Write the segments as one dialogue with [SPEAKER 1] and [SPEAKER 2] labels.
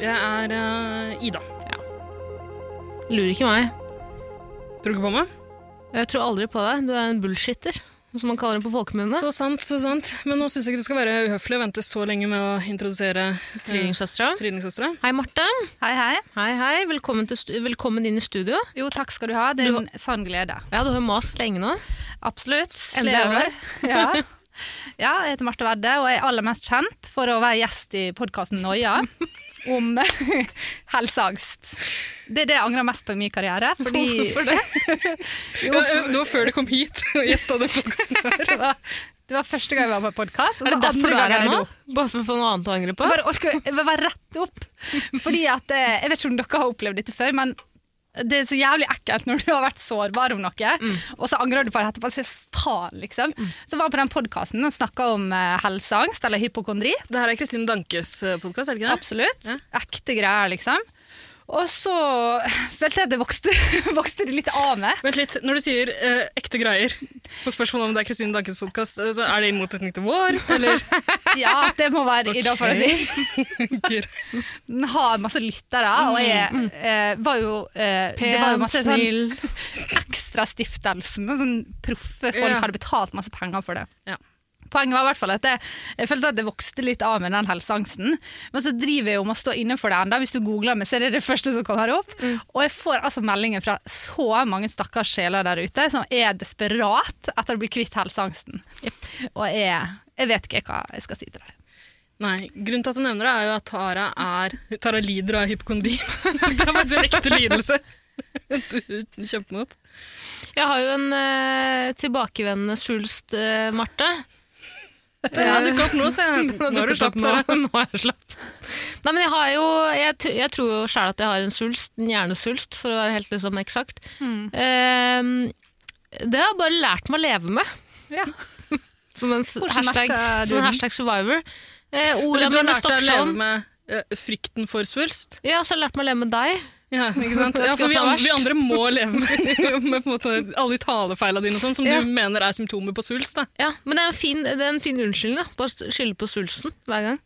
[SPEAKER 1] Jeg er eh, Ida.
[SPEAKER 2] Lurer ikke meg.
[SPEAKER 1] Tror du ikke på meg?
[SPEAKER 2] Jeg tror aldri på deg. Du er en bullshitter, som man kaller det på folkemunne.
[SPEAKER 1] Så sant, så sant. Men nå syns jeg ikke det skal være uhøflig å vente så lenge med å introdusere eh,
[SPEAKER 2] Trillingsøstera.
[SPEAKER 1] trillingsøstre.
[SPEAKER 2] Hei, Marte.
[SPEAKER 3] Hei, hei.
[SPEAKER 2] Hei, hei. Velkommen, til stu velkommen inn i studio.
[SPEAKER 3] Jo, takk skal du ha. Det er en sann glede.
[SPEAKER 2] Ja, du har jo mast lenge nå.
[SPEAKER 3] Altså, Absolutt.
[SPEAKER 2] Endelig er
[SPEAKER 3] Flere år. Ja. ja, jeg heter Marte Vedde, og jeg er aller mest kjent for å være gjest i podkasten Noia om helseangst. Det er det jeg angrer mest på i min karriere, fordi
[SPEAKER 1] Hvorfor det?
[SPEAKER 3] jo,
[SPEAKER 1] Ja, eh, det var før du kom hit og gjesta den podkasten her.
[SPEAKER 3] det, var, det var første gang jeg var på podkast.
[SPEAKER 2] Er det derfor du er her nå? Bare for å få noe annet å angre på?
[SPEAKER 3] Bare orker jeg vil bare rette opp. Fordi at, eh, jeg vet ikke om dere har opplevd dette før, men det er så jævlig ekkelt når du har vært sårbar om noe,
[SPEAKER 1] Mm.
[SPEAKER 3] og så angrer du på det etterpå. Så faen, liksom. Så var jeg på den podkasten og snakka om eh, helseangst eller hypokondri.
[SPEAKER 1] Det her er Kristine Dankes podkast, er det ikke det?
[SPEAKER 3] Absolutt.
[SPEAKER 1] Ja.
[SPEAKER 3] Ekte greier, liksom. Og så følte jeg at det vokste, vokste det litt av meg.
[SPEAKER 1] Vent litt, Når du sier eh, ekte greier på spørsmålet om det er Kristine Dankes podkast, så er det i motsetning til vår, eller?
[SPEAKER 3] Ja, det må være i dag, for å si. Den har masse lyttere, og jeg
[SPEAKER 1] Mm,
[SPEAKER 3] eh, var jo eh, Det var jo masse sånn
[SPEAKER 2] snill.
[SPEAKER 3] ekstrastiftelsen. og Sånn proffe folk
[SPEAKER 1] Ja.
[SPEAKER 3] hadde betalt masse penger for det.
[SPEAKER 1] Ja.
[SPEAKER 3] Poenget var i hvert fall at jeg, jeg følte at det vokste litt av med den helseangsten. Men så driver jeg om å stå innenfor det enda. Hvis du googler meg, så er det det første som kommer opp. Og jeg får altså meldinger fra så mange stakkars sjeler der ute som er desperat etter å bli kvitt helseangsten. Og jeg, jeg vet ikke hva jeg skal si til deg.
[SPEAKER 1] Nei, Grunnen til at du nevner det, er jo at Tara, er, Tara lider av hypokondri. det er faktisk en ekte lidelse. Du kjemper mot.
[SPEAKER 2] Jeg har jo en eh, tilbakevendende svulst, eh, Marte.
[SPEAKER 1] Den har dukket opp nå, så jeg.
[SPEAKER 2] Nå
[SPEAKER 1] Nå har du slapp
[SPEAKER 2] nå.
[SPEAKER 1] Tara.
[SPEAKER 2] Nå er jeg slapp. Nei, men jeg har jo Jeg, tr- jeg tror jo sjæl at jeg har en svulst, en hjernesvulst, for å være helt liksom eksakt.
[SPEAKER 1] Mm.
[SPEAKER 2] Ehm, det har jeg bare lært meg å leve med,
[SPEAKER 3] Ja.
[SPEAKER 2] som en s-
[SPEAKER 3] Hvordan
[SPEAKER 2] hashtag,
[SPEAKER 3] merker du
[SPEAKER 2] som en
[SPEAKER 3] den?
[SPEAKER 2] hashtag survivor. Eh,
[SPEAKER 1] Du
[SPEAKER 2] Orda
[SPEAKER 1] har
[SPEAKER 2] mine
[SPEAKER 1] lært deg å
[SPEAKER 2] stopper seg
[SPEAKER 1] leve
[SPEAKER 2] om.
[SPEAKER 1] med eh, frykten for svulst.
[SPEAKER 2] Ja, så har jeg lært meg å leve med deg.
[SPEAKER 1] Ja, ikke sant?
[SPEAKER 2] Vet
[SPEAKER 1] Ja,
[SPEAKER 2] ikke
[SPEAKER 1] for
[SPEAKER 2] hva
[SPEAKER 1] vi,
[SPEAKER 2] som er
[SPEAKER 1] an vi
[SPEAKER 2] verst.
[SPEAKER 1] andre må leve med, med på en måte, alle de talefeilene dine og sånn, som
[SPEAKER 2] Ja.
[SPEAKER 1] du mener er symptomer på svulst. Da.
[SPEAKER 2] Ja, men det er en fin, det er en fin unnskyldning, da. Bare å skylde på svulsten hver gang.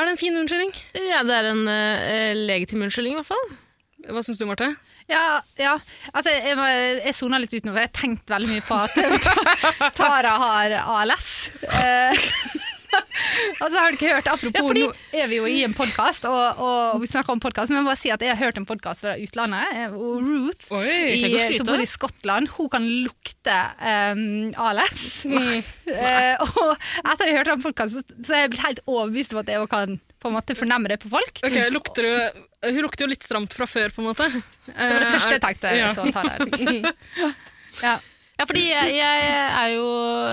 [SPEAKER 1] Er det en fin unnskyldning?
[SPEAKER 2] Ja, det er en eh, legitim unnskyldning, i hvert fall.
[SPEAKER 1] Hva syns du, Marte?
[SPEAKER 3] Ja, ja. Altså, jeg, må- jeg soner litt utenfor. Jeg har tenkt veldig mye på at Tara har ALS. Eh, altså, har du ikke hørt, apropos,
[SPEAKER 2] Ja, fordi-
[SPEAKER 3] nå er vi jo i en podkast, og, og vi snakker om podkast, men jeg må bare si at jeg har hørt en podkast fra utlandet. eh, og Ruth,
[SPEAKER 1] Oi!
[SPEAKER 2] tenker å
[SPEAKER 3] i,
[SPEAKER 2] skryte.
[SPEAKER 3] som bor i Skottland, hun kan lukte eh, ALS. Eh, og etter jeg hørte den podkasten, så er jeg blitt helt overbevist om at jeg også kan på en måte fornemme det på folk.
[SPEAKER 1] Ok, lukter du, Hun lukter jo litt stramt fra før, på en måte. Det
[SPEAKER 3] Det var det første jeg tenkte.
[SPEAKER 1] Ja.
[SPEAKER 3] Så Tara. Ja.
[SPEAKER 2] Ja, fordi jeg, jeg er jo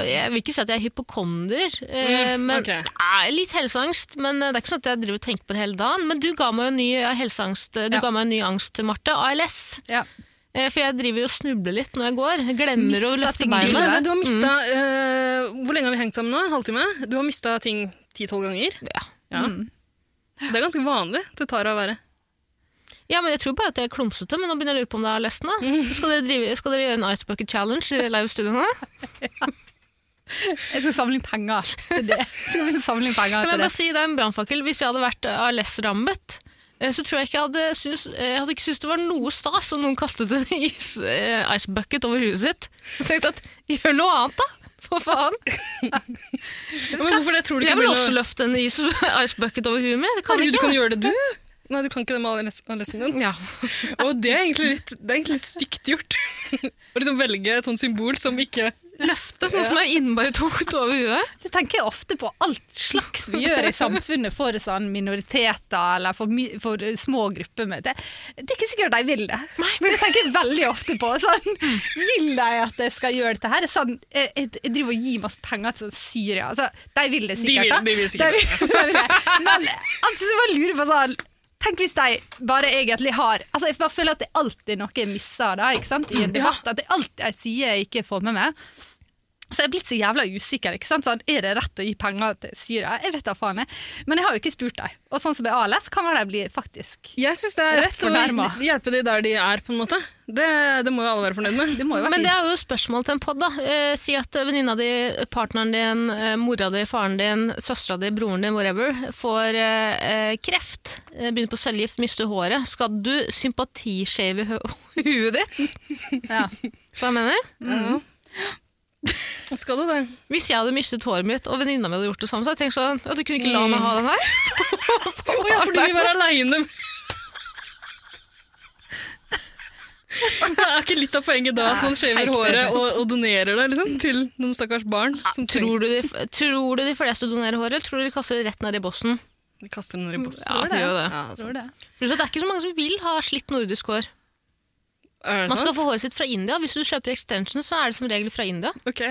[SPEAKER 2] Jeg vil ikke si at jeg er hypokonder. Eh,
[SPEAKER 1] Mm,
[SPEAKER 2] men
[SPEAKER 1] ok.
[SPEAKER 2] Nei, Litt helseangst, men det er ikke sånn at jeg driver og tenker på det hele dagen. Men du ga meg jo en ny helseangst, eh, du
[SPEAKER 3] Ja.
[SPEAKER 2] ga meg en ny angst, Marte. ALS.
[SPEAKER 3] Ja.
[SPEAKER 2] Eh, for jeg driver jo og snubler litt når jeg går. Jeg glemmer å
[SPEAKER 3] Mistet
[SPEAKER 2] løfte
[SPEAKER 3] ting i
[SPEAKER 2] beinet.
[SPEAKER 3] livet.
[SPEAKER 1] Men du har mista Hvor lenge har vi hengt sammen nå? En halvtime? Du har mista ting ti-tolv ganger.
[SPEAKER 2] Ja.
[SPEAKER 1] Ja. Det er ganske vanlig til Tara å være.
[SPEAKER 2] ja, men Jeg tror bare at jeg er klumsete, men nå begynner jeg å lure på om det er ALS nå.
[SPEAKER 3] Mm.
[SPEAKER 2] Skal, dere drive, skal dere gjøre en Ice Bucket Challenge i live studio nå?
[SPEAKER 3] Jeg skal samle inn penger til det. Jeg skal begynne å samle inn penger
[SPEAKER 2] Kan jeg
[SPEAKER 3] til det.
[SPEAKER 2] bare si det er en brannfakkel. Hvis jeg hadde vært eh, ALS-rammet, eh, så tror jeg ikke jeg hadde, syns- eh, jeg hadde ikke syntes det var noe stas om noen kastet en is, eh, ice bucket over huet sitt. Jeg tenkte at gjør noe annet, da! For faen.
[SPEAKER 1] Ja, men hvorfor det? Tror du
[SPEAKER 2] Jeg
[SPEAKER 1] ikke
[SPEAKER 2] vil
[SPEAKER 1] blir
[SPEAKER 2] også
[SPEAKER 1] noe-
[SPEAKER 2] løfte en is, ice bucket over huet mitt. Det kan jeg
[SPEAKER 1] Herregud, du kan
[SPEAKER 2] ikke.
[SPEAKER 1] gjøre det, du? Nei, du kan ikke det med alle les- alle lesene dine.
[SPEAKER 2] Ja.
[SPEAKER 1] Og det er egentlig litt, det er egentlig litt stygt gjort. Å liksom velge et sånt symbol som ikke
[SPEAKER 2] Løfte noe som er innmari tungt over huet.
[SPEAKER 3] Det tenker jeg ofte på alt slags vi gjør i samfunnet for sånn minoriteter eller for, mi- for eh, små grupper. Med. Det, det er ikke sikkert de vil det, men det tenker jeg veldig ofte på. Sånn, vil de at jeg skal gjøre dette her? Sånn, jeg, jeg, jeg driver og gir masse penger til sånn Syria. Altså, de vil det
[SPEAKER 1] De vil-
[SPEAKER 3] sikkert. da.
[SPEAKER 1] de vil sikkert
[SPEAKER 3] De vil- de vil det. Men altså, så bare lurer jeg på sånn Tenk hvis de bare egentlig har altså Jeg bare føler at det er alltid noe jeg misser da, ikke sant? i
[SPEAKER 1] Mm.
[SPEAKER 3] en debatt. At det er alltid en side jeg ikke får med meg. Så jeg er blitt så jævla usikker. ikke sant? Sånn, er det rett å gi penger til Syria? Jeg vet da faen. jeg. Men jeg har jo ikke spurt dem. Og sånn som jeg har lest, kan være de blir faktisk
[SPEAKER 1] Jeg syns det er
[SPEAKER 3] Rett
[SPEAKER 1] rett å
[SPEAKER 3] fornærma.
[SPEAKER 1] hjelpe de der de er, på en måte. Det, det må jo alle være fornøyd med.
[SPEAKER 3] Det må jo være
[SPEAKER 2] Men det
[SPEAKER 3] fint.
[SPEAKER 2] er jo et spørsmål til en pod, da. Eh, si at eh, venninna di, partneren din, eh, mora di, faren din, søstera di, broren din, whatever, får eh, eh, kreft, eh, begynner på cellegift, mister håret. Skal du sympatishave i hø- huet ditt?
[SPEAKER 3] Ja.
[SPEAKER 2] Hva jeg mener?
[SPEAKER 1] Skal du det?
[SPEAKER 2] Hvis jeg hadde mistet håret mitt, og venninna mi hadde gjort det samme, så hadde jeg tenkt sånn at du kunne ikke la meg ha den her.
[SPEAKER 1] Å ja, fordi vi var aleine. Det er ikke litt av poenget da at man shaver
[SPEAKER 3] helt
[SPEAKER 1] håret og, og donerer det liksom, til noen stakkars barn som tror
[SPEAKER 2] Tror du, de, f- tror du de fleste donerer håret, eller tror du de kaster det rett ned i bossen?
[SPEAKER 1] de kaster den i bossen.
[SPEAKER 2] Ja, de gjør det.
[SPEAKER 1] Ja, sant.
[SPEAKER 3] Tror det.
[SPEAKER 2] Pluss at det er ikke så mange som vil ha slitt nordisk hår.
[SPEAKER 1] Er det
[SPEAKER 2] Man skal
[SPEAKER 1] sant?
[SPEAKER 2] få håret sitt fra India. Hvis du kjøper extension, så er det som regel fra India.
[SPEAKER 1] Ok,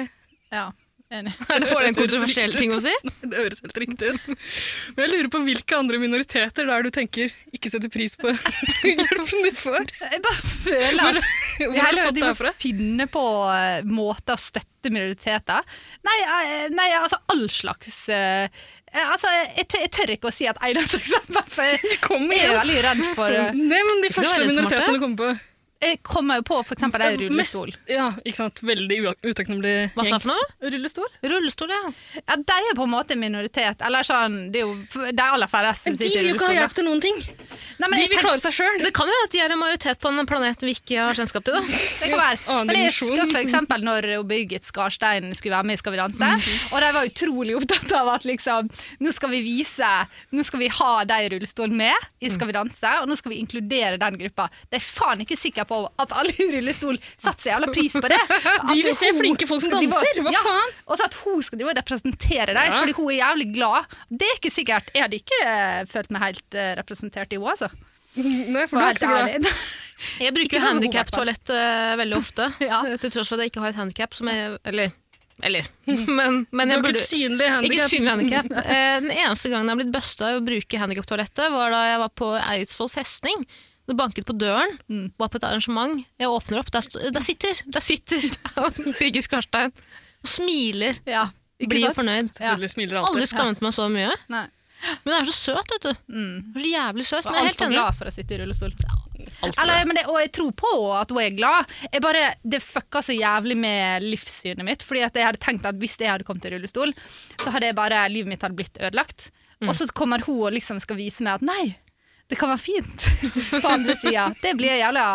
[SPEAKER 3] Ja, enig.
[SPEAKER 2] Er det for en kontroversiell ting å si?
[SPEAKER 1] Det høres helt riktig ut. Men jeg lurer på hvilke andre minoriteter det er du tenker ikke setter pris på hjelpen de får.
[SPEAKER 3] Jeg bare føler
[SPEAKER 1] Hvor,
[SPEAKER 3] at
[SPEAKER 1] hvor
[SPEAKER 3] Jeg
[SPEAKER 1] har du
[SPEAKER 3] heller
[SPEAKER 1] fått
[SPEAKER 3] de
[SPEAKER 1] det
[SPEAKER 3] må
[SPEAKER 1] her fra?
[SPEAKER 3] finne på eh, måter å støtte minoriteter. Nei, eh, nei altså all slags eh, eh, Altså, jeg, jeg tør ikke å si et eneste eksempel, for jeg,
[SPEAKER 1] Kom
[SPEAKER 3] jeg er
[SPEAKER 1] igjen!
[SPEAKER 3] veldig redd for eh,
[SPEAKER 1] Nei, men de
[SPEAKER 2] var
[SPEAKER 1] første
[SPEAKER 2] litt smart,
[SPEAKER 1] minoritetene du kommer på.
[SPEAKER 3] Jeg kommer jo på for eksempel ei rullestol.
[SPEAKER 1] Mest- Ja, ikke sant. Veldig ua- utakknemlig
[SPEAKER 2] Hva sa jeg for noe?
[SPEAKER 3] Rullestol?
[SPEAKER 2] Rullestol, ja.
[SPEAKER 3] Ja, de er på en måte en minoritet. Eller sånn, det er jo de aller færreste som
[SPEAKER 1] De
[SPEAKER 3] sitter
[SPEAKER 1] vil
[SPEAKER 3] i
[SPEAKER 1] jo ikke ha
[SPEAKER 3] rullestol. da.
[SPEAKER 1] hjelp til noen ting.
[SPEAKER 3] Nei, men
[SPEAKER 1] De
[SPEAKER 3] jeg
[SPEAKER 1] vil
[SPEAKER 3] tenker,
[SPEAKER 1] klare seg sjøl.
[SPEAKER 2] Det kan jo være at de er en majoritet på en planet vi ikke har kjennskap til. da.
[SPEAKER 3] det kan være.
[SPEAKER 1] Annen
[SPEAKER 3] Men jeg
[SPEAKER 1] dimensjon.
[SPEAKER 3] husker for eksempel når Birgit Skarstein skulle være med i Skal vi danse,
[SPEAKER 1] Mhm.
[SPEAKER 3] og de var utrolig opptatt av at liksom, nå skal vi vise, nå skal vi ha de i rullestol med i Skal vi danse, og nå skal vi inkludere den gruppa. De er faen ikke sikre på at alle i rullestol satte så jævla pris på det. At
[SPEAKER 1] De vil se
[SPEAKER 3] hun
[SPEAKER 1] flinke folk som
[SPEAKER 3] skal drive og-
[SPEAKER 1] danser, hva
[SPEAKER 3] ja,
[SPEAKER 1] faen?
[SPEAKER 3] Og så at hun skal drive og representere dem,
[SPEAKER 1] Ja.
[SPEAKER 3] fordi hun er jævlig glad. Det er ikke sikkert. Jeg hadde ikke eh, følt meg helt eh, representert i henne, altså.
[SPEAKER 1] Nei, for du er
[SPEAKER 3] For å være
[SPEAKER 1] ikke så glad.
[SPEAKER 3] helt ærlig.
[SPEAKER 2] Jeg bruker
[SPEAKER 3] Ikke
[SPEAKER 2] jo
[SPEAKER 3] sånn som god, i hvert fall.
[SPEAKER 2] handikaptoalett eh, veldig ofte,
[SPEAKER 3] Ja.
[SPEAKER 2] eh, til tross for at jeg ikke har et handikap som jeg Eller, eller. men, men
[SPEAKER 1] Du
[SPEAKER 2] jeg
[SPEAKER 1] har ikke
[SPEAKER 2] burde
[SPEAKER 1] et synlig
[SPEAKER 2] ikke et
[SPEAKER 1] handikap.
[SPEAKER 2] synlig handikap. Den eneste gangen jeg har blitt busta i å bruke handikaptoalettet, var da jeg var på Eidsvoll festning. Det banket på døren, var på et arrangement. Jeg åpner opp, der, st- der sitter der sitter Birgit Skarstein og smiler.
[SPEAKER 3] Ja, ikke
[SPEAKER 2] Blir
[SPEAKER 3] sant?
[SPEAKER 2] fornøyd.
[SPEAKER 1] Selvfølgelig smiler alltid.
[SPEAKER 2] Aldri skammet meg så mye.
[SPEAKER 3] Nei.
[SPEAKER 2] Men hun er så søt, vet du. Hun er så jævlig søt.
[SPEAKER 3] Jeg
[SPEAKER 2] Men jeg er
[SPEAKER 3] var
[SPEAKER 2] helt
[SPEAKER 3] altfor
[SPEAKER 2] enig.
[SPEAKER 3] glad for å sitte i rullestol.
[SPEAKER 1] Alt for
[SPEAKER 3] Eller, men det, og jeg tror på at hun er glad. Jeg bare, det fucka så jævlig med livssynet mitt. Fordi at jeg hadde tenkt at Hvis jeg hadde kommet i rullestol, så hadde jeg bare, livet mitt hadde blitt ødelagt.
[SPEAKER 2] Mm.
[SPEAKER 3] Og så kommer hun og liksom skal vise meg at nei, det kan være fint. På andre sida. Det blir jeg jævla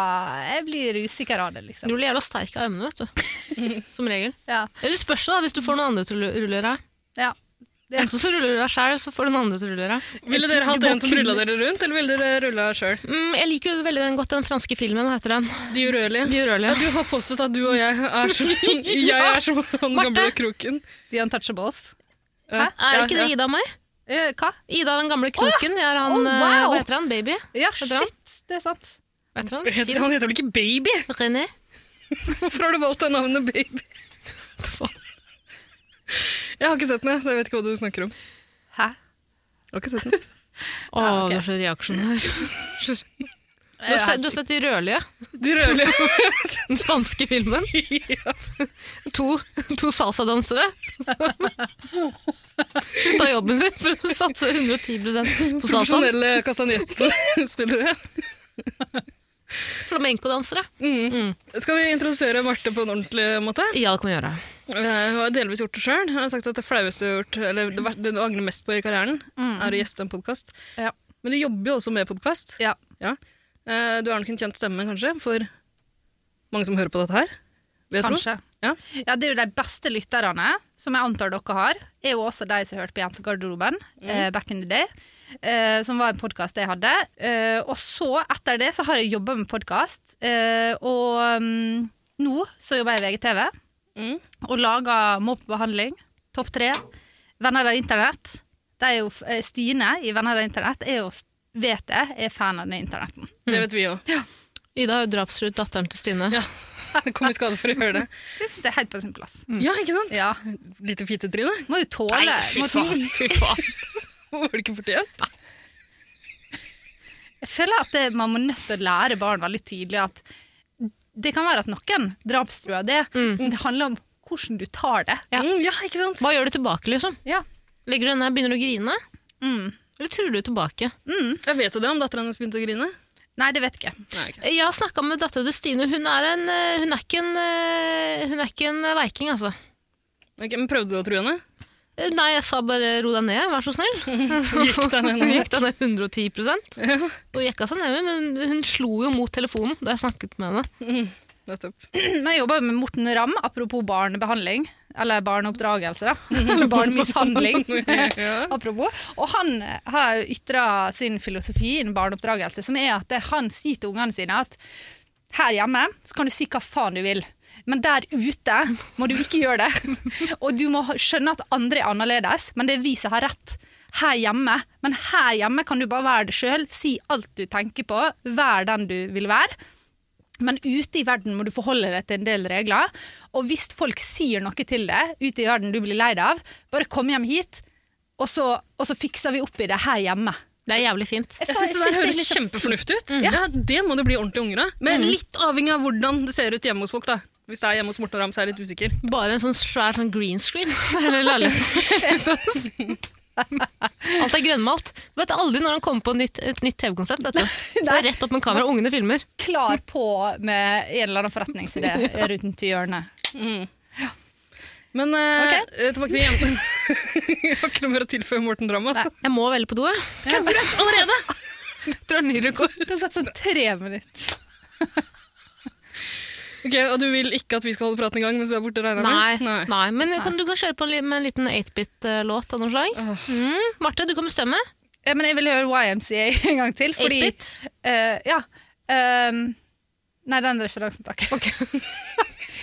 [SPEAKER 3] Jeg blir usikker av det,
[SPEAKER 2] Du
[SPEAKER 3] liksom.
[SPEAKER 2] blir jævla sterk av armene, vet du. Som regel.
[SPEAKER 3] Ja.
[SPEAKER 2] Eller det spørs jo da, hvis du får noen andre til å rulle deg.
[SPEAKER 3] ja. Det,
[SPEAKER 2] Enten så ruller du deg sjæl, så får du noen andre til å rulle deg.
[SPEAKER 1] Ville dere hatt
[SPEAKER 3] Du må
[SPEAKER 1] en som
[SPEAKER 3] kunne-
[SPEAKER 1] rulla dere rundt, eller ville dere rulla sjøl?
[SPEAKER 2] Mm, jeg liker jo veldig den godt, den franske filmen. Hva heter den?
[SPEAKER 1] De urørlige.
[SPEAKER 2] De urørlige.
[SPEAKER 1] Du har påstått at du og jeg er som, jeg er som han
[SPEAKER 2] Marte.
[SPEAKER 1] gamle kroken.
[SPEAKER 3] The Untouchables.
[SPEAKER 1] Ja,
[SPEAKER 2] Er
[SPEAKER 1] ja,
[SPEAKER 2] ikke
[SPEAKER 1] ja.
[SPEAKER 2] det Ida og meg?
[SPEAKER 3] Eh, hva?
[SPEAKER 2] Ida den gamle kroken. Det er han,
[SPEAKER 3] Å,
[SPEAKER 2] eh,
[SPEAKER 3] wow!
[SPEAKER 2] Hva heter han? Baby?
[SPEAKER 3] Ja,
[SPEAKER 2] Det er bra.
[SPEAKER 3] shit, det er sant.
[SPEAKER 2] Hva heter han?
[SPEAKER 1] Heter,
[SPEAKER 2] Sier
[SPEAKER 1] han heter vel ikke Baby?
[SPEAKER 2] han René?
[SPEAKER 1] Hvorfor har du valgt det navnet Baby? Jeg har ikke sett den, jeg, så jeg vet ikke hva du snakker om.
[SPEAKER 3] Hæ?
[SPEAKER 1] Jeg har ikke sett den.
[SPEAKER 2] Å,
[SPEAKER 3] Ja, ok.
[SPEAKER 2] det er så reaksjonær. Du har sett- du har sett De rødlige,
[SPEAKER 1] De rødlige.
[SPEAKER 2] den spanske filmen.
[SPEAKER 1] Ja.
[SPEAKER 2] To, to salsadansere. Slutta jobben sin for å satse 110 på salsa.
[SPEAKER 1] Profesjonelle kastanjettspillere.
[SPEAKER 2] Flamenco-dansere.
[SPEAKER 1] Mm.
[SPEAKER 2] Mm.
[SPEAKER 1] Skal vi introdusere Marte på en ordentlig måte?
[SPEAKER 2] Ja, det kan vi gjøre.
[SPEAKER 1] Jeg har delvis gjort det sjøl. Jeg har sagt at det flaueste jeg har gjort, eller det ver- det du angrer mest på i karrieren, er å gjeste en podkast.
[SPEAKER 3] Ja.
[SPEAKER 1] Men du jobber jo også med podkast.
[SPEAKER 3] Ja.
[SPEAKER 1] Du er nok en kjent stemme, kanskje, for mange som hører på dette her. Vil jeg tro.
[SPEAKER 3] Kanskje.
[SPEAKER 1] Ja.
[SPEAKER 3] Ja, det er jo de beste lytterne, som jeg antar dere har, er jo også de som hørte på Jentegarderoben
[SPEAKER 2] Mm.
[SPEAKER 3] eh, back in the day. eh, som var en podkast jeg hadde. Eh, og så, etter det, så har jeg jobba med podkast. eh, og mm, nå så jobber jeg i VGTV
[SPEAKER 1] Mm.
[SPEAKER 3] og lager mobbebehandling. Topp tre. Venner av internett. Det er jo, f- eh, Stine i Venner av internett er jo, s- vet jeg, er fan av den internetten.
[SPEAKER 1] Det vet vi òg.
[SPEAKER 2] Ida har jo drapstruet datteren til Stine.
[SPEAKER 1] Ja. Kom i skade for å gjøre det.
[SPEAKER 3] Jeg synes det er helt på sin plass.
[SPEAKER 1] Ja, ikke sant?
[SPEAKER 3] Ja.
[SPEAKER 1] Lite fittetryne.
[SPEAKER 3] Må jo tåle
[SPEAKER 2] Mm. Nei, fy
[SPEAKER 3] må-
[SPEAKER 2] faen. Fy faen.
[SPEAKER 1] Var det ikke fortjent?
[SPEAKER 3] Jeg føler at det, man må nødt til å lære barn veldig tidlig at det kan være at noen drapstruer det, men det handler om hvordan du tar det.
[SPEAKER 2] Ja.
[SPEAKER 1] Mm, ja, ikke sant?
[SPEAKER 2] Hva gjør du tilbake, liksom?
[SPEAKER 3] Ja.
[SPEAKER 2] Legger du den der, begynner du å grine?
[SPEAKER 3] Mm.
[SPEAKER 2] Eller truer du tilbake?
[SPEAKER 1] Jeg vet jo det om datteren hennes begynte å grine.
[SPEAKER 3] Nei, det vet ikke.
[SPEAKER 1] Nei, ok.
[SPEAKER 2] Jeg har snakka med dattera til Stine. Hun er, en, eh, hun, er ikke en, eh, hun er ikke en veiking, altså.
[SPEAKER 1] Ok, men prøvde du å true henne?
[SPEAKER 2] Eh, Nei, jeg sa bare ro deg ned, vær så snill.
[SPEAKER 1] Gikk deg ned noe?
[SPEAKER 2] Hun gikk da ned 110 Og jekka seg ned, men hun slo jo mot telefonen da jeg snakket med henne.
[SPEAKER 1] Nettopp.
[SPEAKER 3] Men jeg jobber jo med Morten Ramm, apropos barnebehandling. Eller barneoppdragelse, da. Eller barnemishandling.
[SPEAKER 1] Ja.
[SPEAKER 3] Apropos. Og han eh, har ytra sin filosofi innen barneoppdragelse, som er at det han sier til ungene sine at her hjemme så kan du si hva faen du vil, men der ute må du ikke gjøre det. Og du må ha- skjønne at andre er annerledes, men det er vi som har rett. Her hjemme. Men her hjemme kan du bare være deg sjøl, si alt du tenker på, vær den du vil være. Men ute i verden må du forholde deg til en del regler. Og hvis folk sier noe til deg ute i verden du blir lei deg av, bare kom hjem hit, og så, og så fikser vi opp i det her hjemme.
[SPEAKER 2] Det er jævlig fint.
[SPEAKER 1] Jeg syns det der
[SPEAKER 3] er
[SPEAKER 1] høres
[SPEAKER 3] litt så
[SPEAKER 1] kjempefornuftig ut.
[SPEAKER 3] Mm.
[SPEAKER 1] Ja. Det må du bli ordentlig unger av. Men litt avhengig av hvordan det ser ut hjemme hos folk. da. Hvis det er hjemme hos Morten og Ramm, så er jeg litt usikker.
[SPEAKER 2] Bare en sånn svær sånn green screen. Eller leiligheten. Alt er grønnmalt. Du vet aldri når han kommer på nytt, et nytt TV-konsept. vet du. Det er rett opp med kamera, og ungene filmer.
[SPEAKER 3] Klar på med en eller annen forretningsidé rundt i hjørnet.
[SPEAKER 1] Mm. Men eh, tilbake til hjemme. jeg har ikke noe mer å tilføye Morten Ramm. Altså.
[SPEAKER 2] Jeg må veldig på do, jeg.
[SPEAKER 1] Allerede!
[SPEAKER 2] Jeg Tror det er ny rekord.
[SPEAKER 3] Det har tatt sånn tre minutter.
[SPEAKER 1] Ok, Og du vil ikke at vi skal holde praten i gang mens du er borte? regner
[SPEAKER 2] Nei,
[SPEAKER 1] jeg med? Nei.
[SPEAKER 2] nei, men kan, du kan kjøre på en li- med en liten 8-bit-låt av noe slag.
[SPEAKER 1] Åh.
[SPEAKER 2] Mm. Marte, du kan bestemme.
[SPEAKER 3] Ja, men jeg vil høre YMCA en gang til, fordi
[SPEAKER 2] 8-bit.
[SPEAKER 3] eh, Ja. ehm, nei, den referansen, takk.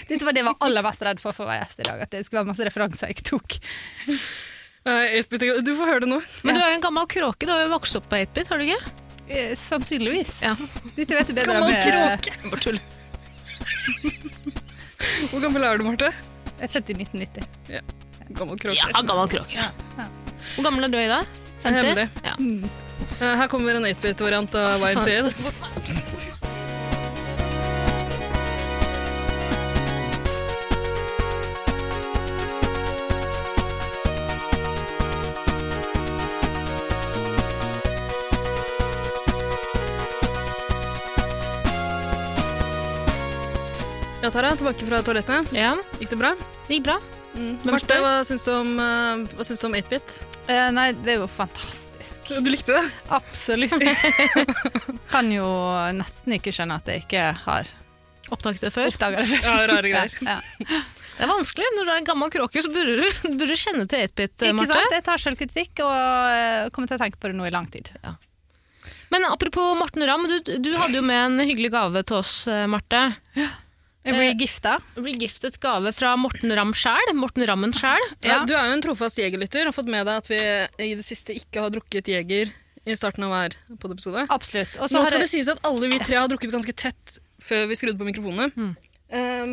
[SPEAKER 3] Dette var det jeg var aller mest redd for for å være gjest i dag. At det skulle være masse referanser jeg ikke tok.
[SPEAKER 1] Nei, Eh, Espen, tenk- Du får høre det nå.
[SPEAKER 2] Men du er jo en gammel kråke. Du har jo vokst opp på 8-bit, har du ikke?
[SPEAKER 3] Eh, sannsynligvis.
[SPEAKER 2] Ja.
[SPEAKER 3] Dette vet du bedre
[SPEAKER 1] Gammel
[SPEAKER 3] om, eh,
[SPEAKER 1] kråke.
[SPEAKER 2] Bare tull.
[SPEAKER 1] Hvor gammel er du, Marte?
[SPEAKER 3] Jeg er født i 1990.
[SPEAKER 1] Gammel kråke.
[SPEAKER 2] Ja, gammel kråke. Hvor gammel er du i dag?
[SPEAKER 1] Jeg er
[SPEAKER 2] 50?
[SPEAKER 1] hemmelig. Eh, Her kommer en 8-bit-variant av YMCA. da. Ja, Tara, tilbake fra toalettene.
[SPEAKER 2] Ja,
[SPEAKER 1] Gikk det bra? Mm.
[SPEAKER 2] det gikk bra. Hvem
[SPEAKER 1] Marte,
[SPEAKER 2] spør?
[SPEAKER 1] hva syns du om, eh, hva syns du om 8-bit?
[SPEAKER 3] Eh, nei, det er jo fantastisk.
[SPEAKER 1] Du likte det?
[SPEAKER 3] Absolutt. kan jo nesten ikke skjønne at jeg ikke har
[SPEAKER 2] Opptaket det før.
[SPEAKER 3] oppdaga det før.
[SPEAKER 1] Ja, rare greier.
[SPEAKER 3] Ja.
[SPEAKER 2] Det er vanskelig. Når du er en gammel kråke, så burde du, burde du kjenne til 8-bit,
[SPEAKER 3] Ikke
[SPEAKER 2] Marte.
[SPEAKER 3] sant? Jeg tar selvkritikk og eh, kommer til å tenke på det nå i lang tid.
[SPEAKER 2] Men apropos Morten Ramm, du, du hadde jo med en hyggelig gave til oss, eh, Marte.
[SPEAKER 3] Jeg blir gifta.
[SPEAKER 2] Regiftet gave fra Morten Ramm sjæl. Morten Rammen sjæl.
[SPEAKER 1] Ja.
[SPEAKER 3] Ja.
[SPEAKER 1] Du er jo en trofast jegerlytter. Har fått med deg at vi i det siste ikke har drukket jeger i starten av hver podd-episode.
[SPEAKER 3] Absolutt. Og så
[SPEAKER 1] Nå
[SPEAKER 3] har
[SPEAKER 1] skal det
[SPEAKER 3] jeg
[SPEAKER 1] sies at alle vi tre har drukket ganske tett før vi skrudde på mikrofonene.
[SPEAKER 3] Mm.
[SPEAKER 1] Um,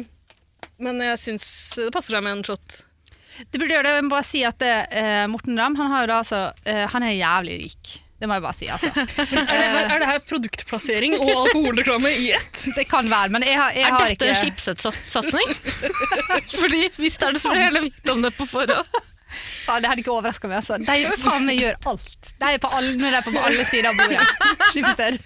[SPEAKER 1] men jeg syns det passer seg med en shot.
[SPEAKER 3] Det burde gjøre det. Jeg må bare si at eh, Morten Ramm han, har jo da altså, eh, han er jævlig rik. Det må jeg bare si, altså.
[SPEAKER 1] Er det her, er det her produktplassering og alkoholreklame i ett?
[SPEAKER 3] Det kan være, men jeg har, jeg
[SPEAKER 2] Er
[SPEAKER 3] har
[SPEAKER 2] dette
[SPEAKER 3] ikke
[SPEAKER 2] chipset-satsing? Fordi hvis det er det, så får jeg heller vite om det på forhånd.
[SPEAKER 3] Ja, det hadde ikke overraska meg. Altså. De faen meg gjør alt. De er på alle, nå er de på alle sider av bordet. Skifter.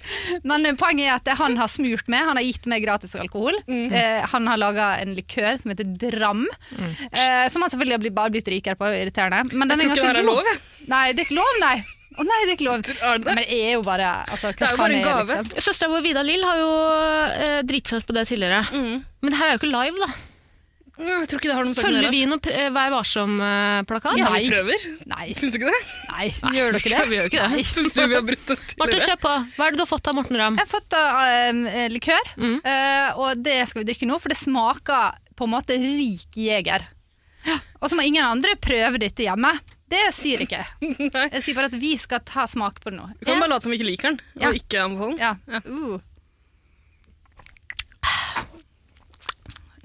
[SPEAKER 3] Men eh, poenget er at det han har smurt meg, han har gitt meg gratis alkohol.
[SPEAKER 1] Mhm.
[SPEAKER 3] Eh, han har laga en likør som heter Dram, eh, som han selvfølgelig har blitt, bare blitt rikere på. Irriterende. Men
[SPEAKER 1] Mm. Jeg tror
[SPEAKER 3] den er
[SPEAKER 1] ikke det her
[SPEAKER 3] ganske
[SPEAKER 1] er lov.
[SPEAKER 3] god.
[SPEAKER 1] jeg.
[SPEAKER 3] Nei, det er ikke lov, nei. Å nei, det er ikke lov.
[SPEAKER 1] Er det det?
[SPEAKER 3] Men det er jo bare altså, hva
[SPEAKER 1] Det er jo
[SPEAKER 3] faen
[SPEAKER 1] bare en gave.
[SPEAKER 3] liksom?
[SPEAKER 2] Søstera vår Vida Lill har jo eh, driti seg ut på det tidligere. Men det her er jo ikke live, da.
[SPEAKER 1] Mm, Jeg tror ikke det har noe med saken å
[SPEAKER 2] Følger
[SPEAKER 1] gjøre.
[SPEAKER 2] vi noen pre- eh, Vær varsom-plakat?
[SPEAKER 1] Ja,
[SPEAKER 3] Nei.
[SPEAKER 1] vi prøver.
[SPEAKER 3] Nei,
[SPEAKER 1] Syns du ikke det?
[SPEAKER 3] nei, gjør dere det?
[SPEAKER 2] Vi gjør jo ikke det.
[SPEAKER 1] Syns du vi har brutt den
[SPEAKER 2] Marte,
[SPEAKER 1] tidligere?
[SPEAKER 2] kjør på. Hva er det du har fått av Morten Ramm?
[SPEAKER 3] Jeg har fått uh, likør,
[SPEAKER 2] Mm.
[SPEAKER 3] eh, og det skal vi drikke nå, for det smaker på en måte rik jeger. Og så må ingen andre prøve dette hjemme. Det sier jeg ikke.
[SPEAKER 1] Nei.
[SPEAKER 3] Jeg sier bare at vi skal ta smak på det nå.
[SPEAKER 1] Vi kan bare late som vi ikke liker den,
[SPEAKER 3] Ja.
[SPEAKER 1] og ikke anbefale den.
[SPEAKER 3] Ja. Uh.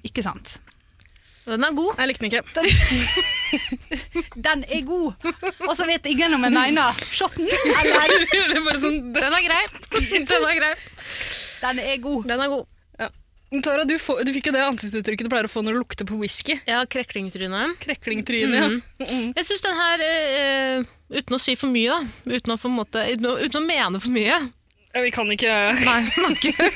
[SPEAKER 3] Ikke sant.
[SPEAKER 2] Den er god.
[SPEAKER 1] Jeg likte den ikke.
[SPEAKER 3] Den er god! Og så vet ingen om jeg mener shotten eller
[SPEAKER 1] det er bare sånn, det,
[SPEAKER 2] Den er grei. Den er grei.
[SPEAKER 3] Den er god.
[SPEAKER 2] Den er god.
[SPEAKER 1] ja. Tara, du, får, du fikk jo det ansiktsuttrykket du pleier å få når du lukter på whisky.
[SPEAKER 2] Jeg har kreklingtryne.
[SPEAKER 1] Kreklingtryne.
[SPEAKER 2] Mhm.
[SPEAKER 1] ja. Mm.
[SPEAKER 2] Jeg syns den her, eh, eh, uten å si for mye, da, uten å, på en måte, uten å, uten å mene for mye
[SPEAKER 1] Ja, Vi kan ikke
[SPEAKER 2] Nei, den er, ikke,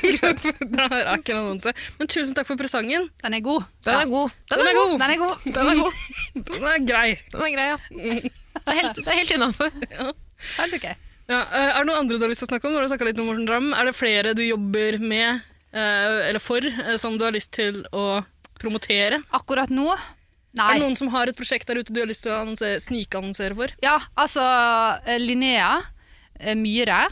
[SPEAKER 1] Det her er ikke en annonse. Men tusen takk for presangen.
[SPEAKER 3] Den er god.
[SPEAKER 2] den er god. Den er, god.
[SPEAKER 3] Den er god.
[SPEAKER 2] Den er god.
[SPEAKER 1] Den er grei.
[SPEAKER 2] Den er grei, ja. Det er helt, det er helt innafor.
[SPEAKER 3] Helt ok.
[SPEAKER 1] Ja, eh, er det noen andre du har lyst til å snakke om? Nå har du snakket litt om Morten Dram. Er det flere du jobber med, eh, eller for, eh, som du har lyst til å promotere?
[SPEAKER 3] Akkurat nå
[SPEAKER 1] Er det
[SPEAKER 3] Nei.
[SPEAKER 1] noen som har et prosjekt der ute du har lyst til å annonsere- snikannonsere for?
[SPEAKER 3] Ja, altså eh, Linnea eh, Myhre.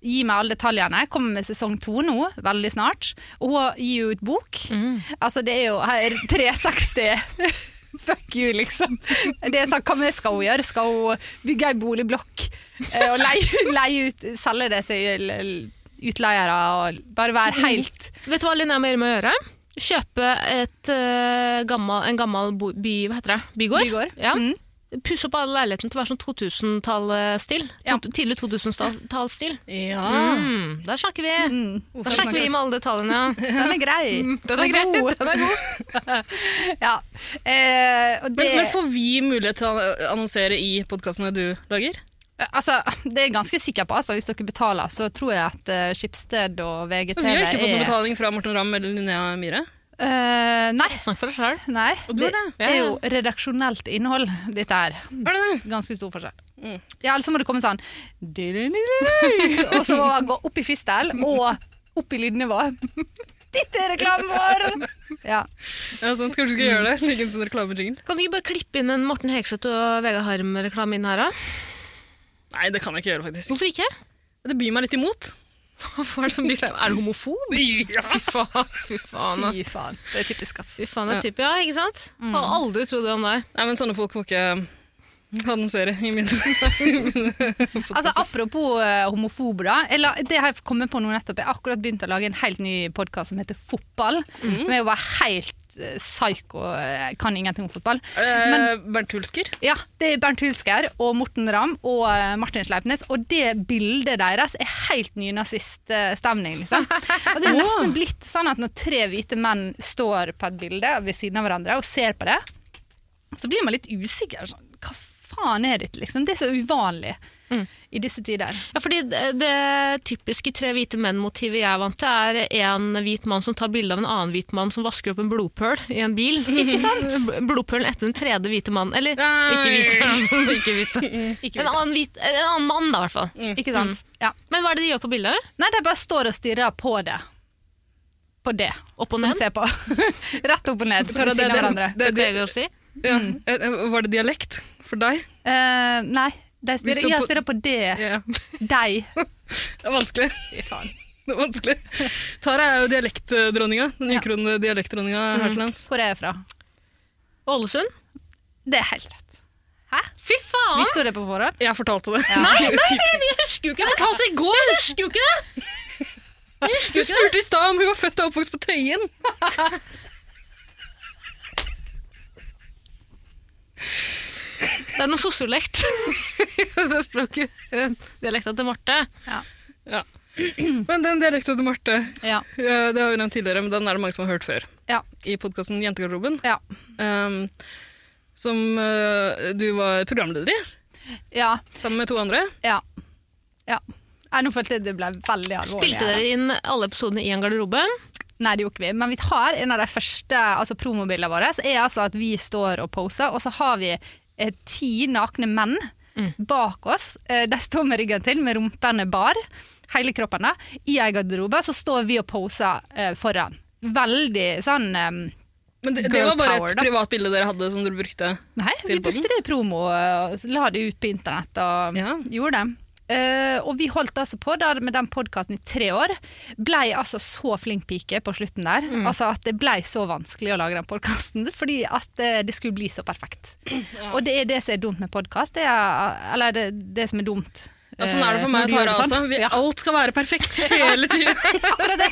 [SPEAKER 3] Gi meg alle detaljene. Kommer med sesong to nå, veldig snart. Og hun gir jo ut bok.
[SPEAKER 2] Mm.
[SPEAKER 3] Altså, det er jo her 360 Fuck you, liksom. Det er sånn, Hva mer skal hun gjøre? Skal hun bygge ei boligblokk eh, og leie, leie ut, selge det til l- utleiere? Og bare
[SPEAKER 2] Mm.
[SPEAKER 3] være helt
[SPEAKER 2] Vet du hva Linnea Myhre må gjøre? Kjøpe et, eh, gammel, en gammel bo, by, hva heter det? bygård.
[SPEAKER 3] Bygård.
[SPEAKER 2] Ja.
[SPEAKER 3] Mm.
[SPEAKER 2] Pusse opp alle leilighetene til å være sånn 2000-tallsstil.
[SPEAKER 3] Ja.
[SPEAKER 2] To- Tidlig 2000-tallsstil.
[SPEAKER 1] Ja.
[SPEAKER 2] Mm, der snakker vi.
[SPEAKER 3] mm,
[SPEAKER 2] Der snakker vi med alle detaljene. Mm.
[SPEAKER 3] Den er grei.
[SPEAKER 2] Den er grei. Den er god.
[SPEAKER 3] Ja. Eh, og det,
[SPEAKER 1] Men, men får vi mulighet til å annonsere i podkastene du lager?
[SPEAKER 3] Altså, det er jeg ganske sikker på. Altså, hvis dere betaler, så tror jeg at eh, Schibsted og VGTV
[SPEAKER 1] Vi har ikke fått noe
[SPEAKER 3] er-
[SPEAKER 1] betaling fra Morten Ramm eller Linnea Myhre.
[SPEAKER 3] Eh, nei.
[SPEAKER 2] Snakk for deg sjøl.
[SPEAKER 3] nei.
[SPEAKER 1] Og du har det.
[SPEAKER 3] er jo redaksjonelt innhold, dette her.
[SPEAKER 1] Er det det?
[SPEAKER 3] Ganske stor forskjell.
[SPEAKER 1] Mm.
[SPEAKER 3] Ja, Ellers så må det komme sånn Og så må man gå opp i fistel og opp i lydnivå. Dette er reklamen vår! Ja.
[SPEAKER 1] Ja, sant. Kanskje du skal gjøre det? Ligge en sånn reklamejingle?
[SPEAKER 2] Kan du ikke bare klippe inn en Morten Hegseth og Vegard Harm-reklame inn her, da?
[SPEAKER 1] Nei, det kan jeg ikke gjøre, faktisk.
[SPEAKER 2] Hvorfor ikke?
[SPEAKER 1] Det byr meg litt imot.
[SPEAKER 2] Hvorfor er det som blir klein? Er du homofob?
[SPEAKER 1] Ja.
[SPEAKER 2] Fy faen, fy faen. ass.
[SPEAKER 3] Fy faen. Det er typisk, ass.
[SPEAKER 2] Fy faen, det er typ, ja, ikke sant? Har aldri trodd det om deg.
[SPEAKER 1] Nei, men sånne folk må ikke mm, annonsere i min
[SPEAKER 3] Altså, apropos eh, homofobe, da. Jeg la- det har jeg kommet på nå nettopp. Jeg har akkurat begynt å lage en helt ny podkast som heter Fotball. Som er jo bare helt eh, psyko. Jeg kan ingenting om fotball.
[SPEAKER 1] Er det Bernt Hulsker?
[SPEAKER 3] Ja, det er Bernt Hulsker og Morten Ramm og eh, Martin Sleipnes. Og det bildet deres er helt nynaziststemning, liksom. Og det er nesten blitt sånn at når tre hvite menn står på et bilde ved siden av hverandre og ser på det, så blir man litt usikker. Sånn, hva faen er dette, liksom? Det er så uvanlig i disse tider.
[SPEAKER 2] Ja, fordi det, det typiske tre hvite menn-motivet jeg er vant til, er en hvit mann som tar bilde av en annen hvit mann som vasker opp en blodpøl i en bil.
[SPEAKER 3] Ikke sant?
[SPEAKER 2] B- Blodpølen etter den tredje hvite mannen. Eller ikke
[SPEAKER 1] Nei.
[SPEAKER 2] hvit. ikke hvit.
[SPEAKER 3] Ikke
[SPEAKER 2] En
[SPEAKER 3] hvite.
[SPEAKER 2] annen, hvit, en annen mann, da, i hvert fall.
[SPEAKER 3] Ikke sant? Ja.
[SPEAKER 2] Men hva er det de gjør på bildet?
[SPEAKER 3] Nei, de bare står og stirrer på det. På det.
[SPEAKER 2] Opp og
[SPEAKER 3] Som
[SPEAKER 2] ned?
[SPEAKER 3] ser på. Rett opp og ned.
[SPEAKER 1] Tara,
[SPEAKER 3] ved siden
[SPEAKER 1] det-
[SPEAKER 3] av hverandre.
[SPEAKER 2] Det, det, det, si.
[SPEAKER 1] Ja. Eh, eh, Var det dialekt for deg?
[SPEAKER 3] Eh, nei, de
[SPEAKER 1] Vi
[SPEAKER 3] stirrer,
[SPEAKER 1] så
[SPEAKER 3] jeg
[SPEAKER 1] på-
[SPEAKER 3] stirrer på det.
[SPEAKER 1] Ja.
[SPEAKER 3] Deg.
[SPEAKER 1] Det er vanskelig.
[SPEAKER 3] Fy faen.
[SPEAKER 1] Det er vanskelig. Tara er jo dialektdronninga. Den ukronede dialektdronninga her til lands.
[SPEAKER 3] Hvor er jeg fra?
[SPEAKER 2] Ålesund?
[SPEAKER 3] Det er helt rett.
[SPEAKER 2] Fy faen!
[SPEAKER 3] Visste du det på forhånd?
[SPEAKER 1] Jeg fortalte det.
[SPEAKER 2] Nei, nei, nei, vi husker jo ikke det! Jeg fortalte i går! Jeg husker jo ikke det!
[SPEAKER 1] Du spurte i stad om hun var født og oppvokst på Tøyen.
[SPEAKER 2] Det er noe sosiolekt. det språket. eh, Dialekta til Marte.
[SPEAKER 1] Ja. Men den dialekta til Marte,
[SPEAKER 3] Ja.
[SPEAKER 1] eh, det har vi nevnt tidligere, men den er det mange som har hørt før.
[SPEAKER 3] Ja.
[SPEAKER 1] I podkasten Jentegarderoben,
[SPEAKER 3] Ja.
[SPEAKER 1] um, som eh, du var programleder i
[SPEAKER 3] Ja.
[SPEAKER 1] sammen med to andre.
[SPEAKER 3] ja. ja. Nei, nå følte jeg det ble veldig alvorlig.
[SPEAKER 2] Spilte dere inn alle episodene i en garderobe?
[SPEAKER 3] Nei, det gjorde ikke vi. Men vi har en av de første altså, promobildene våre. Så er altså at vi står og poser, og så har vi eh, ti nakne menn bak oss. Eh, de står med ryggen til, med rumpene bar, hele kroppen da. I ei garderobe, så står vi og poser eh, foran. Veldig sånn eh,
[SPEAKER 1] Men det, det
[SPEAKER 3] Girl
[SPEAKER 1] var bare
[SPEAKER 3] power,
[SPEAKER 1] et
[SPEAKER 3] da.
[SPEAKER 1] privat bilde dere hadde som dere brukte.
[SPEAKER 3] Nei, vi
[SPEAKER 1] Til på den?
[SPEAKER 3] brukte det i promo eh, og så la det ut på internett og
[SPEAKER 1] Ja.
[SPEAKER 3] gjorde det. Eh, og vi holdt altså på da, med den podkasten i tre år. Blei altså så flink pike på slutten der.
[SPEAKER 1] Mm.
[SPEAKER 3] Altså at det blei så vanskelig å lage den podkasten fordi at eh, det skulle bli så perfekt. Og det er det som er dumt med podkast. Eller det, det som er dumt.
[SPEAKER 1] Ja, sånn er det for
[SPEAKER 3] eh,
[SPEAKER 1] meg og
[SPEAKER 3] når du gjør
[SPEAKER 1] Tara
[SPEAKER 3] det
[SPEAKER 1] også.
[SPEAKER 3] sånn.
[SPEAKER 1] Vi,
[SPEAKER 3] Ja,
[SPEAKER 1] Alt skal være perfekt hele tida.
[SPEAKER 3] akkurat det.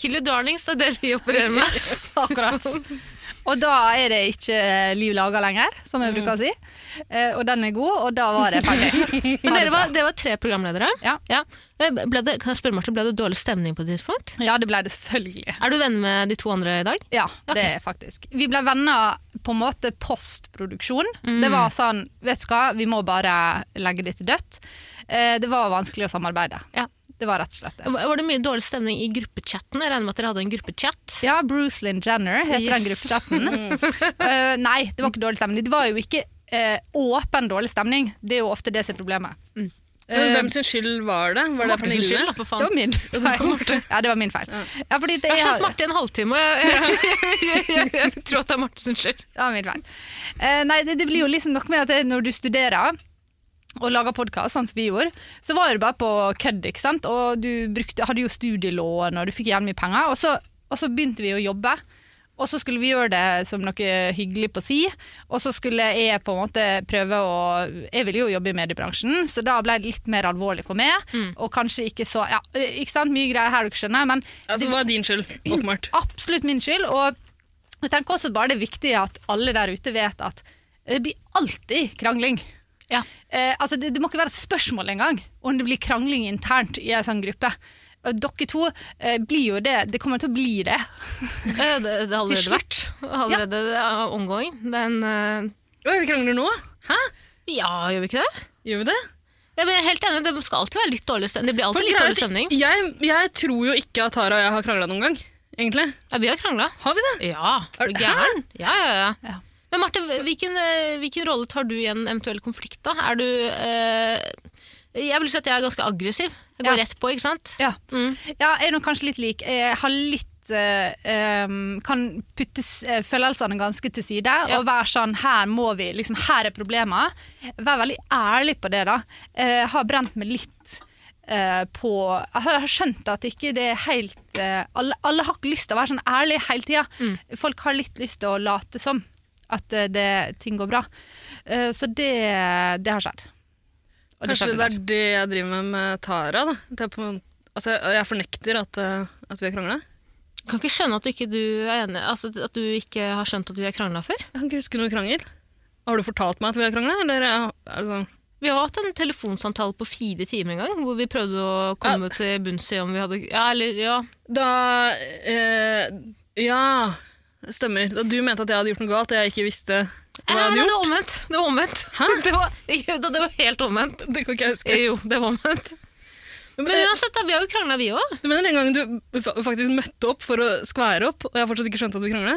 [SPEAKER 2] Kill your darlings, det er det vi opererer med.
[SPEAKER 3] Akkurat. Og da er det ikke eh, liv laga lenger, som jeg
[SPEAKER 1] Mm.
[SPEAKER 3] bruker å si. Eh, Og den er god, og da var det ferdig.
[SPEAKER 2] Men dere var, dere var tre programledere.
[SPEAKER 3] Ja.
[SPEAKER 2] Eh, Ble det, kan jeg spørre, Martin, ble det dårlig stemning på et tidspunkt?
[SPEAKER 3] Ja, det ble det selvfølgelig.
[SPEAKER 2] Er du venn med de to andre i dag?
[SPEAKER 3] Ja, det er faktisk. Vi ble venner på en måte postproduksjon. Det var sånn, vet du hva, vi må bare legge det til dødt. Eh, Det var vanskelig å samarbeide.
[SPEAKER 2] Ja.
[SPEAKER 3] Det var rett og slett det.
[SPEAKER 2] Var var det mye dårlig stemning i gruppechatten? Jeg regner med at dere hadde en gruppechat.
[SPEAKER 3] Ja, Bruce Lynn Jenner heter
[SPEAKER 2] Yes.
[SPEAKER 3] den gruppechatten. Eh, nei, det var ikke dårlig stemning. Det var jo ikke eh, åpen dårlig stemning. Det er jo ofte det som er problemet.
[SPEAKER 1] Men hvem sin skyld var det? Var det
[SPEAKER 2] Martin sin skyld,
[SPEAKER 1] Pernille?
[SPEAKER 2] da, for
[SPEAKER 3] Det
[SPEAKER 2] faen.
[SPEAKER 3] var min feil. Ja, det var min feil. Ja, fordi det,
[SPEAKER 2] Jeg har
[SPEAKER 3] jeg har-
[SPEAKER 2] kjent Martin en halvtime, og jeg, jeg, jeg, jeg, jeg, jeg tror at det er Martin sin skyld.
[SPEAKER 3] Det var min feil. Eh, nei, det, det blir jo liksom noe med at det, når du studerer og lager podkast, sånn som vi gjorde, så var det bare på kødd, ikke sant. Og du brukte, hadde jo studielån, og du fikk jævlig mye penger. Og så, og så begynte vi å jobbe. Og så skulle vi gjøre det som noe hyggelig på si, og så skulle jeg på en måte prøve å Jeg ville jo jobbe i mediebransjen, så da ble det litt mer alvorlig for meg. Og kanskje ikke så Ja, ikke sant, mye greier her du ikke skjønner, men
[SPEAKER 1] Altså, det var din skyld, åpenbart.
[SPEAKER 3] absolutt min skyld. Og jeg tenker også bare det er viktig at alle der ute vet at det blir alltid krangling.
[SPEAKER 2] Ja.
[SPEAKER 3] Eh, altså det, det må ikke være et spørsmål engang om det blir krangling internt i en sånn gruppe. Og dere to eh, blir jo det. Det kommer til å bli det.
[SPEAKER 2] Eh, Det, det har allerede vært. Allerede det er ongoing. Det er en,
[SPEAKER 1] Oi, vi krangler nå? Hæ?
[SPEAKER 2] eh, ja, gjør vi ikke det?
[SPEAKER 1] Gjør vi det?
[SPEAKER 2] Ja, men jeg er helt enig, Det skal alltid være litt dårlig stemning. Det blir
[SPEAKER 1] For
[SPEAKER 2] alltid litt
[SPEAKER 1] greia er
[SPEAKER 2] dårlig
[SPEAKER 1] at
[SPEAKER 2] stemning.
[SPEAKER 1] Jeg, jeg tror jo ikke at Tara og jeg har krangla noen gang, egentlig.
[SPEAKER 2] Ja, vi har krangla.
[SPEAKER 1] Har vi det?
[SPEAKER 2] Ja,
[SPEAKER 1] Er
[SPEAKER 2] er
[SPEAKER 1] du
[SPEAKER 2] du gæren? Ja, ja,
[SPEAKER 3] Ja.
[SPEAKER 2] ja. Men Marte, hvilken, eh, hvilken rolle tar du i en eventuell konflikt da? Er du eh, Jeg vil si at jeg er ganske aggressiv. Jeg går
[SPEAKER 3] Ja.
[SPEAKER 2] rett på, ikke sant?
[SPEAKER 3] Ja.
[SPEAKER 2] Mm.
[SPEAKER 3] Ja, jeg er nok kanskje litt lik. Jeg har litt eh, em, kan putte s- eh, følelsene ganske til side og være sånn her må vi, liksom her er problemet. Vær veldig ærlig på det, da. Eh, har brent meg litt eh, på Jeg har, har skjønt at ikke det er helt eh, alle, alle har ikke lyst til å være sånn ærlige hele tida.
[SPEAKER 1] Mm.
[SPEAKER 3] Folk har litt lyst til å late som at eh, det, ting går bra. Eh, så det, det har skjedd. Og det
[SPEAKER 1] Kanskje
[SPEAKER 3] skjedde
[SPEAKER 1] det er det jeg driver med med Tara. da. At jeg, på, en- altså, jeg, jeg fornekter at, eh, at vi har krangla.
[SPEAKER 2] Kan ikke skjønne at du ikke du er enig, altså at du ikke har skjønt at vi har krangla før.
[SPEAKER 1] Jeg kan ikke huske noen krangel. Har du fortalt meg at vi har krangla? Eller eh, altså,
[SPEAKER 2] Vi har hatt en telefonsamtale på fire timer en gang, hvor vi prøvde å komme til bunns i om vi hadde Ja, eller ja.
[SPEAKER 1] Da eh, Ja, stemmer. Da du mente at jeg hadde gjort noe galt, og jeg ikke visste hva jeg
[SPEAKER 2] Nei,
[SPEAKER 1] hadde
[SPEAKER 2] nei,
[SPEAKER 1] gjort.
[SPEAKER 2] det var omvendt. Det var omvendt. Det var, det var helt omvendt.
[SPEAKER 1] Det kan ikke jeg huske.
[SPEAKER 2] Jo, det var omvendt. Men
[SPEAKER 1] eh,
[SPEAKER 2] uansett, da, vi har jo krangla, vi òg.
[SPEAKER 1] Du mener den gangen du fa- faktisk møtte opp for å skvære opp, og jeg har fortsatt ikke skjønt at vi krangla?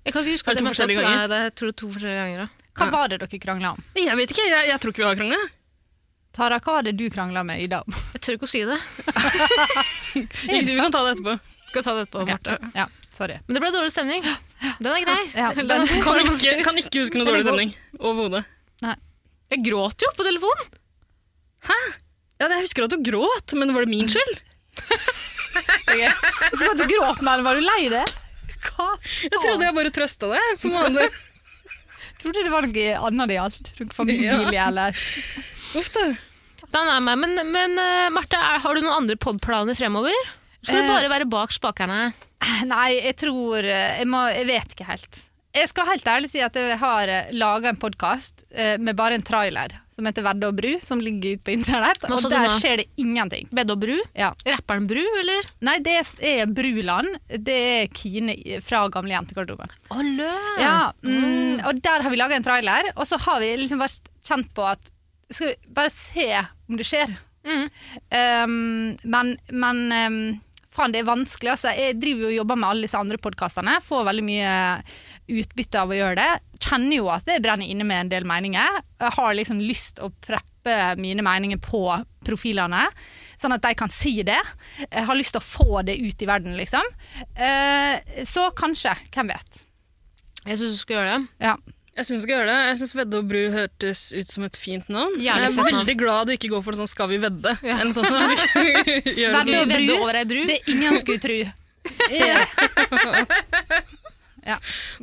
[SPEAKER 2] Jeg kan ikke huske
[SPEAKER 1] Er det
[SPEAKER 2] at jeg møtte opp.
[SPEAKER 1] to forskjellige ganger?
[SPEAKER 2] Nei, det er, jeg tror det er to forskjellige ganger. Da.
[SPEAKER 3] Hva var det dere krangla om?
[SPEAKER 1] Jeg vet ikke, jeg, jeg tror ikke vi har krangla.
[SPEAKER 3] Tara, hva var det du krangla med Ida om?
[SPEAKER 2] Jeg tør ikke å si det.
[SPEAKER 1] Vi vi kan ta det etterpå.
[SPEAKER 2] Skal ta det etterpå, Marte.
[SPEAKER 3] Ja, sorry.
[SPEAKER 2] Men det ble dårlig stemning. Den er grei.
[SPEAKER 3] Ja,
[SPEAKER 2] Den
[SPEAKER 3] den-
[SPEAKER 2] er god.
[SPEAKER 1] Kan ikke, kan ikke huske noe
[SPEAKER 3] Den er
[SPEAKER 1] dårlig
[SPEAKER 3] god.
[SPEAKER 1] stemning. Overhodet.
[SPEAKER 2] Jeg gråt jo på telefonen.
[SPEAKER 1] Ja, jeg husker at du gråt, men var det min skyld?
[SPEAKER 3] Så godt du gråt med den, var du lei det? Hva?
[SPEAKER 1] Jeg trodde jeg bare trøsta deg. Som vanlig.
[SPEAKER 3] Trodde det var noe annet det gjaldt. Tror ikke Familie eller
[SPEAKER 1] Uff da.
[SPEAKER 2] Den er meg. Men, men eh, Marte, er, har du noen andre podplaner fremover? Skal
[SPEAKER 3] Eh.
[SPEAKER 2] du bare være bak spakerne?
[SPEAKER 3] Nei, jeg tror eh, jeg, må, jeg vet ikke helt. Jeg skal helt ærlig si at jeg har laga en podkast med bare en trailer som heter Vedde og Bru, som ligger ute på internett,
[SPEAKER 2] Hva
[SPEAKER 3] og
[SPEAKER 2] sa du
[SPEAKER 3] der
[SPEAKER 2] nå?
[SPEAKER 3] skjer det ingenting.
[SPEAKER 2] Bedde og Bru?
[SPEAKER 3] Ja.
[SPEAKER 2] Rapperen Bru, eller?
[SPEAKER 3] Nei, det er Bruland. Det er Kine fra Gamle jentegarderoben.
[SPEAKER 2] Å, lø!
[SPEAKER 3] Ja, mm, og der har vi laga en trailer, og så har vi liksom vært kjent på at Skal vi bare se om det skjer?
[SPEAKER 2] Mm.
[SPEAKER 3] Um, men men um, faen, det er vanskelig. Altså. Jeg driver jo og jobber med alle disse andre podkastene. Får veldig mye utbytte av å gjøre det. Kjenner jo at det brenner inne med en del meninger. Jeg har liksom lyst å preppe mine meninger på profilene. Sånn at de kan si det. Jeg har lyst til å få det ut i verden, liksom. Eh, så kanskje. Hvem vet.
[SPEAKER 2] Jeg syns du skal gjøre det.
[SPEAKER 3] Ja.
[SPEAKER 1] Jeg syns ikke jeg gjør det. Jeg syns Vedde og Bru hørtes ut som et fint navn.
[SPEAKER 2] Gjerne
[SPEAKER 1] jeg
[SPEAKER 2] sant
[SPEAKER 1] er
[SPEAKER 2] navn.
[SPEAKER 1] veldig glad du ikke går for sånn 'skal vi vedde'?
[SPEAKER 2] Ja.
[SPEAKER 1] Eller sånn, at du gjør det
[SPEAKER 3] Vedde
[SPEAKER 2] Skal vi
[SPEAKER 3] og Bru?
[SPEAKER 2] vedde over ei bru?
[SPEAKER 3] Det ingen skulle tro.
[SPEAKER 1] sånn.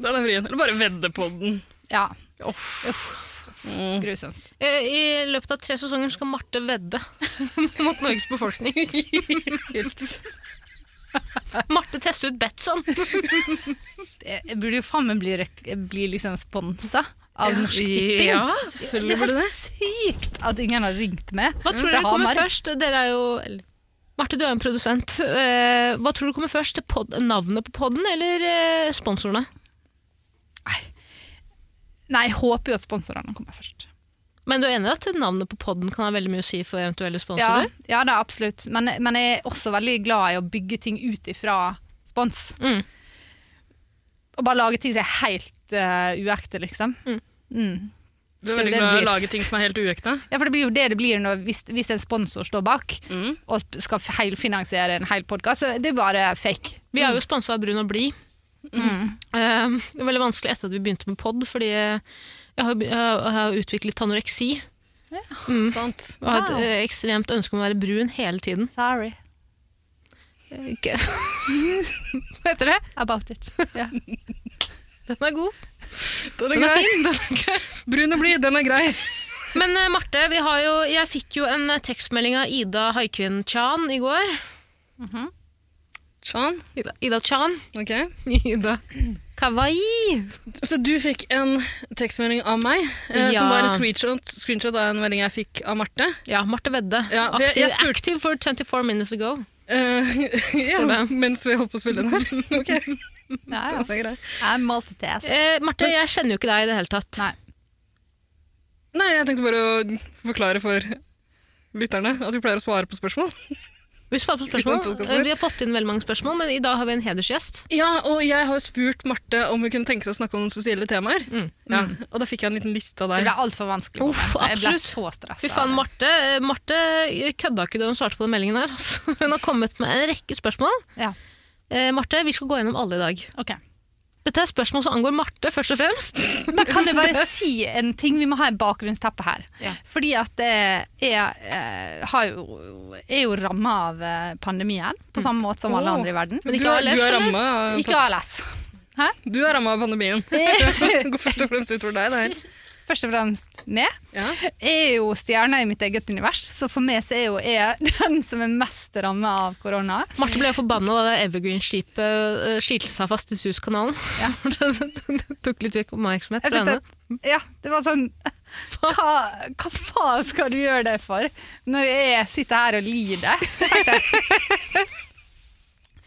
[SPEAKER 1] Den er vrien. Eller bare 'vedde på den'.
[SPEAKER 3] Ja. Uff.
[SPEAKER 1] Mm.
[SPEAKER 3] Grusomt.
[SPEAKER 2] Eh, I løpet av tre sesonger skal Marte vedde mot Norges befolkning.
[SPEAKER 3] Kult.
[SPEAKER 2] Marte tester ut Betson.
[SPEAKER 3] Jeg burde jo faen meg bli, rek- bli liksom sponsa av Norsk Tipping.
[SPEAKER 2] Ja,
[SPEAKER 3] Det
[SPEAKER 1] selvfølgelig
[SPEAKER 3] er
[SPEAKER 1] burde det.
[SPEAKER 3] helt sykt at ingen har ringt med.
[SPEAKER 2] Hva tror dere kommer først? Dere er jo eller, Marte, du er jo en produsent. Eh, hva tror du kommer først? Pod navnet på podden eller eh, sponsorene?
[SPEAKER 3] Nei, jeg håper jo at sponsorene kommer først.
[SPEAKER 2] Men du er enig i at navnet på podden kan ha veldig mye å si for eventuelle
[SPEAKER 3] Ja,
[SPEAKER 2] sponsorer?
[SPEAKER 3] ja det er absolutt. Men, men jeg er også veldig glad i å bygge ting ut ifra spons.
[SPEAKER 2] Mm.
[SPEAKER 3] Og bare lage ting som er helt eh, uekte, liksom.
[SPEAKER 2] Mm.
[SPEAKER 3] Mm.
[SPEAKER 1] Du er
[SPEAKER 3] Det er
[SPEAKER 1] veldig
[SPEAKER 3] det
[SPEAKER 1] glad i
[SPEAKER 3] blir.
[SPEAKER 1] å lage ting som er helt uekte.
[SPEAKER 3] Ja, for det blir jo det det blir når, hvis, hvis en sponsor står bak
[SPEAKER 1] Mm.
[SPEAKER 3] og sp- skal f- heilfinansiere en hel podkast. Så det er bare fake. Mm.
[SPEAKER 2] Vi er jo
[SPEAKER 1] Mm.
[SPEAKER 2] sponsa av Brun og Blid. Eh, det var veldig vanskelig etter at vi begynte med pod, fordi eh, jeg har, be- jeg har utviklet anoreksi.
[SPEAKER 1] Sant.
[SPEAKER 2] Og har et
[SPEAKER 3] Wow.
[SPEAKER 2] eh, ekstremt ønske om å være brun hele tiden. Eh,
[SPEAKER 3] Sorry
[SPEAKER 2] Ikke- Hva heter det?
[SPEAKER 3] about it. Ja.
[SPEAKER 2] Den er god.
[SPEAKER 1] Den er
[SPEAKER 2] Den er
[SPEAKER 1] grei.
[SPEAKER 2] fin. Den er grei.
[SPEAKER 1] Brun og blid, den er grei.
[SPEAKER 2] Men eh, Marte, vi har jo, jeg fikk jo en eh, tekstmelding av Ida Haikvin Chan i går.
[SPEAKER 1] Sean,
[SPEAKER 2] Ida, Ida Chan.
[SPEAKER 1] ok.
[SPEAKER 2] Ida Kawaii.
[SPEAKER 1] Så du fikk en tekstmelding av meg, eh, som
[SPEAKER 2] Ja.
[SPEAKER 1] var en screenshot, screenshot av en melding jeg fikk av Marte.
[SPEAKER 2] Ja, Marte Vedde.
[SPEAKER 1] Ja, for jeg-
[SPEAKER 2] Aktiv,
[SPEAKER 1] jeg spurte-
[SPEAKER 2] active for 24 minutes ago.
[SPEAKER 1] Eh, ja,
[SPEAKER 2] Skjønner.
[SPEAKER 1] mens vi holdt på å spille den her. Ok,
[SPEAKER 3] Ja, ja.
[SPEAKER 1] den er grei.
[SPEAKER 3] Jeg multitask.
[SPEAKER 2] Eh, Marte, jeg kjenner jo ikke deg i det hele tatt.
[SPEAKER 3] Nei.
[SPEAKER 1] Nei, jeg tenkte bare å forklare for lytterne at vi pleier å svare på spørsmål.
[SPEAKER 2] Vi svarer på
[SPEAKER 1] Vi kan
[SPEAKER 2] spørsmål.
[SPEAKER 1] tolke oss.
[SPEAKER 2] Eh, Vi har fått inn veldig mange spørsmål, men i dag har vi en hedersgjest.
[SPEAKER 1] Ja, og jeg har jo spurt Marte om hun kunne tenke seg å snakke om noen spesielle temaer.
[SPEAKER 2] Mm.
[SPEAKER 1] Ja, og da fikk jeg en liten liste av
[SPEAKER 3] Det
[SPEAKER 1] deg.
[SPEAKER 3] ble altfor vanskelig. for
[SPEAKER 2] Uff,
[SPEAKER 3] meg, så jeg ble
[SPEAKER 2] absolutt.
[SPEAKER 3] så
[SPEAKER 2] Fy
[SPEAKER 3] stressa.
[SPEAKER 2] faen, Marte, eh, Marte kødda ikke da hun svarte på den meldingen her. altså. Hun har kommet med en rekke spørsmål.
[SPEAKER 3] Ja.
[SPEAKER 2] Eh, Marte, vi skal gå gjennom alle i dag.
[SPEAKER 3] Ok.
[SPEAKER 2] Dette er spørsmål som angår Marte, først og fremst.
[SPEAKER 3] Men kan jeg bare si en ting? Vi må ha en bakgrunnsteppe her.
[SPEAKER 2] Ja.
[SPEAKER 3] Fordi at eh, jeg eh, har jo, er jo ramma av eh, pandemien, på samme måte som alle
[SPEAKER 1] Åh.
[SPEAKER 3] andre i verden.
[SPEAKER 2] Men ikke
[SPEAKER 1] du, er-
[SPEAKER 2] ALS,
[SPEAKER 1] du er
[SPEAKER 2] eller?
[SPEAKER 1] ramma av,
[SPEAKER 3] Ikke ALS.
[SPEAKER 1] du er rammet av pandemien. Det går først og fremst utover deg, det her.
[SPEAKER 3] Først og fremst meg.
[SPEAKER 1] Ja.
[SPEAKER 3] Jeg er jo stjerna i mitt eget univers, så for meg så er jo jeg den som er mest ramma av korona.
[SPEAKER 2] Marte ble jo forbanna da det Evergreen-skipet eh, skilte seg fast i Suezkanalen.
[SPEAKER 3] Ja.
[SPEAKER 2] det tok litt oppmerksomhet
[SPEAKER 3] Jeg
[SPEAKER 2] fra
[SPEAKER 3] fikk
[SPEAKER 2] henne.
[SPEAKER 3] det, ja, det var sånn hva, hva faen skal du gjøre det for når jeg sitter her og lider? tenkte jeg.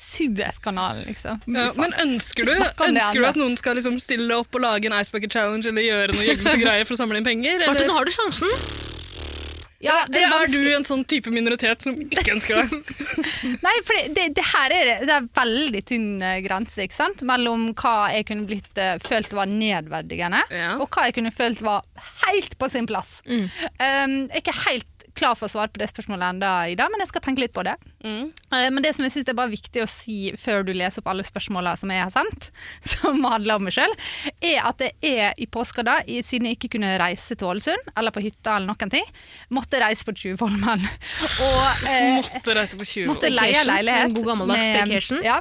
[SPEAKER 3] Suezkanalen, liksom.
[SPEAKER 1] Ja, men ønsker du,
[SPEAKER 3] Vi snakker om det
[SPEAKER 1] ønsker du
[SPEAKER 3] andre.
[SPEAKER 1] at noen skal liksom stille opp og lage en Ice Bucket Challenge eller gjøre noe gjøglete greier for å samle inn penger?
[SPEAKER 2] Marte,
[SPEAKER 1] Eller,
[SPEAKER 2] nå har du sjansen.
[SPEAKER 3] Ja, det
[SPEAKER 1] eller
[SPEAKER 3] er
[SPEAKER 1] er du en sånn type minoritet som ikke ønsker det?
[SPEAKER 3] Nei, for det, det, det her er, det er veldig tynn eh, grense ikke sant? mellom hva jeg kunne blitt, eh, følt var nedverdigende,
[SPEAKER 1] Ja. Mm.
[SPEAKER 3] og hva jeg kunne følt var helt på sin plass. Um, jeg er ikke helt klar for å svare på det spørsmålet enda i dag, men jeg skal tenke litt på det.
[SPEAKER 1] Mm.
[SPEAKER 3] Eh, Men det som jeg synes er bare viktig å si før du leser opp alle spørsmålene som jeg har sendt, som handler om meg selv, er at jeg er i påska da, i- siden jeg ikke kunne reise til Ålesund, eller på hytta eller noen ting, måtte jeg reise på Tjuvholmen. Og eh,
[SPEAKER 1] Måtte reise på 20
[SPEAKER 3] måtte
[SPEAKER 1] år.
[SPEAKER 3] leie en leilighet.
[SPEAKER 2] En god gammeldags
[SPEAKER 3] med-
[SPEAKER 2] staycation.
[SPEAKER 3] Ja,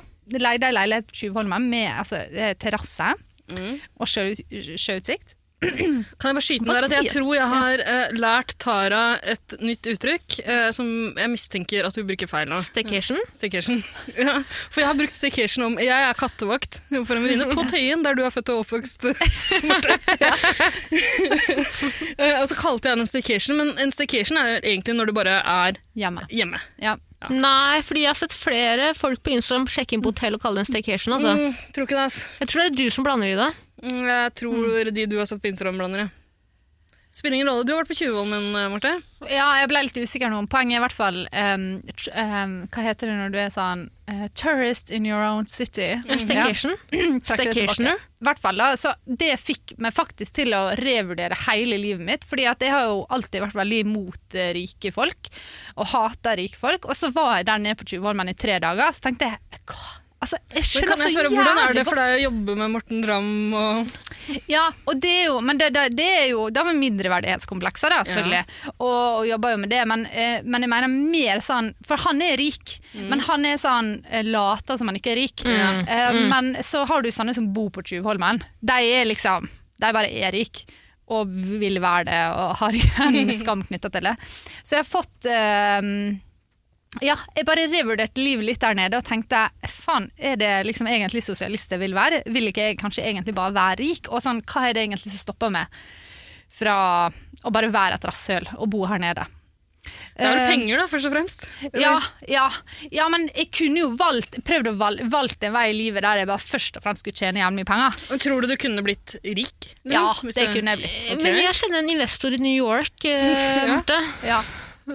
[SPEAKER 3] leide en leilighet på Tjuvholmen med altså, eh, terrasse
[SPEAKER 1] Mm.
[SPEAKER 3] og sjøut- sjøutsikt.
[SPEAKER 1] Kan jeg bare skyte med
[SPEAKER 3] Hva
[SPEAKER 1] der at jeg
[SPEAKER 3] sier-
[SPEAKER 1] tror jeg har eh, lært Tara et nytt uttrykk eh, som jeg mistenker at hun bruker feil nå.
[SPEAKER 2] Staycation.
[SPEAKER 1] Staycation. Ja, for jeg har brukt staycation om Jeg er kattevakt for en venninne på Tøyen, der du er født og oppvokst, Marte. Eh, og så kalte jeg den en staycation, men en staycation er jo egentlig når du bare er
[SPEAKER 3] Hjemme.
[SPEAKER 1] hjemme.
[SPEAKER 3] Ja.
[SPEAKER 2] Nei, fordi jeg har sett flere folk på Instagram sjekke inn på hotell og kalle det en staycation. Altså.
[SPEAKER 1] Mm, tror ikke det, ass.
[SPEAKER 2] Jeg tror det er du som blander i det.
[SPEAKER 1] Mm, Jeg tror de du har sett på Instagram, blander jeg. Spiller ingen rolle. Du har vært på Tjuvholmen, eh, Marte.
[SPEAKER 3] Ja, jeg ble litt usikker nå om poenget. I hvert fall ehm, tr- ehm, Hva heter det når du er sånn eh, Tourist in your own city.
[SPEAKER 2] En staycation.
[SPEAKER 3] Trekker det tilbake.
[SPEAKER 2] Staycationer.
[SPEAKER 3] I hvert fall da, så Det fikk meg faktisk til å revurdere hele livet mitt. fordi at jeg har jo alltid vært veldig imot eh, rike folk, og hater rike folk. Og så var jeg der nede på Tjuvholmen i tre dager, så tenkte jeg hva? Altså, jeg
[SPEAKER 1] Men
[SPEAKER 3] skjønner
[SPEAKER 1] kan jeg
[SPEAKER 3] så
[SPEAKER 1] spørre, Hvordan er
[SPEAKER 3] jævlig
[SPEAKER 1] det for deg å jobbe med Morten Ramm og
[SPEAKER 3] Ja, og det er jo, men det, det, det er jo da med mindreverdighetskomplekser, da, selvfølgelig. Og, og jobber jo med det, men, eh, men jeg mener mer sånn For han er rik, men han er sånn eh, later som han ikke er rik. Eh, Men så har du sånne som bor på Tjuvholmen. De er liksom De bare er rik og vil være det og har ikke en skam knytta til det. Så jeg har fått eh, Ja, jeg bare revurderte livet litt der nede og tenkte faen, er det liksom egentlig sosialist jeg vil være? Vil ikke jeg kanskje egentlig bare være rik? Og sånn, hva er det egentlig som stopper meg fra å bare være et rasshøl og bo her nede?
[SPEAKER 1] Det er vel
[SPEAKER 3] Eh,
[SPEAKER 1] penger, da, først og fremst.
[SPEAKER 3] Ja, ja, ja, men jeg kunne jo valgt, prøvd å valg, valgt en vei i livet der jeg bare først og fremst skulle tjene jævlig mye penger.
[SPEAKER 1] Men Tror du du kunne blitt rik? liksom?
[SPEAKER 3] Ja,
[SPEAKER 1] Hvis
[SPEAKER 3] det
[SPEAKER 1] du-
[SPEAKER 3] kunne jeg blitt.
[SPEAKER 1] Ok.
[SPEAKER 2] Men jeg kjenner en investor i New York, eh,
[SPEAKER 1] Ja.
[SPEAKER 2] Marte.
[SPEAKER 3] Ja.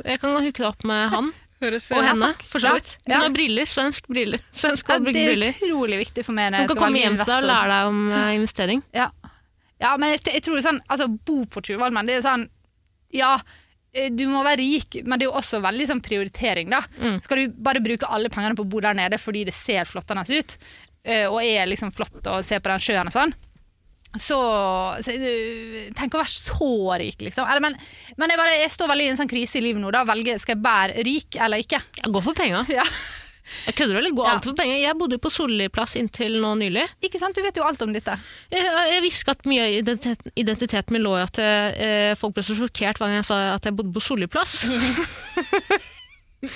[SPEAKER 2] Jeg kan hooke deg opp med han
[SPEAKER 1] Høres
[SPEAKER 2] og
[SPEAKER 1] eh,
[SPEAKER 2] henne, for så
[SPEAKER 3] Ja.
[SPEAKER 2] vidt. Hun
[SPEAKER 3] Ja.
[SPEAKER 2] har briller, svensk briller. Svensk
[SPEAKER 3] Ja,
[SPEAKER 2] og
[SPEAKER 3] det er
[SPEAKER 2] briller.
[SPEAKER 3] utrolig viktig for meg. når
[SPEAKER 2] Hun
[SPEAKER 3] jeg
[SPEAKER 2] kan
[SPEAKER 3] skal
[SPEAKER 2] komme
[SPEAKER 3] velge
[SPEAKER 2] hjem til deg og
[SPEAKER 3] investor.
[SPEAKER 2] lære deg om eh, investering.
[SPEAKER 3] Ja, ja men jeg, jeg tror det er sånn Altså, bo på Tjuvholmen, det er sånn Ja, eh, du må være rik, men det er jo også veldig sånn prioritering, da.
[SPEAKER 2] Mm.
[SPEAKER 3] Skal du bare bruke alle pengene på å bo der nede fordi det ser flottende ut, eh, og er liksom flott å se på den sjøen og sånn, så, så eh, Tenk å være så rik, liksom. Eller, men men jeg, bare, jeg står veldig i en sånn krise i livet nå. da Velge, Skal jeg være rik eller ikke?
[SPEAKER 2] Ja, gå for penga.
[SPEAKER 3] Ja.
[SPEAKER 2] Jeg kødder vel, gå
[SPEAKER 3] Ja.
[SPEAKER 2] alt for penga. Jeg bodde på Solli plass inntil nå nylig.
[SPEAKER 3] Ikke sant? Du vet jo alt om dette.
[SPEAKER 2] Jeg, jeg visste at mye av identiteten, identiteten min lå i at eh, folk ble så sjokkert hver gang jeg sa at jeg bodde på Solli plass.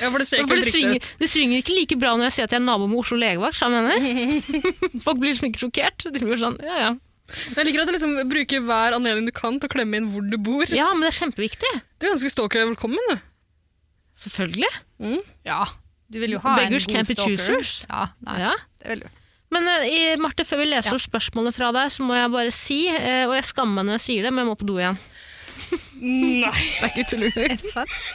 [SPEAKER 1] Ja, for det ser ikke
[SPEAKER 2] For det
[SPEAKER 1] helt riktig
[SPEAKER 2] svinger,
[SPEAKER 1] ut.
[SPEAKER 2] det svinger ikke like bra når jeg sier at jeg er nabo med Oslo legevakt. skjønner du hva jeg mener? Folk blir liksom ikke sjokkert. De blir sånn, ja, ja.
[SPEAKER 1] Men Jeg liker at du liksom bruker hver anledning du kan til å klemme inn hvor du bor.
[SPEAKER 2] ja, men det er kjempeviktig.
[SPEAKER 1] Du er ganske stalker deg velkommen, du.
[SPEAKER 2] Selvfølgelig.
[SPEAKER 3] Ja. Du vil jo ha
[SPEAKER 2] Beggars
[SPEAKER 3] en god
[SPEAKER 2] can't be
[SPEAKER 3] stalker.
[SPEAKER 2] choosers.
[SPEAKER 3] Ja, nei,
[SPEAKER 2] Ja.
[SPEAKER 3] det vil du.
[SPEAKER 2] Men eh, Marte, før vi leser opp spørsmålene fra deg, så må jeg bare si, eh, og jeg skammer meg når jeg sier det, men jeg må på do igjen.
[SPEAKER 1] Nei.
[SPEAKER 3] Det er ikke tulling. Er det sant?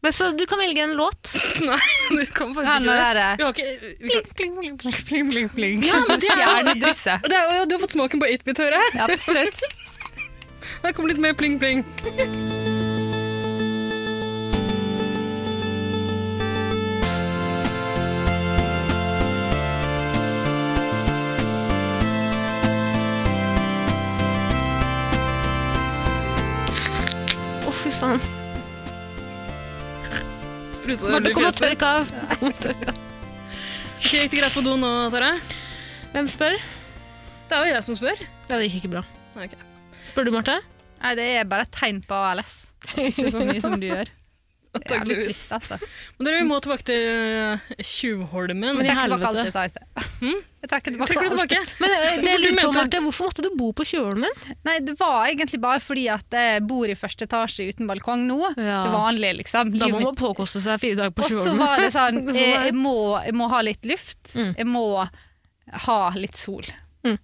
[SPEAKER 2] Men så du kan velge en låt.
[SPEAKER 1] Nei, du kan faktisk
[SPEAKER 3] Ja,
[SPEAKER 1] ikke
[SPEAKER 3] nå
[SPEAKER 1] det.
[SPEAKER 3] er det-
[SPEAKER 1] Vi har ikke... Vi kan...
[SPEAKER 3] Ja, men det er
[SPEAKER 1] Det er, jo- du har fått smaken på 8-bit, hører jeg.
[SPEAKER 3] Ja, absolutt.
[SPEAKER 1] Her kommer litt mer pling-pling.
[SPEAKER 2] Å, fy faen.
[SPEAKER 1] Spruta det
[SPEAKER 2] Marte,
[SPEAKER 1] i
[SPEAKER 2] kom og
[SPEAKER 1] fjeset.
[SPEAKER 2] tørk av. Kom og tørk av.
[SPEAKER 1] Ok, Gikk det greit på do nå, Tara?
[SPEAKER 2] Hvem spør?
[SPEAKER 1] Det er jo jeg som spør.
[SPEAKER 2] Ja, det gikk ikke bra.
[SPEAKER 1] Nei, ok.
[SPEAKER 2] Spør du, Marte?
[SPEAKER 3] Nei, det er bare et tegn på ALS. Ikke så mye som du gjør. Det er litt
[SPEAKER 1] Antakeligvis.
[SPEAKER 3] trist, altså.
[SPEAKER 1] Men dere, vi må tilbake til eh, Tjuvholmen.
[SPEAKER 2] Men
[SPEAKER 3] Jeg
[SPEAKER 2] i
[SPEAKER 3] trekker tilbake alt
[SPEAKER 2] helvete.
[SPEAKER 3] jeg sa i sted. Jeg trekker tilbake
[SPEAKER 1] Trekker du
[SPEAKER 3] alt.
[SPEAKER 1] tilbake?
[SPEAKER 2] Men eh, det jeg
[SPEAKER 1] du
[SPEAKER 2] lurer på,
[SPEAKER 1] mente-
[SPEAKER 2] Marte, hvorfor måtte du bo på Tjuvholmen?
[SPEAKER 3] Nei, det var egentlig bare fordi at jeg bor i første etasje uten balkong nå.
[SPEAKER 2] Ja.
[SPEAKER 3] Det vanlige, liksom.
[SPEAKER 2] Da
[SPEAKER 3] Livet
[SPEAKER 2] må
[SPEAKER 3] mitt
[SPEAKER 2] man påkoste seg fire dager på
[SPEAKER 3] Og så
[SPEAKER 2] Tjuvholmen.
[SPEAKER 3] var det sånn
[SPEAKER 2] Det må
[SPEAKER 3] jeg,
[SPEAKER 2] være.
[SPEAKER 3] jeg, må, jeg må ha litt luft.
[SPEAKER 2] Mm.
[SPEAKER 3] Jeg må ha litt sol.
[SPEAKER 2] Mm.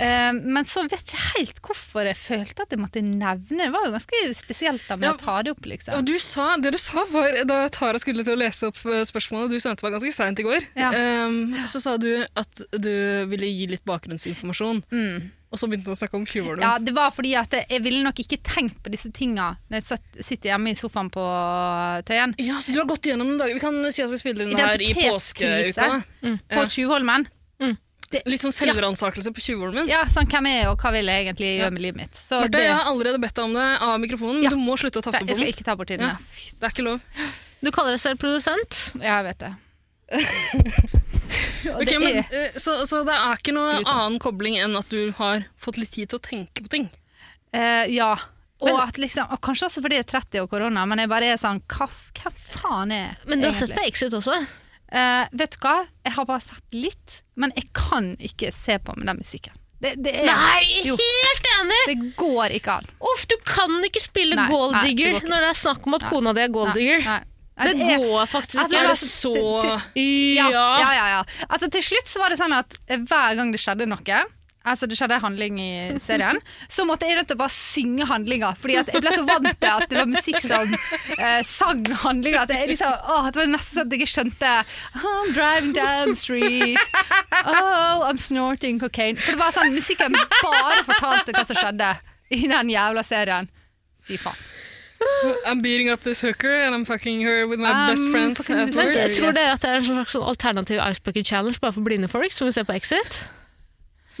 [SPEAKER 3] Eh, men så vet jeg ikke helt hvorfor jeg følte at jeg måtte nevne det. var jo ganske spesielt da med
[SPEAKER 1] Ja.
[SPEAKER 3] å ta det opp, liksom.
[SPEAKER 1] Og du sa, det du sa var, da Tara skulle til å lese opp eh, spørsmålet, du sendte meg ganske seint i går,
[SPEAKER 3] Ja.
[SPEAKER 1] ehm, så sa du at du ville gi litt bakgrunnsinformasjon.
[SPEAKER 3] Mm.
[SPEAKER 1] Og så begynte du å snakke om tjuvholmen.
[SPEAKER 3] Ja, det var fordi at jeg, jeg ville nok ikke tenkt på disse tinga når jeg satt, sitter hjemme i sofaen på eh, Tøyen.
[SPEAKER 1] Ja, så du har gått igjennom den dagen. Vi kan si at vi spiller den her i
[SPEAKER 3] Identitetskrise.
[SPEAKER 1] påskeuka.
[SPEAKER 3] På
[SPEAKER 1] Ja.
[SPEAKER 3] Tjuvholmen. Det-
[SPEAKER 1] Litt sånn selvransakelse på tjuvholmen.
[SPEAKER 3] Ja, sånn hvem er jeg, og hva vil jeg egentlig
[SPEAKER 1] Mm. Ja.
[SPEAKER 3] gjøre med livet mitt? Så
[SPEAKER 1] Marte,
[SPEAKER 3] det,
[SPEAKER 1] jeg har allerede bedt deg om det av mikrofonen, men
[SPEAKER 3] Ja.
[SPEAKER 1] du må slutte å tafse
[SPEAKER 3] jeg
[SPEAKER 1] på
[SPEAKER 3] skal
[SPEAKER 1] den.
[SPEAKER 3] ikke ta bort tiden.
[SPEAKER 1] Ja.
[SPEAKER 3] Ja. Fy,
[SPEAKER 1] Det er ikke lov.
[SPEAKER 2] Du kaller deg selv produsent.
[SPEAKER 3] Jeg vet det. Og
[SPEAKER 1] Ok,
[SPEAKER 3] det
[SPEAKER 1] men,
[SPEAKER 3] er-
[SPEAKER 1] eh, så, så det er ikke noe
[SPEAKER 3] Grusomt.
[SPEAKER 1] annen kobling enn at du har fått litt tid til å tenke på ting.
[SPEAKER 3] Eh, ja. Og,
[SPEAKER 2] Men-
[SPEAKER 3] at liksom, og kanskje også fordi jeg er 30 og korona, men jeg bare er sånn hva, f- Hvem faen er jeg?
[SPEAKER 2] Men du har sett
[SPEAKER 3] egentlig?
[SPEAKER 2] på Exit også.
[SPEAKER 3] Eh, vet du hva? Jeg har bare sett litt, men jeg kan ikke se på med den musikken. Det, det, er,
[SPEAKER 2] Nei,
[SPEAKER 3] Jo.
[SPEAKER 2] helt enig!
[SPEAKER 3] det går ikke an.
[SPEAKER 2] Uff, du kan ikke spille
[SPEAKER 3] Nei, nei, det går
[SPEAKER 2] golddigger
[SPEAKER 3] ikke.
[SPEAKER 2] når det er snakk om at
[SPEAKER 3] Nei.
[SPEAKER 2] kona di er golddigger.
[SPEAKER 3] Nei, nei.
[SPEAKER 2] Det
[SPEAKER 3] Altså, jeg-
[SPEAKER 2] går faktisk
[SPEAKER 3] Altså,
[SPEAKER 2] ikke.
[SPEAKER 1] Er
[SPEAKER 3] var-
[SPEAKER 1] det så
[SPEAKER 3] Ja, ja, ja, ja. Altså, til slutt så var det sånn at hver gang det skjedde noe Altså Det skjedde en handling i serien. Så måtte jeg rett og bare synge handlinga. Fordi at jeg ble så vant til at det var musikk som eh, sang handlinga. At jeg liksom, åh, det var nesten sånn at jeg ikke skjønte I'm driving down the street. Oh, I'm snorting cocaine. For det var sånn musikken bare fortalte hva som skjedde i den jævla serien. Fy faen.
[SPEAKER 1] I'm beating up this hooker and I'm fucking her with my
[SPEAKER 3] I'm
[SPEAKER 1] best friends
[SPEAKER 3] fucking
[SPEAKER 2] Men
[SPEAKER 3] with my
[SPEAKER 1] afterwards.
[SPEAKER 3] best-
[SPEAKER 2] tror dere at det er en slags sånn alternativ Ice Bucket Challenge bare for blinde folk, som vi ser på Exit?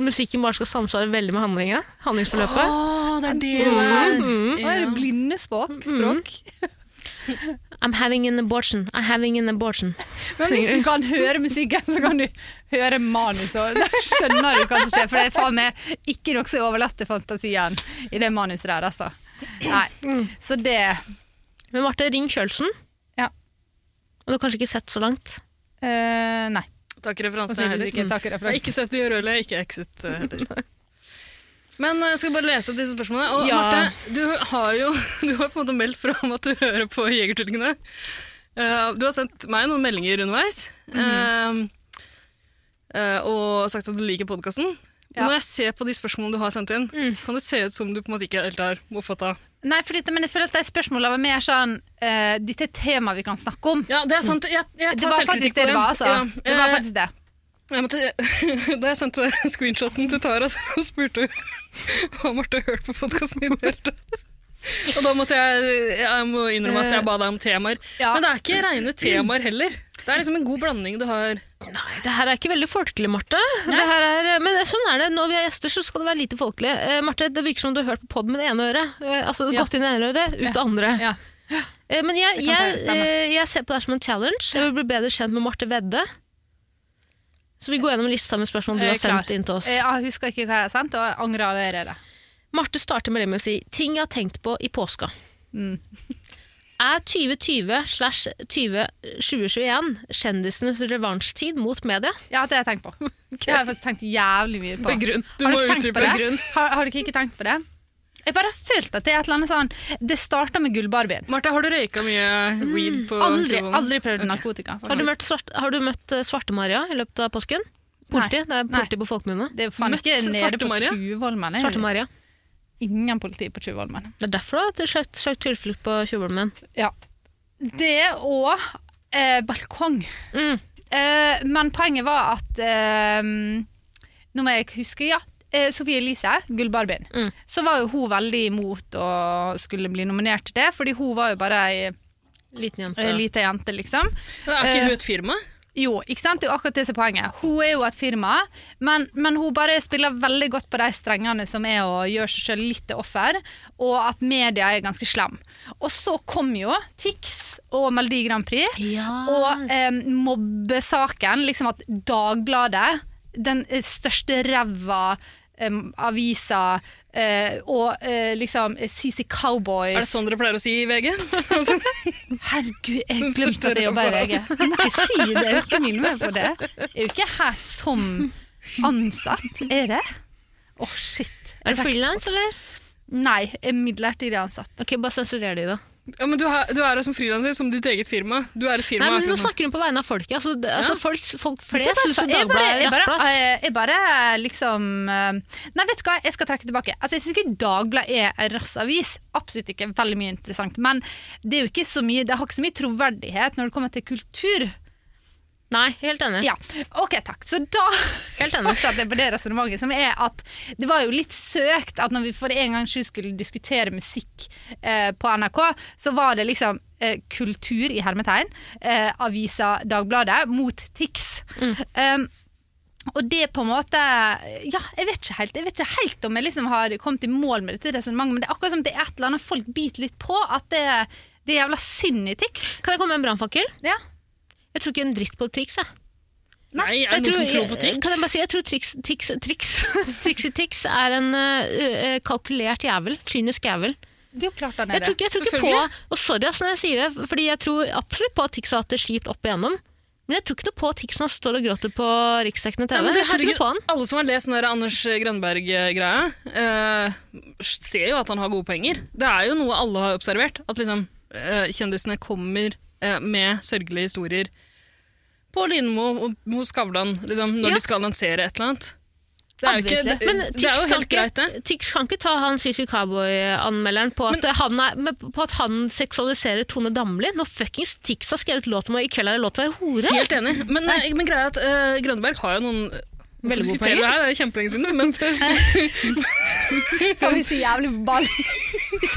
[SPEAKER 2] Musikken bare skal samsvare veldig med handlinga. Handlingsforløpet.
[SPEAKER 1] Å, det er det
[SPEAKER 2] Mhm.
[SPEAKER 3] Og er det blindespråk? Språk?
[SPEAKER 2] I'm having an abortion. I'm having an abortion.
[SPEAKER 3] Men hvis du kan høre musikken, så kan du høre manuset. og Da skjønner du hva som skjer. For det er faen meg ikke noe som er overlatt til fantasien i det manuset der, altså. Nei. Så det
[SPEAKER 2] Men Marte, ring Kjølsen.
[SPEAKER 3] Ja.
[SPEAKER 2] Og du har kanskje ikke sett så langt.
[SPEAKER 3] Eh, nei.
[SPEAKER 1] Takk referanse jeg heller.
[SPEAKER 3] Sannsynligvis ikke. Takk,
[SPEAKER 1] Jeg har ikke sett de røde, ikke Exit eh, heller. Men eh, jeg skal bare lese opp disse spørsmålene. Og
[SPEAKER 2] Ja.
[SPEAKER 1] Marte, du har jo du har på en måte meldt fra om at du hører på Jegertvillingene. Eh, du har sendt meg noen meldinger underveis Mhm. eh, eh, og sagt at du liker podkasten.
[SPEAKER 3] Ja.
[SPEAKER 1] Når jeg ser på de spørsmålene du har sendt inn, kan det se ut som du på en måte ikke helt har oppfatta
[SPEAKER 3] Nei, for dette, men jeg føler at de spørsmålene var mer sånn eh, Dette er et tema vi kan snakke om.
[SPEAKER 1] Ja, det er sant. Jeg, jeg
[SPEAKER 3] Det
[SPEAKER 1] tar
[SPEAKER 3] var
[SPEAKER 1] selvkritikk
[SPEAKER 3] faktisk
[SPEAKER 1] på
[SPEAKER 3] det det var, altså.
[SPEAKER 1] Ja,
[SPEAKER 3] Det var
[SPEAKER 1] eh,
[SPEAKER 3] faktisk det.
[SPEAKER 1] Jeg måtte, da jeg sendte screenshoten til Tara, så spurte hun om Marte har hørt på podkasten i det hele tatt. Og da måtte jeg, jeg må innrømme at jeg ba deg om temaer.
[SPEAKER 3] Ja.
[SPEAKER 1] Men det er ikke rene temaer heller. Det er liksom en god blanding du har.
[SPEAKER 2] Nei, det her er ikke veldig folkelig, Marte. Det her er, men sånn er det. Når vi har gjester, så skal det være lite folkelig. Eh, Marte, det virker som du har hørt på pod med det ene øret. Eh, altså
[SPEAKER 3] Ja.
[SPEAKER 2] gått inn i det ene øret, ut det andre.
[SPEAKER 3] Ja.
[SPEAKER 2] Eh, men jeg,
[SPEAKER 3] Det kan
[SPEAKER 2] jeg,
[SPEAKER 3] det stemme.
[SPEAKER 2] eh, jeg ser på det her som en challenge. Jeg vil bli bedre kjent med Marte Vedde. Så vi går gjennom lista med spørsmål du
[SPEAKER 3] Jeg er
[SPEAKER 2] har sendt
[SPEAKER 3] klar.
[SPEAKER 2] inn til oss.
[SPEAKER 3] Eh, Jeg husker ikke hva jeg har sendt, og jeg angrer allerede.
[SPEAKER 2] Marte starter med det med å si ting jeg har tenkt på i påska.
[SPEAKER 3] Mm.
[SPEAKER 2] Er 2020 slash 2021 kjendisenes revansjtid mot media?
[SPEAKER 3] Ja, det har jeg tenkt på. Det har jeg faktisk tenkt jævlig mye på.
[SPEAKER 1] Begrunn. Du
[SPEAKER 3] Har
[SPEAKER 1] må
[SPEAKER 3] dere tenkt på
[SPEAKER 1] utdype
[SPEAKER 3] det?
[SPEAKER 1] grunn.
[SPEAKER 3] Har, har dere ikke tenkt på det? Jeg bare har følt at det er et eller annet sånn Det starta med gullbarbien.
[SPEAKER 1] Marte, har du røyka mye weed på
[SPEAKER 3] Aldri,
[SPEAKER 1] Kjøvågen?
[SPEAKER 3] aldri prøvd narkotika.
[SPEAKER 2] Har du
[SPEAKER 3] faktisk.
[SPEAKER 2] møtt, svart, har du møtt eh, Svarte-Maria i løpet av påsken? Politi? Det er politi på folkemunne.
[SPEAKER 3] Det er faen
[SPEAKER 1] Møtt
[SPEAKER 3] ikke nede på
[SPEAKER 1] Svarte-Maria?
[SPEAKER 3] Tjuvholmen. er det?
[SPEAKER 2] Svarte-Maria.
[SPEAKER 3] Ingen politi på Tjuvholmen.
[SPEAKER 2] Det er derfor du har søkt søkt tilflukt på Tjuvholmen.
[SPEAKER 3] Ja. Det og eh, balkong.
[SPEAKER 2] Mm.
[SPEAKER 3] Eh, men poenget var at eh, Nå må jeg huske, ja. Eh, Sofie Elise, Gullbarbien.
[SPEAKER 2] Mm.
[SPEAKER 3] Så var jo hun veldig imot å skulle bli nominert til det, fordi hun var jo bare ei
[SPEAKER 2] Liten jente.
[SPEAKER 3] ei lita jente, liksom.
[SPEAKER 1] Er ikke hun et firma?
[SPEAKER 3] Jo, ikke sant? Det er jo akkurat det som er poenget. Hun er jo et firma, men, men hun bare spiller veldig godt på de strengene som er å gjøre seg selv litt til offer, og at media er ganske slem. Og så kom jo TIX og Melodi Grand Prix, og eh, mobbesaken, liksom at Dagbladet, den eh, største ræva eh, avisa, eh, og eh, liksom eh, CC Cowboys
[SPEAKER 1] Er det sånn dere pleier å si i Altså, VG?
[SPEAKER 3] Herregud, jeg
[SPEAKER 1] Den
[SPEAKER 3] glemte at jeg jobba i
[SPEAKER 1] sorterer
[SPEAKER 3] VG. Du må ikke si det. Jeg vil ikke minne meg på det. Jeg er jo ikke her som ansatt, er det? Å, shit.
[SPEAKER 2] Er du frilans, eller?
[SPEAKER 3] Nei, jeg er midlertidig ansatt.
[SPEAKER 2] Ok, Bare sensurer de, da.
[SPEAKER 1] Ja, men du, har, du er jo som frilanser, som ditt eget firma. Du er et
[SPEAKER 2] Nei,
[SPEAKER 1] firma.
[SPEAKER 2] men Nå
[SPEAKER 1] akkurat
[SPEAKER 2] snakker hun på vegne av folket. Altså, det- altså, folk, folk flest syns jo
[SPEAKER 3] Jeg bare-
[SPEAKER 2] Dagbladet er
[SPEAKER 3] jeg bare-
[SPEAKER 2] rassplass.
[SPEAKER 3] eh, Jeg bare liksom eh, Nei, vet du hva, jeg skal trekke tilbake. Altså, Jeg syns ikke Dagbladet er en rassavis. Absolutt ikke. Veldig mye interessant. Men det er jo ikke så mye, det har ikke så mye troverdighet når det kommer til kultur.
[SPEAKER 2] Nei, helt enig.
[SPEAKER 3] Ja, ok, takk. Så da
[SPEAKER 2] Helt enig.
[SPEAKER 3] fortsatte jeg på det resonnementet, som er at det var jo litt søkt at når vi for en gangs skyld skulle diskutere musikk eh, på NRK, så var det liksom eh, kultur i hermetegn, eh, avisa Dagbladet, mot TIX. Um, og det på en måte Ja, jeg vet ikke helt, jeg vet ikke helt om jeg liksom har kommet i mål med dette resonnementet, men det er akkurat som det er et eller annet folk biter litt på, at det, det er jævla synd i TIX.
[SPEAKER 2] Kan jeg komme med en brannfakkel?
[SPEAKER 3] Ja.
[SPEAKER 2] Jeg tror ikke en dritt på triks. Jeg.
[SPEAKER 1] Nei, er det
[SPEAKER 2] Jeg
[SPEAKER 1] noen som tror på
[SPEAKER 2] jeg- Kan jeg bare
[SPEAKER 1] triks?
[SPEAKER 2] si, jeg tror triks, triks, triks, triks i triks er en eh, eh, kalkulert jævel. Kynisk jævel.
[SPEAKER 3] Det er jo klart han
[SPEAKER 2] Jeg
[SPEAKER 3] er
[SPEAKER 2] tror
[SPEAKER 3] det.
[SPEAKER 2] ikke, jeg tror ikke på Og sorry ass, når jeg sier det, fordi jeg tror absolutt på at Tix har hatt det kjipt opp igjennom. Men jeg tror ikke noe på at Tix når han står og gråter på riksdekkende TV.
[SPEAKER 1] Nei, men du,
[SPEAKER 2] jeg tror ikke
[SPEAKER 1] herregud,
[SPEAKER 2] noe på han.
[SPEAKER 1] alle som har lest den der Anders Grønberg-greia, eh, ser jo at han har gode poenger. Det er jo noe alle har observert, at liksom, eh, kjendisene kommer eh, med sørgelige historier på Lindmo og hos Skavlan, liksom, når
[SPEAKER 2] Ja.
[SPEAKER 1] de skal lansere et eller annet. Det er jo, ikke, det,
[SPEAKER 3] Obviously.
[SPEAKER 2] Men
[SPEAKER 1] det er
[SPEAKER 2] Tix
[SPEAKER 1] jo
[SPEAKER 2] kan
[SPEAKER 1] helt greit, det.
[SPEAKER 2] ikke- Tix kan ikke ta han CC Cowboy-anmelderen på, at han er- men på at han seksualiserer Tone Damli når fuckings Tix har skrevet låt om at i kveld er det lov til å være hore.
[SPEAKER 1] Helt enig. Men, eh, men greia er at eh, Grønberg har jo noen
[SPEAKER 2] Veldig gode
[SPEAKER 1] Hvorfor diskuterer vi det her, det er kjempelenge siden, men
[SPEAKER 3] Kan vi si jævlig ball?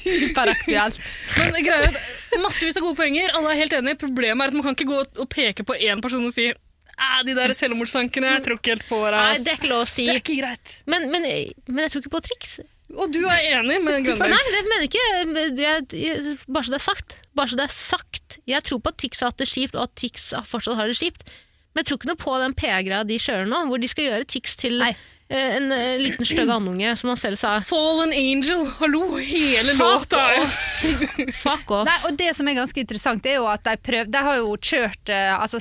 [SPEAKER 3] Superaktuelt.
[SPEAKER 1] Men greier at massevis av gode poenger, alle er helt enige. Problemet er at man kan ikke gå og peke på én person og si «Æ, de der selvmordstankene, jeg tror ikke helt på deg.
[SPEAKER 2] Nei,
[SPEAKER 1] ass».
[SPEAKER 2] det er ikke lov å si.
[SPEAKER 1] det er ikke greit.
[SPEAKER 2] Men, men, men jeg tror ikke på triks.
[SPEAKER 1] Og du er enig
[SPEAKER 2] Nei,
[SPEAKER 1] med Grønberg.
[SPEAKER 2] det mener jeg ikke jeg, jeg, Bare så det er sagt. Bare så det er sagt. Jeg tror på at Tix har hatt det kjipt, og at Tix har- fortsatt har det kjipt. Men jeg tror ikke noe på den PR-greia de kjører nå, hvor de skal gjøre Tix til
[SPEAKER 3] Nei.
[SPEAKER 2] eh, en eh, liten stygg andunge, som han selv sa.
[SPEAKER 1] Fallen Angel, hallo, hele
[SPEAKER 2] Fuck
[SPEAKER 1] låta er jo
[SPEAKER 2] Fuck off.
[SPEAKER 3] Nei, og det som er ganske interessant, er jo at de, prøv, de har jo kjørt eh, Altså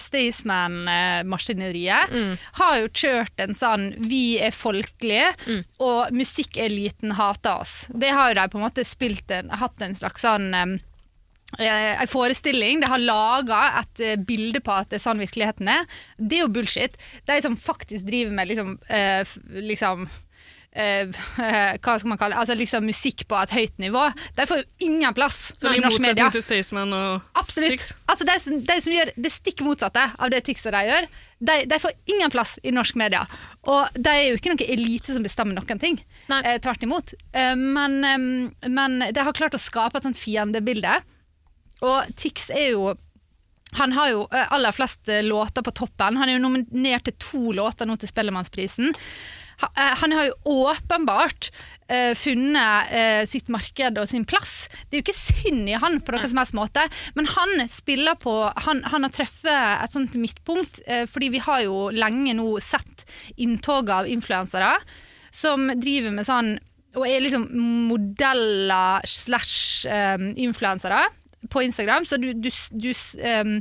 [SPEAKER 3] Staysman-maskineriet har jo kjørt en sånn Vi er folkelige, og musikkeliten hater oss. Det har jo de på en måte spilt en, hatt en slags sånn em, eh, en forestilling. De har laga et eh, bilde på at det er sånn virkeligheten er. Det er jo bullshit. De som faktisk driver med liksom, eh, f- liksom eh, hva skal man kalle det? Altså liksom musikk på et høyt nivå. De får jo ingen plass
[SPEAKER 1] Så
[SPEAKER 3] i
[SPEAKER 1] i
[SPEAKER 3] norsk media.
[SPEAKER 1] motsetning til Staysman og
[SPEAKER 3] Absolutt.
[SPEAKER 1] Tix.
[SPEAKER 3] Altså de, som, de som gjør det stikk motsatte av det Tix og de gjør, de, de får ingen plass i norsk media. Og de er jo ikke noen elite som bestemmer noen ting.
[SPEAKER 2] Nei.
[SPEAKER 3] Eh, tvert imot. Eh, men, eh, men de har klart å skape et sånt fiendebilde. Og Tix er jo han har jo eh, aller flest eh, låter på toppen. Han er jo nominert til to låter nå til Spellemannsprisen. Ha- eh, Han har jo åpenbart eh, funnet eh, sitt marked og sin plass. Det er jo ikke synd i han på noen som helst måte, men han spiller på Han, han har truffet et sånt midtpunkt, eh, fordi vi har jo lenge nå sett inntoget av influensere som driver med sånn og er liksom modeller slash um, influensere på Instagram. Så du, du, du um,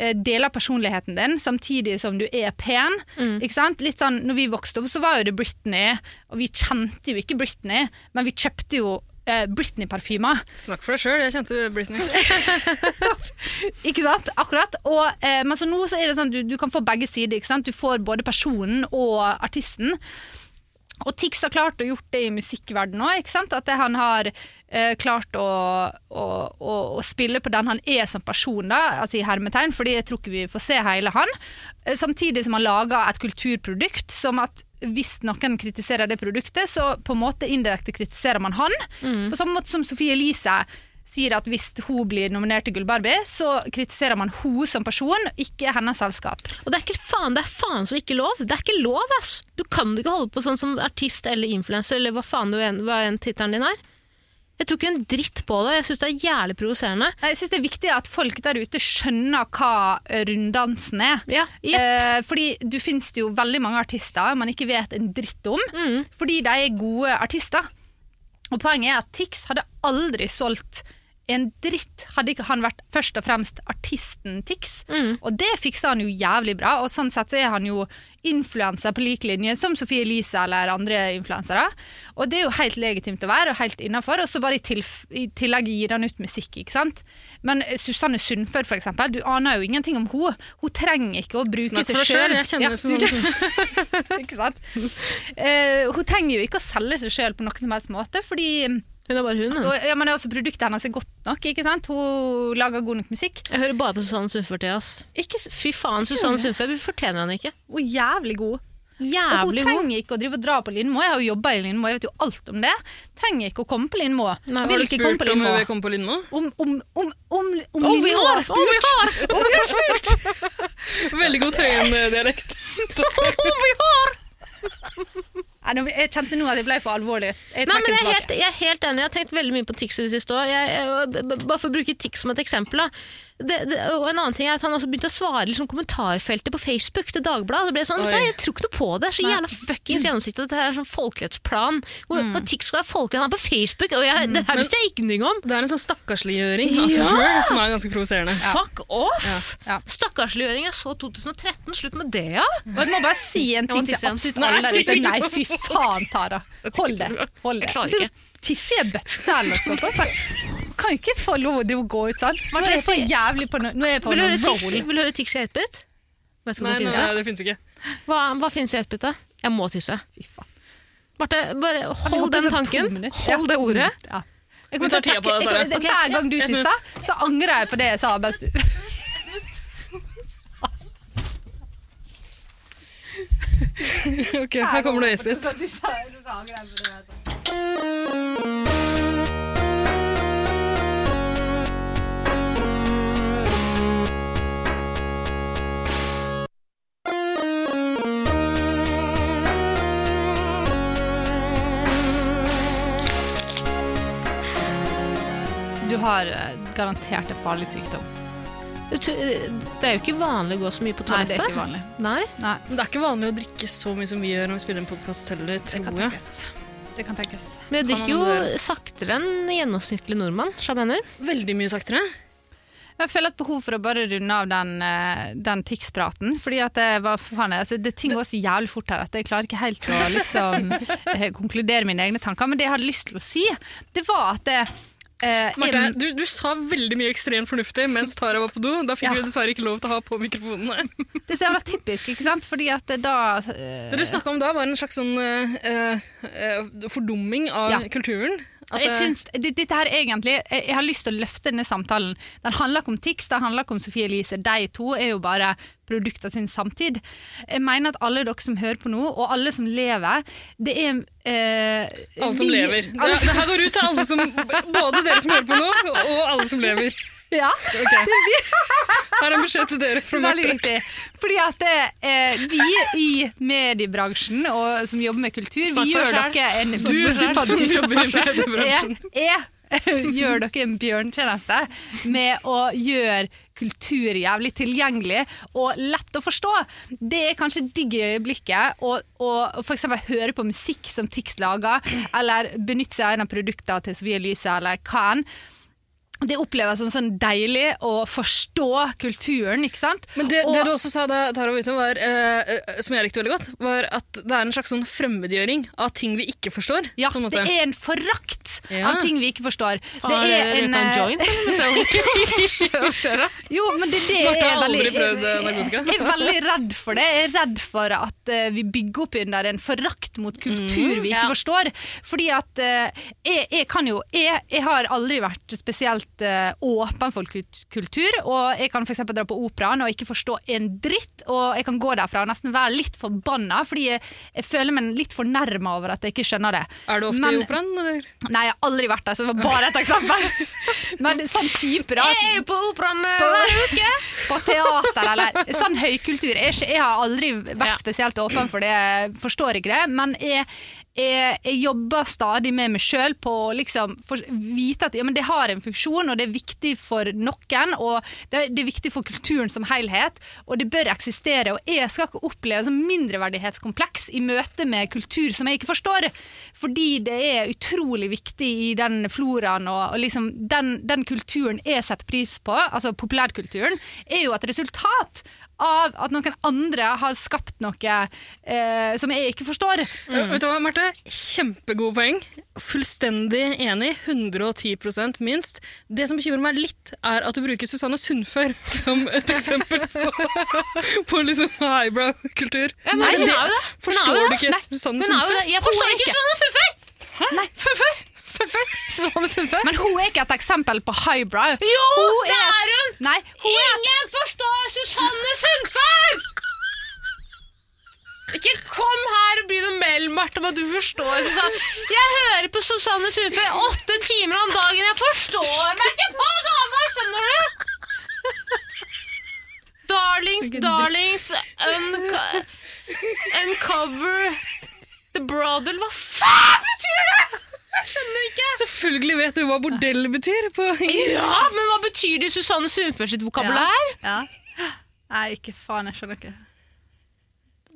[SPEAKER 3] eh, deler personligheten din samtidig som du er pen. Ikke sant? Litt sånn, når vi vokste opp, så var jo det Britney, og vi kjente jo ikke Britney, men vi kjøpte jo eh, Britney-parfymer.
[SPEAKER 1] Snakk for deg sjøl, jeg kjente Britney.
[SPEAKER 3] Ikke sant? Akkurat. Og, eh, men så nå så er det sånn du, du kan få begge sider. Ikke sant? Du får både personen og artisten. Og Tix har klart å gjort det i musikkverdenen òg. At det, han har eh, klart å, å, å, å spille på den han er som person, da, altså i hermetegn, fordi jeg tror ikke vi får se hele han. Eh, Samtidig som han lager et kulturprodukt som at hvis noen kritiserer det produktet, så på en måte indirekte kritiserer man han. På samme måte som Sophie Elise sier at hvis hun blir nominert til Gullbarbie, så kritiserer man hun som person, ikke hennes selskap.
[SPEAKER 2] Og det er ikke faen, det er faen så ikke lov. Det er ikke lov, ass! Du kan ikke holde på sånn som artist eller influenser, eller hva faen du en, hva enn tittelen din er. Jeg tror ikke en dritt på det, jeg syns det er jævlig provoserende.
[SPEAKER 3] Nei, Jeg syns det er viktig at folk der ute skjønner hva runddansen er.
[SPEAKER 2] Ja, jepp.
[SPEAKER 3] Eh, fordi du finnes det jo veldig mange artister man ikke vet en dritt om, fordi de er gode artister. Og poenget er at Tix hadde aldri solgt en dritt hadde ikke han vært først og fremst artisten Tix.
[SPEAKER 1] Mm.
[SPEAKER 3] Og det fiksa han jo jævlig bra, og sånn sett så er han jo influenser på lik linje som Sophie Elise eller andre influensere. Og det er jo helt legitimt å være, og helt innafor, og så bare i, tilf i tillegg gir han ut musikk, ikke sant. Men Susanne Sundfør, for eksempel, du aner jo ingenting om hun. Hun trenger ikke å bruke
[SPEAKER 1] Snakk
[SPEAKER 3] seg
[SPEAKER 1] for deg sjøl,
[SPEAKER 3] sjøl.
[SPEAKER 1] jeg kjenner Susanne.
[SPEAKER 3] ikke sant? Eh, hun trenger jo ikke å selge seg sjøl på noen som helst måte, fordi
[SPEAKER 2] Hun er bare hun, hun.
[SPEAKER 3] og, ja, men det er også produktet hennes er godt nok. ikke sant? Hun lager god nok musikk.
[SPEAKER 2] Jeg hører bare på Susanne Sundfør til, ass. Ikke, s- fy faen, Susanne Sundfør, vi fortjener henne ikke.
[SPEAKER 3] Hun er jævlig god. Og hun
[SPEAKER 2] Jævlig god.
[SPEAKER 3] trenger ikke å drive og dra på Lindmo. Jeg har jo jobba i Lindmo, jeg vet jo alt om det. Trenger ikke å komme på Lindmo.
[SPEAKER 2] Nei,
[SPEAKER 3] Vil
[SPEAKER 1] Har du
[SPEAKER 3] ikke komme
[SPEAKER 1] spurt
[SPEAKER 3] på
[SPEAKER 1] om
[SPEAKER 3] Lindmo.
[SPEAKER 1] hun vil komme på Lindmo?
[SPEAKER 3] Om, om, om, om, om,
[SPEAKER 2] Å, vi
[SPEAKER 3] Lindmo
[SPEAKER 2] har! Å, vi
[SPEAKER 3] spurt!
[SPEAKER 2] har!
[SPEAKER 3] Om vi har spurt!
[SPEAKER 1] Veldig god Tøyen-dialekt.
[SPEAKER 3] Nei, nå- jeg kjente nå at jeg ble for alvorlig. Jeg
[SPEAKER 2] Nei,
[SPEAKER 3] trekker
[SPEAKER 2] men jeg er,
[SPEAKER 3] tilbake.
[SPEAKER 2] helt, jeg er helt enig. Jeg har tenkt veldig mye på Tix i det siste òg. Bare for å bruke Tix som et eksempel. Da. Det, det, og en annen ting er at Han også begynte å svare liksom, kommentarfeltet på Facebook til Dagbladet. Det ble jeg sånn, vet du, hva,
[SPEAKER 1] Oi.
[SPEAKER 2] Jeg tror ikke noe på det. Det er Så jævla fuckings gjennomsiktig. Dette her er sånn folkelighetsplan. Hvor,
[SPEAKER 3] Mm.
[SPEAKER 2] Og Tix skal være folkelig. Han er på Facebook, og jeg, det her visste jeg ingenting om.
[SPEAKER 1] Det er en sånn stakkarsliggjøring av seg
[SPEAKER 2] Ja!
[SPEAKER 1] sjøl som er ganske provoserende.
[SPEAKER 2] Fuck off!
[SPEAKER 3] Ja.
[SPEAKER 2] Stakkarsliggjøring. Jeg så 2013. Slutt med det, ja!
[SPEAKER 3] Og jeg må bare si en ting
[SPEAKER 2] må
[SPEAKER 3] til
[SPEAKER 2] tisse igjen.
[SPEAKER 3] absolutt
[SPEAKER 2] Nei,
[SPEAKER 3] alle der ute.
[SPEAKER 2] ikke
[SPEAKER 3] Nei,
[SPEAKER 2] ta
[SPEAKER 3] fy faen, Tara. Hold det. Hold det.
[SPEAKER 2] Jeg klarer ikke.
[SPEAKER 3] Tisse i en bøtte eller noe sånt. Altså. Kan ikke få lov til å gå ut sånn. Nå er jeg så
[SPEAKER 2] Martin,
[SPEAKER 3] jævlig på no- Nå er jeg på
[SPEAKER 2] Vil du
[SPEAKER 3] noen
[SPEAKER 2] høre Tix-
[SPEAKER 3] roll.
[SPEAKER 2] vil du høre Tix i 8-bit? Vet ikke om
[SPEAKER 1] Nei,
[SPEAKER 2] det
[SPEAKER 1] nei,
[SPEAKER 2] finnes.
[SPEAKER 1] nei, det fins ikke.
[SPEAKER 2] Hva, hva finnes i 8-bit, da? Jeg må tisse.
[SPEAKER 3] Fy faen.
[SPEAKER 2] Marte, bare
[SPEAKER 3] vi
[SPEAKER 2] hold
[SPEAKER 3] håper
[SPEAKER 2] den
[SPEAKER 3] for to
[SPEAKER 2] tanken.
[SPEAKER 3] minutter.
[SPEAKER 2] Hold det ordet.
[SPEAKER 3] Ja. Mm. Jeg
[SPEAKER 1] Vi
[SPEAKER 3] kommer
[SPEAKER 1] tar
[SPEAKER 3] til å
[SPEAKER 1] tida på det,
[SPEAKER 3] takke, jeg,
[SPEAKER 1] Tara.
[SPEAKER 3] kommer- hver gang du
[SPEAKER 1] ett
[SPEAKER 3] tisser, så angrer jeg på det jeg sa. Mens du.
[SPEAKER 1] Ok, Her kommer det Espen.
[SPEAKER 3] Du har eh, garantert en farlig sykdom.
[SPEAKER 2] Det tu- det er jo ikke vanlig å gå så mye på
[SPEAKER 3] Nei, det er
[SPEAKER 2] toalettet.
[SPEAKER 3] ikke vanlig.
[SPEAKER 2] Nei.
[SPEAKER 3] Nei,
[SPEAKER 1] Men det er ikke vanlig å drikke så mye som vi gjør når vi spiller en podkast heller,
[SPEAKER 3] det kan
[SPEAKER 1] tror jeg.
[SPEAKER 3] tenkes. Det kan tenkes.
[SPEAKER 2] Men jeg
[SPEAKER 1] Kan
[SPEAKER 2] drikker
[SPEAKER 1] man
[SPEAKER 2] jo saktere enn gjennomsnittlig nordmann. så jeg mener.
[SPEAKER 1] Veldig mye saktere.
[SPEAKER 3] Jeg føler et behov for å bare runde av den, eh, den TIX-praten. Fordi at det, var, for faen, altså, det ting går så jævlig fort her at jeg klarer ikke helt å liksom, eh, konkludere mine egne tanker. Men det jeg hadde lyst til å si, det var at det, eh,
[SPEAKER 1] Marte,
[SPEAKER 3] jeg-
[SPEAKER 1] du, du sa veldig mye ekstremt fornuftig mens Tara var på do. Da fikk
[SPEAKER 3] Ja.
[SPEAKER 1] vi dessverre ikke lov til å ha på mikrofonene.
[SPEAKER 3] det er så jævla typisk, ikke sant? Fordi at det, da eh,
[SPEAKER 1] Det du snakka om da, var en slags sånn eh, eh, fordumming av
[SPEAKER 3] Ja.
[SPEAKER 1] kulturen. At,
[SPEAKER 3] jeg
[SPEAKER 1] eh,
[SPEAKER 3] syns, det, dette her egentlig, jeg, jeg har lyst til å løfte denne samtalen. Den handler ikke om TIX, den handler ikke om Sofie Elise. De to er jo bare produkt av sin samtid. Jeg mener at alle dere som hører på nå, og alle som lever, det er eh,
[SPEAKER 1] alle som
[SPEAKER 3] vi-
[SPEAKER 1] lever. Det,
[SPEAKER 3] Alle
[SPEAKER 1] det
[SPEAKER 3] som,
[SPEAKER 1] her går ut til alle som Både dere som hører på nå, og alle som lever.
[SPEAKER 3] ja,
[SPEAKER 1] Ok. Her er en beskjed til dere fra
[SPEAKER 3] veldig
[SPEAKER 1] Marte.
[SPEAKER 3] viktig. Fordi at eh, vi i mediebransjen, og som jobber med kultur,
[SPEAKER 2] Snakk
[SPEAKER 3] vi
[SPEAKER 2] for
[SPEAKER 3] gjør
[SPEAKER 2] deg selv.
[SPEAKER 3] dere en
[SPEAKER 1] Du som jobber i mediebransjen.
[SPEAKER 3] jeg, jeg gjør dere en bjørntjeneste med å gjøre kultur jævlig tilgjengelig og lett å forstå. Det er kanskje digg i øyeblikket å å for eksempel høre på musikk som Tix lager, eller benytte seg av en av produktene til Sofie Elise eller hva enn. Det oppleves som sånn deilig å forstå kulturen, ikke sant?
[SPEAKER 1] Men det,
[SPEAKER 3] Og-
[SPEAKER 1] det du også sa da, Tara Witum, var, eh, eh, som jeg likte veldig godt, var at det er en slags sånn fremmedgjøring av ting vi ikke forstår.
[SPEAKER 3] Ja,
[SPEAKER 1] på en
[SPEAKER 3] det
[SPEAKER 1] måte.
[SPEAKER 3] er en forakt
[SPEAKER 1] Ja.
[SPEAKER 3] av ting vi ikke forstår.
[SPEAKER 2] Faen,
[SPEAKER 3] det er
[SPEAKER 2] jeg
[SPEAKER 3] en,
[SPEAKER 2] røyka
[SPEAKER 3] eh,
[SPEAKER 2] joint, eller? Så jeg-
[SPEAKER 3] Jo, men det, det
[SPEAKER 1] Marte
[SPEAKER 3] er
[SPEAKER 1] har aldri
[SPEAKER 3] veldig-
[SPEAKER 1] prøvd eh, narkotika.
[SPEAKER 3] Jeg er veldig redd for det. Jeg er redd for at eh, vi bygger opp under en forakt mot kultur
[SPEAKER 1] Mm,
[SPEAKER 3] vi ikke
[SPEAKER 2] Ja.
[SPEAKER 3] forstår. Fordi at eh, jeg, jeg kan jo jeg, jeg har aldri vært spesielt eh, åpen for kut- kultur, og jeg kan f.eks. dra på operaen og ikke forstå en dritt, og jeg kan gå derfra og nesten være litt forbanna, fordi jeg, jeg føler meg litt fornærma over at jeg ikke skjønner det.
[SPEAKER 1] Er du ofte
[SPEAKER 3] Men-
[SPEAKER 1] i operaen, eller?
[SPEAKER 3] Nei, jeg har aldri vært der, så det var bare et eksempel. Men sånn type, da.
[SPEAKER 2] Jeg er jo på operaen eh,
[SPEAKER 3] På hver uke! På teater eller Sånn høykultur. Jeg, er ikke, jeg har aldri vært
[SPEAKER 2] Ja.
[SPEAKER 3] spesielt åpen for det, jeg forstår ikke det. Men jeg, jeg, jeg jobber stadig med meg sjøl på å liksom for, vite at ja, men det har en funksjon, og det er viktig for noen. Og det, det er viktig for kulturen som helhet, og det bør eksistere. Og jeg skal ikke oppleve sånn mindreverdighetskompleks i møte med kultur som jeg ikke forstår. Fordi det er utrolig viktig i den floraen og, og liksom den, den kulturen jeg setter pris på, altså populærkulturen, er jo et resultat av at noen andre har skapt noe eh, som jeg ikke forstår.
[SPEAKER 2] Mm.
[SPEAKER 1] Vet du hva, Marte? Kjempegode poeng. Fullstendig enig. 110 minst. Det som bekymrer meg litt, er at du bruker Susanne Sundfør som et eksempel på, på liksom highbrow-kultur.
[SPEAKER 2] Ja, men hun er jo det. Hun er jo
[SPEAKER 1] Forstår du
[SPEAKER 2] det.
[SPEAKER 1] ikke
[SPEAKER 2] Nei,
[SPEAKER 1] Susanne
[SPEAKER 2] Hun er jo det.
[SPEAKER 1] Sundfør?
[SPEAKER 2] Jeg forstår
[SPEAKER 3] Hun er
[SPEAKER 2] ikke
[SPEAKER 3] ikke.
[SPEAKER 2] sånne fuffer!
[SPEAKER 3] Nei,
[SPEAKER 2] Fuffer! Fuffer! Sånne fuffer.
[SPEAKER 3] Men hun er ikke et eksempel på highbrow.
[SPEAKER 2] Jo,
[SPEAKER 3] Hun
[SPEAKER 2] det er hun!
[SPEAKER 3] Nei, hun er
[SPEAKER 2] Ingen forstår Susanne Sundfør! Ikke kom her og begynn å melde Marte om at du forstår Susanne. Jeg hører på Susanne Sundfør åtte timer om dagen. Jeg forstår meg ikke på dama, skjønner du? Darlings, darlings, unco uncover the brothel. Hva faen betyr det?! Jeg skjønner ikke.
[SPEAKER 1] Selvfølgelig vet du hva bordell betyr på engelsk.
[SPEAKER 2] Ja, men hva betyr det i Susanne Sundfør sitt vokabulær?
[SPEAKER 3] Ja. Nei, ikke faen, jeg skjønner ikke.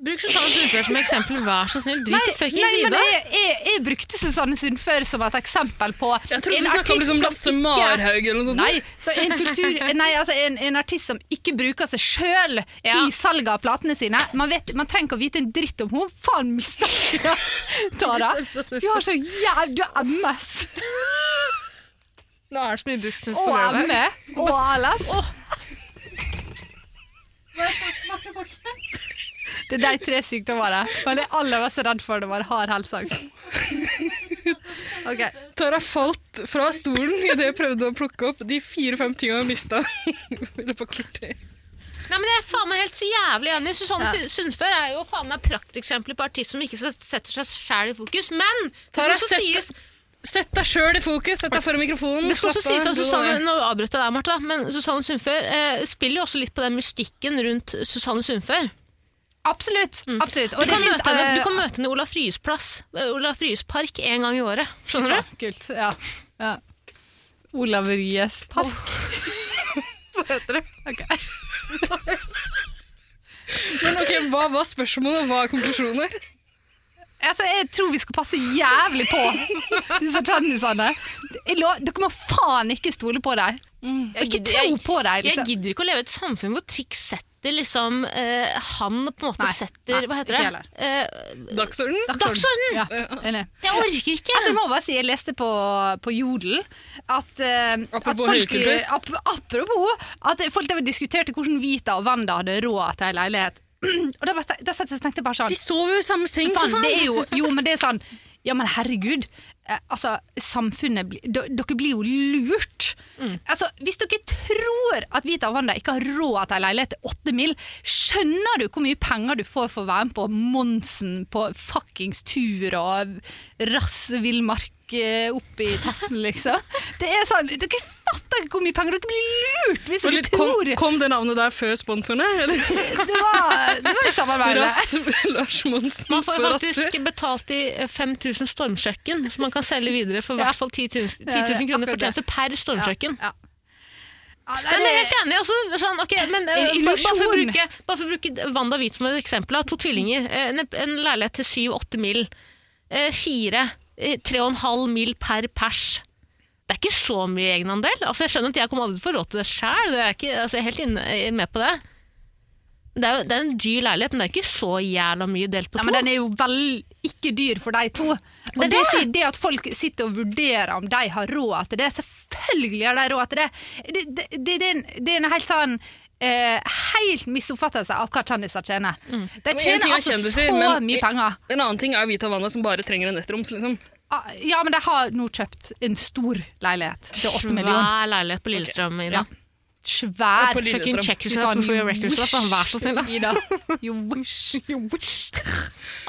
[SPEAKER 2] Bruk Susanne Sundfør som eksempel, vær så snill. Drit i
[SPEAKER 3] nei,
[SPEAKER 2] fuckings
[SPEAKER 3] men
[SPEAKER 2] Ida.
[SPEAKER 3] jeg, jeg, jeg brukte Susanne Sundfør som et eksempel på
[SPEAKER 1] Jeg trodde
[SPEAKER 3] en
[SPEAKER 1] du snakka om liksom
[SPEAKER 3] artist
[SPEAKER 1] Lasse
[SPEAKER 3] som ikke-
[SPEAKER 1] Marhaug eller noe sånt.
[SPEAKER 3] Nei, så en, kultur, nei altså en, en artist som ikke bruker seg sjøl
[SPEAKER 2] Ja.
[SPEAKER 3] i salget av platene sine. Man, vet, man trenger ikke å vite en dritt om henne. Faen, mistenker jeg Tara. Du har så jævlig Du har MS
[SPEAKER 2] Nå er det så mye brukt
[SPEAKER 3] og ME og ALS. Det er de tre sykdommene. Men det aller mest redd for det var hard helseangst. Ok.
[SPEAKER 1] Tara falt fra stolen idet jeg prøvde å plukke opp de fire-fem tinga hun mista. i løpet av kort tid.
[SPEAKER 2] Nei, men Jeg er faen meg helt så jævlig enig. Susanne
[SPEAKER 3] Ja.
[SPEAKER 2] Sy- Sundfør er jo faen meg prakteksempler på artist som ikke set- setter seg sjæl i fokus. Men det skal
[SPEAKER 1] Tara,
[SPEAKER 2] også
[SPEAKER 1] sett-
[SPEAKER 2] sies,
[SPEAKER 1] Sett deg sjøl i fokus, sett deg foran mikrofonen.
[SPEAKER 2] det skal også
[SPEAKER 1] slapp av,
[SPEAKER 2] sies at
[SPEAKER 1] ro deg
[SPEAKER 2] Susanne
[SPEAKER 1] ned.
[SPEAKER 2] Nå avbrøt jeg deg, Martha, men Susanne Sundfør eh, spiller jo også litt på den mystikken rundt Susanne Sundfør.
[SPEAKER 3] Absolutt. absolutt. Og
[SPEAKER 2] Du kan,
[SPEAKER 3] det finnes,
[SPEAKER 2] møte henne,
[SPEAKER 3] eh,
[SPEAKER 2] du kan møte henne i Olaf Ryes plass, eh, Olaf Ryes park en gang i året. Skjønner du?
[SPEAKER 3] Kult, ja. ja. Olav Ryes park.
[SPEAKER 2] heter det.
[SPEAKER 1] Men ok, Hva var spørsmålet, og hva er konklusjonen? her?
[SPEAKER 3] Altså, jeg tror vi skal passe jævlig på disse kjendisene. Jeg lo- Dere må faen ikke stole på dem.
[SPEAKER 2] Jeg
[SPEAKER 3] Ikke
[SPEAKER 2] gidder-
[SPEAKER 3] tro
[SPEAKER 2] jeg-
[SPEAKER 3] Mm. på dem.
[SPEAKER 2] Jeg
[SPEAKER 3] Liksom.
[SPEAKER 2] gidder ikke å leve i et samfunn hvor TIX setter liksom eh, Han på en måte
[SPEAKER 3] Nei,
[SPEAKER 2] setter
[SPEAKER 3] nei,
[SPEAKER 2] Hva heter
[SPEAKER 3] ikke
[SPEAKER 2] det? Eh,
[SPEAKER 1] Dagsorden?
[SPEAKER 2] Dagsorden!
[SPEAKER 3] Ja, enig.
[SPEAKER 2] Jeg orker ikke!
[SPEAKER 3] Altså, jeg må bare si, jeg leste på, på Jodel at, eh, at
[SPEAKER 1] Apropos
[SPEAKER 3] folk,
[SPEAKER 1] høykultur.
[SPEAKER 3] ap, Apropos at folk der diskuterte hvordan Vita og Wanda hadde råd til en leilighet. og da, bare te- da satt jeg og tenkte bare sånn
[SPEAKER 1] De sover jo i samme seng, for
[SPEAKER 3] Faen, det
[SPEAKER 1] faen!
[SPEAKER 3] er jo, jo, men det er sånn Ja, men herregud. Eh, altså, samfunnet bli, d Dere blir jo lurt.
[SPEAKER 1] Mm.
[SPEAKER 3] Altså, Hvis dere tror at Vita og Wanda ikke har råd til en leilighet til åtte mil, skjønner du hvor mye penger du får for å være med på Monsen på fuckings tur og rass villmark eh, opp i testen, liksom? Det er sånn, Dere fatter ikke hvor mye penger dere blir lurt hvis
[SPEAKER 1] Og
[SPEAKER 3] dere
[SPEAKER 1] litt, kom,
[SPEAKER 3] tror
[SPEAKER 1] kom det navnet der før sponsorene? Eller?
[SPEAKER 3] det, var, det var i samarbeid.
[SPEAKER 1] Rass, Lars Monsen
[SPEAKER 2] Man får
[SPEAKER 1] på rasstur.
[SPEAKER 2] faktisk betalt i eh, 5000 stormkjøkken, som man kan selge videre for i hvert fall 10 000, 10
[SPEAKER 3] Ja, det er
[SPEAKER 2] 000 kroner
[SPEAKER 3] akkurat
[SPEAKER 2] fortjeneste per stormkjøkken.
[SPEAKER 3] Ja, ja. Ja,
[SPEAKER 2] Nei, men jeg er helt enig. Altså, sånn, ok, men, eh,
[SPEAKER 3] En
[SPEAKER 2] bare- bare, for å
[SPEAKER 3] illusjon.
[SPEAKER 2] bruke, bare for å bruke Wanda Witt som et eksempel. da. To tvillinger. eh, En, en leilighet til 7-8 mil. Eh, Fire. eh, Tre og en halv mil per pers. Det er ikke så mye egenandel. Altså, jeg skjønner at jeg kommer aldri til å få råd til det sjøl. Altså, jeg er helt inne, med på det. Men Det er, jo, det er en dyr leilighet, men det er ikke så jævla mye delt på
[SPEAKER 3] Ja,
[SPEAKER 2] to.
[SPEAKER 3] men den er jo vel ikke dyr for de to. Og det,
[SPEAKER 2] Det er
[SPEAKER 3] sier- det at folk sitter og vurderer om de har råd til det, selvfølgelig har de råd til det. Det, det, det, det, er, en, det er en helt sånn eh, helt misoppfattelse av hva kjendiser tjener.
[SPEAKER 2] Mm.
[SPEAKER 3] De
[SPEAKER 1] en ting
[SPEAKER 3] tjener
[SPEAKER 1] er
[SPEAKER 3] altså
[SPEAKER 1] kjendiser,
[SPEAKER 3] så
[SPEAKER 1] men-
[SPEAKER 3] mye penger.
[SPEAKER 1] En annen ting er Vita Wanda som bare trenger en nettroms. Liksom.
[SPEAKER 3] Ah, Ja, men de har nå kjøpt en stor leilighet til åtte millioner.
[SPEAKER 2] Svær leilighet på Lillestrøm, Ida.
[SPEAKER 3] ja. Svær
[SPEAKER 1] På Lillestrøm.
[SPEAKER 2] Fucking check yourself
[SPEAKER 3] Fy faen,
[SPEAKER 2] before you wreck yourself, da. vær så snill. da.
[SPEAKER 3] Ida. You wish.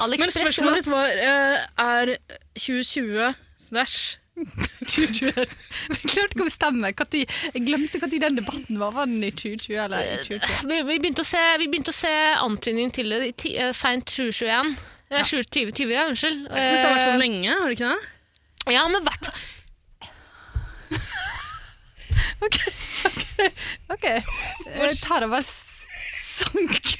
[SPEAKER 2] Alex
[SPEAKER 1] Men
[SPEAKER 2] Press,
[SPEAKER 1] spørsmålet ditt var eh, er 2020 stæsj
[SPEAKER 3] Jeg klarte ikke å bestemme. Hva tid- Jeg glemte når den debatten var. Var den i 2020 eller i 2021?
[SPEAKER 2] vi, vi, begynte å se, vi begynte å se antydning til det i ti- eh, seint 2021. Eh, 2020, ja, unnskyld.
[SPEAKER 1] Jeg syns det har vært sånn lenge, har det ikke det?
[SPEAKER 2] Eh, Ja, men hvert fall
[SPEAKER 3] Ok, eh, Tara bare s- sank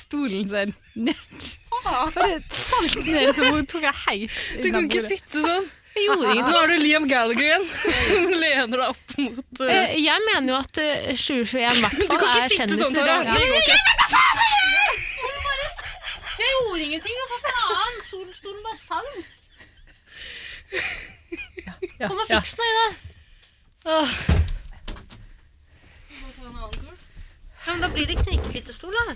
[SPEAKER 3] stolen sin Ah. ned. Bare falt ned, så hun tok en heis.
[SPEAKER 1] Du kan ikke sitte sånn.
[SPEAKER 2] Jeg gjorde
[SPEAKER 1] Nå
[SPEAKER 2] ingenting.
[SPEAKER 1] er du Liam Gallagher igjen. Lener deg opp mot eh,
[SPEAKER 2] Eh, Jeg mener jo at eh, 2021 i hvert
[SPEAKER 1] Du
[SPEAKER 2] fall
[SPEAKER 1] kan
[SPEAKER 2] er
[SPEAKER 1] ikke sitte sånn,
[SPEAKER 2] kjendiser.
[SPEAKER 1] Tara.
[SPEAKER 2] og-
[SPEAKER 1] Det går ikke.
[SPEAKER 2] Jeg gjorde ingenting, for faen! Solstolen bare sang.
[SPEAKER 3] Ja,
[SPEAKER 2] Kom og
[SPEAKER 3] ja.
[SPEAKER 2] fiks den, Ida.
[SPEAKER 1] Åh,
[SPEAKER 2] Ja, men da blir det knikefittestol, da.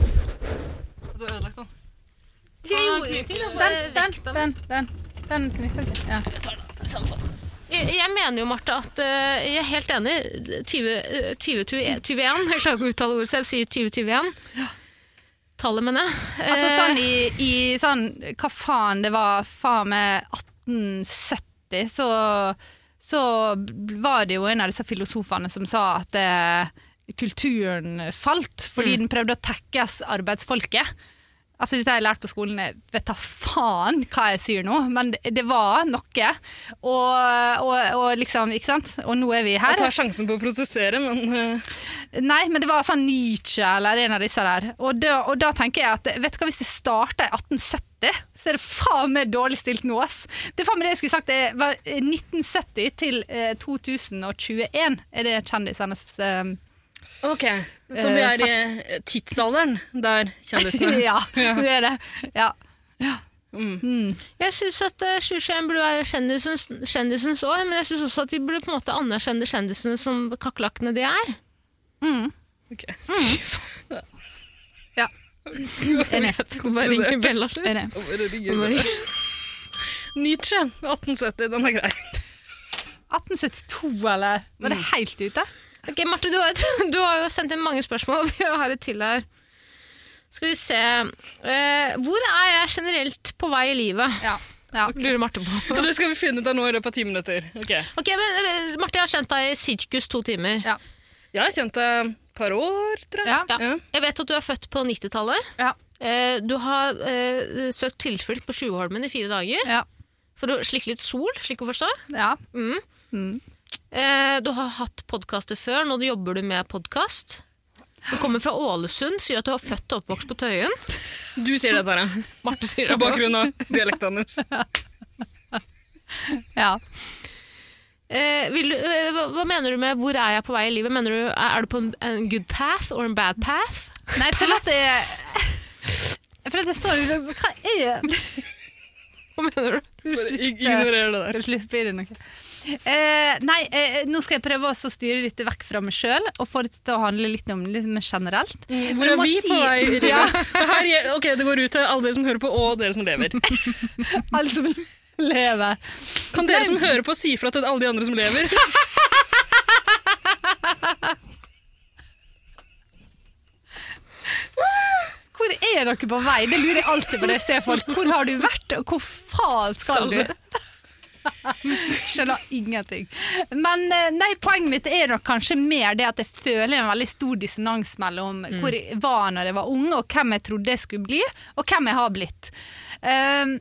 [SPEAKER 1] Du har ødelagt den.
[SPEAKER 2] Jeg gjorde ingenting. jeg bare
[SPEAKER 3] Den, den, den. den. Den knytter ikke. Ja.
[SPEAKER 2] Jeg, jeg mener jo, Marte, at eh, jeg er helt enig. eh, 2021 Jeg klarer ikke å uttale ordet selv, sier 2021. Tallet, mener jeg. Eh,
[SPEAKER 3] Altså sånn i, i sånn Hva faen, det var faen meg 1870, så, så var det jo en av disse filosofene som sa at eh, kulturen falt fordi
[SPEAKER 1] Mm.
[SPEAKER 3] den prøvde å tekkes arbeidsfolket. Altså Dette har jeg lært på skolen, jeg vet da faen hva jeg sier nå, men det, det var noe. Og, og, og liksom, ikke sant? Og nå er vi her.
[SPEAKER 1] Jeg tar sjansen på å protestere, men eh,
[SPEAKER 3] Nei, men det var sånn Nietzsche eller en av disse der. Og da, og da tenker jeg at vet du hva, hvis det starta i 1870, så er det faen meg dårlig stilt nå, ass. Det er faen meg det jeg skulle sagt. Det var 1970 til eh, 2021 er det kjendisenes eh,
[SPEAKER 1] OK. Så vi er i eh, tidsalderen der kjendisene
[SPEAKER 3] eh,
[SPEAKER 1] Mm.
[SPEAKER 3] Ja, det er det. Ja.
[SPEAKER 2] jeg syns at eh, 2021 burde være kjendisens, kjendisens år, men jeg syns også at vi burde på en måte anerkjenne kjendisene som kakerlakkene de er.
[SPEAKER 1] Ok.
[SPEAKER 3] Ja. Enig.
[SPEAKER 2] Bare ringe Bella. slutt.
[SPEAKER 3] Enig.
[SPEAKER 1] Nietzsche, 1870, den er grei.
[SPEAKER 3] 1872, eller? Var det helt ute?
[SPEAKER 2] Ok, Marte, du har, et, du har jo sendt inn mange spørsmål. Vi har et til her. Skal vi se Eh, Hvor er jeg generelt på vei i livet?
[SPEAKER 3] Ja. ja.
[SPEAKER 2] Lurer Marte på.
[SPEAKER 1] Og det skal vi finne ut av nå i løpet av ti minutter. Ok.
[SPEAKER 2] Ok, men eh, Marte, jeg har kjent deg i sirkus to timer.
[SPEAKER 3] Ja.
[SPEAKER 1] Jeg har kjent deg et par år, tror jeg.
[SPEAKER 3] Ja.
[SPEAKER 2] Ja. Jeg vet at du er født på 90-tallet.
[SPEAKER 3] Ja.
[SPEAKER 2] Eh, Du har eh, søkt tilflukt på Tjuvholmen i fire dager
[SPEAKER 3] Ja.
[SPEAKER 1] Mm.
[SPEAKER 2] for å slikke litt sol, slik å forstå.
[SPEAKER 3] ja.
[SPEAKER 2] Mm. Eh, du har hatt podkaster før, nå jobber du med podkast. Du kommer fra Ålesund, sier at du har født og oppvokst på Tøyen.
[SPEAKER 1] Du sier det, Tara.
[SPEAKER 2] Marte sier
[SPEAKER 1] På
[SPEAKER 2] det.
[SPEAKER 1] bakgrunn av dialekten hennes.
[SPEAKER 3] Ja.
[SPEAKER 2] Eh, vil, du- eh, hva, hva mener du med 'hvor er jeg på vei i livet'? Mener du, er, er du på en, en good path or en bad path?
[SPEAKER 3] Nei, jeg føler at det Jeg føler at det står liksom så Hva er det?
[SPEAKER 2] Hva mener du?
[SPEAKER 3] Skal du
[SPEAKER 1] Bare ig-
[SPEAKER 3] slutte?
[SPEAKER 1] ignorer det der.
[SPEAKER 3] Skal du slippe i det noe? Eh, nei, eh, nå skal jeg prøve også å styre dette vekk fra meg sjøl, og få det til å handle litt om litt mer generelt.
[SPEAKER 1] Hvor
[SPEAKER 3] Du
[SPEAKER 1] er
[SPEAKER 3] må
[SPEAKER 1] vi
[SPEAKER 3] si-
[SPEAKER 1] på vei i livet?
[SPEAKER 3] Ja.
[SPEAKER 1] Det Her, gje- ok, det går ut til alle dere som hører på, og dere som lever.
[SPEAKER 3] Alle som lever.
[SPEAKER 1] Kan dere som hører på, si fra til alle de andre som lever?
[SPEAKER 3] Hvor er dere på vei? Det lurer jeg alltid på når jeg ser folk. Hvor har du vært, og hvor faen skal du? Skjønner ingenting. Men eh, nei, poenget mitt er nok kanskje mer det at jeg føler en veldig stor dissonans mellom hvor jeg var når jeg var ung, og hvem jeg trodde jeg skulle bli, og hvem jeg har blitt. Um,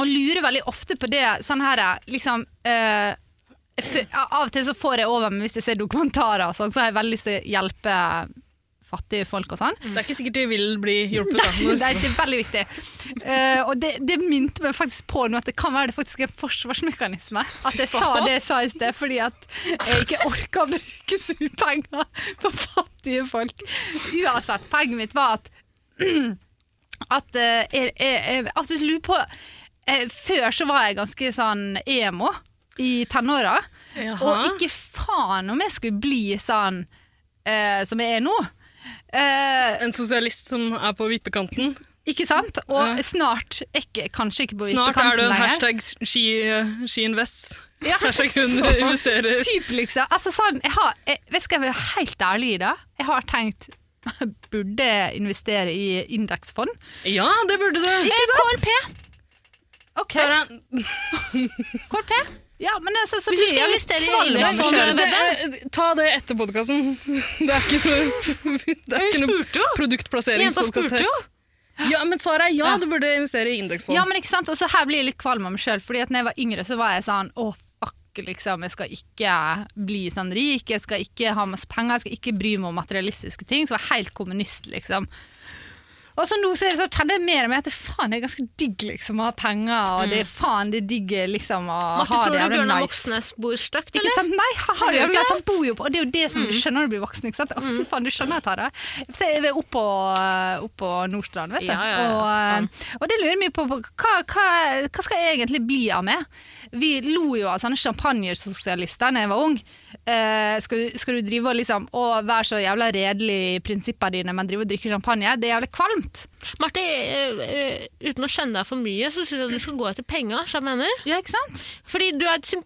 [SPEAKER 3] og lurer veldig ofte på det sånn her liksom eh, fø- Av og til så får jeg over meg hvis jeg ser dokumentarer, og sånn, så har jeg veldig lyst til å hjelpe fattige folk og sånn.
[SPEAKER 1] Det er ikke sikkert de vil bli hjulpet. Da.
[SPEAKER 3] Nei,
[SPEAKER 1] Når-
[SPEAKER 3] det er veldig viktig. Eh, og det, det minte meg faktisk på nå at det kan være det faktisk er en forsvarsmekanisme. At jeg sa det jeg sa i sted, fordi at jeg ikke orka å bruke så mye penger på fattige folk. Uansett, poenget mitt var at at eh, jeg, jeg, jeg absolutt lurer på eh, Før så var jeg ganske sånn emo i tenåra.
[SPEAKER 1] Jaha.
[SPEAKER 3] Og ikke faen om jeg skulle bli sånn eh, som jeg er nå. Eh,
[SPEAKER 1] En sosialist som er på vippekanten.
[SPEAKER 3] ikke sant? Og
[SPEAKER 1] Ja.
[SPEAKER 3] snart ikke, Kanskje ikke på
[SPEAKER 1] Snart er du en
[SPEAKER 3] lenger.
[SPEAKER 1] hashtag ski, skiinvest.
[SPEAKER 3] Ja.
[SPEAKER 1] Hashtag hun investerer.
[SPEAKER 3] Typ, liksom. Altså, sånn, jeg har, jeg, vet du hva, jeg være helt ærlig i det? Jeg har tenkt Burde jeg investere i indeksfond?
[SPEAKER 1] Ja, det burde du.
[SPEAKER 3] KNP! OK.
[SPEAKER 1] Tara,
[SPEAKER 3] KNP. Ja, men altså, så
[SPEAKER 2] Hvis du
[SPEAKER 3] blir
[SPEAKER 2] skal
[SPEAKER 3] jeg litt
[SPEAKER 2] investere i
[SPEAKER 3] kvalm av meg
[SPEAKER 2] indeksfond,
[SPEAKER 3] selv.
[SPEAKER 2] er det-
[SPEAKER 1] det- ta det etter podkasten. Det er ikke noe, det er ikke noe
[SPEAKER 2] spurte jo! Jenta
[SPEAKER 1] produktplasseringspodkast
[SPEAKER 2] spurte
[SPEAKER 1] her.
[SPEAKER 2] jo!
[SPEAKER 1] Ja, men svaret er ja,
[SPEAKER 3] Ja.
[SPEAKER 1] du burde investere i indeksfond.
[SPEAKER 3] Ja, men ikke sant? Og så her blir jeg litt kvalm av meg sjøl, fordi at når jeg var yngre, så var jeg sånn Å, fuck, liksom. Jeg skal ikke bli sånn rik, jeg skal ikke ha masse penger, jeg skal ikke bry meg om materialistiske ting. Så jeg var helt kommunist, liksom. Og så nå så, er det så kjenner jeg mer og mer at det faen det er ganske digg liksom, å ha penger, og det er faen det er digg liksom, å
[SPEAKER 2] Mm. Marte,
[SPEAKER 3] ha
[SPEAKER 2] tror
[SPEAKER 3] det
[SPEAKER 2] du
[SPEAKER 3] jævlig
[SPEAKER 2] Bjørnar
[SPEAKER 3] nice.
[SPEAKER 2] Moxnes bor støkt,
[SPEAKER 3] Ikke
[SPEAKER 2] eller?
[SPEAKER 3] sant? Nei, han
[SPEAKER 2] Det
[SPEAKER 3] har jo
[SPEAKER 2] gjør ikke
[SPEAKER 3] en sånn bojobb, og det er jo det
[SPEAKER 2] Mm.
[SPEAKER 3] som du skjønner når du blir voksen. ikke sant? Å, fy faen, du skjønner jeg tar det. Jeg er oppe på, opp på Nordstrand, vet du.
[SPEAKER 2] Ja, ja, ja, for
[SPEAKER 3] og, eh, og det lurer jeg mye på, på hva, hva, hva skal jeg egentlig bli av meg? Vi lo jo av sånne champagnesosialister da jeg var ung. Eh, skal, du, skal du drive og liksom å, være så jævla redelig i prinsippene dine, men drive og drikke champagne? Det er jævlig kvalmt.
[SPEAKER 2] Marte, eh, eh, uten å kjenne deg for mye, så syns jeg du skal gå etter penga. så jeg mener.
[SPEAKER 3] Ja, ikke sant?
[SPEAKER 2] Fordi du er et symp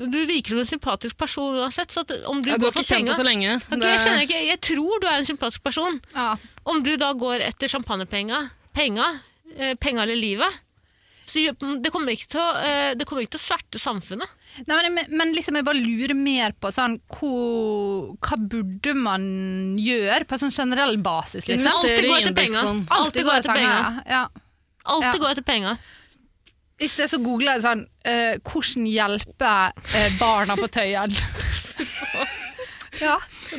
[SPEAKER 2] du virker som en sympatisk person uansett. så at om du,
[SPEAKER 1] ja, du
[SPEAKER 2] går
[SPEAKER 1] har ikke
[SPEAKER 2] for penga
[SPEAKER 1] kjent det så lenge.
[SPEAKER 2] Ok,
[SPEAKER 1] Det-
[SPEAKER 2] jeg, kjenner ikke, jeg tror du er en sympatisk person.
[SPEAKER 3] Ja.
[SPEAKER 2] Om du da går etter champagnepenga, penga, eh, penga eller livet så gjør- det kommer, ikke til å, eh, det kommer ikke til å sverte samfunnet.
[SPEAKER 3] Nei, men, men- men liksom jeg bare lurer mer på sånn, hvor, hva burde man gjøre på en sånn generell basis? Liksom?
[SPEAKER 2] Invest-
[SPEAKER 1] Investere
[SPEAKER 2] Alltid gå
[SPEAKER 1] i
[SPEAKER 2] etter penger.
[SPEAKER 1] indeksfond.
[SPEAKER 2] Alltid gå etter penger.
[SPEAKER 3] Ja.
[SPEAKER 2] Alltid
[SPEAKER 3] Ja.
[SPEAKER 2] gå etter penga.
[SPEAKER 3] I sted så googla jeg sånn eh, 'Hvordan hjelpe eh, barna på Tøyen'? ja.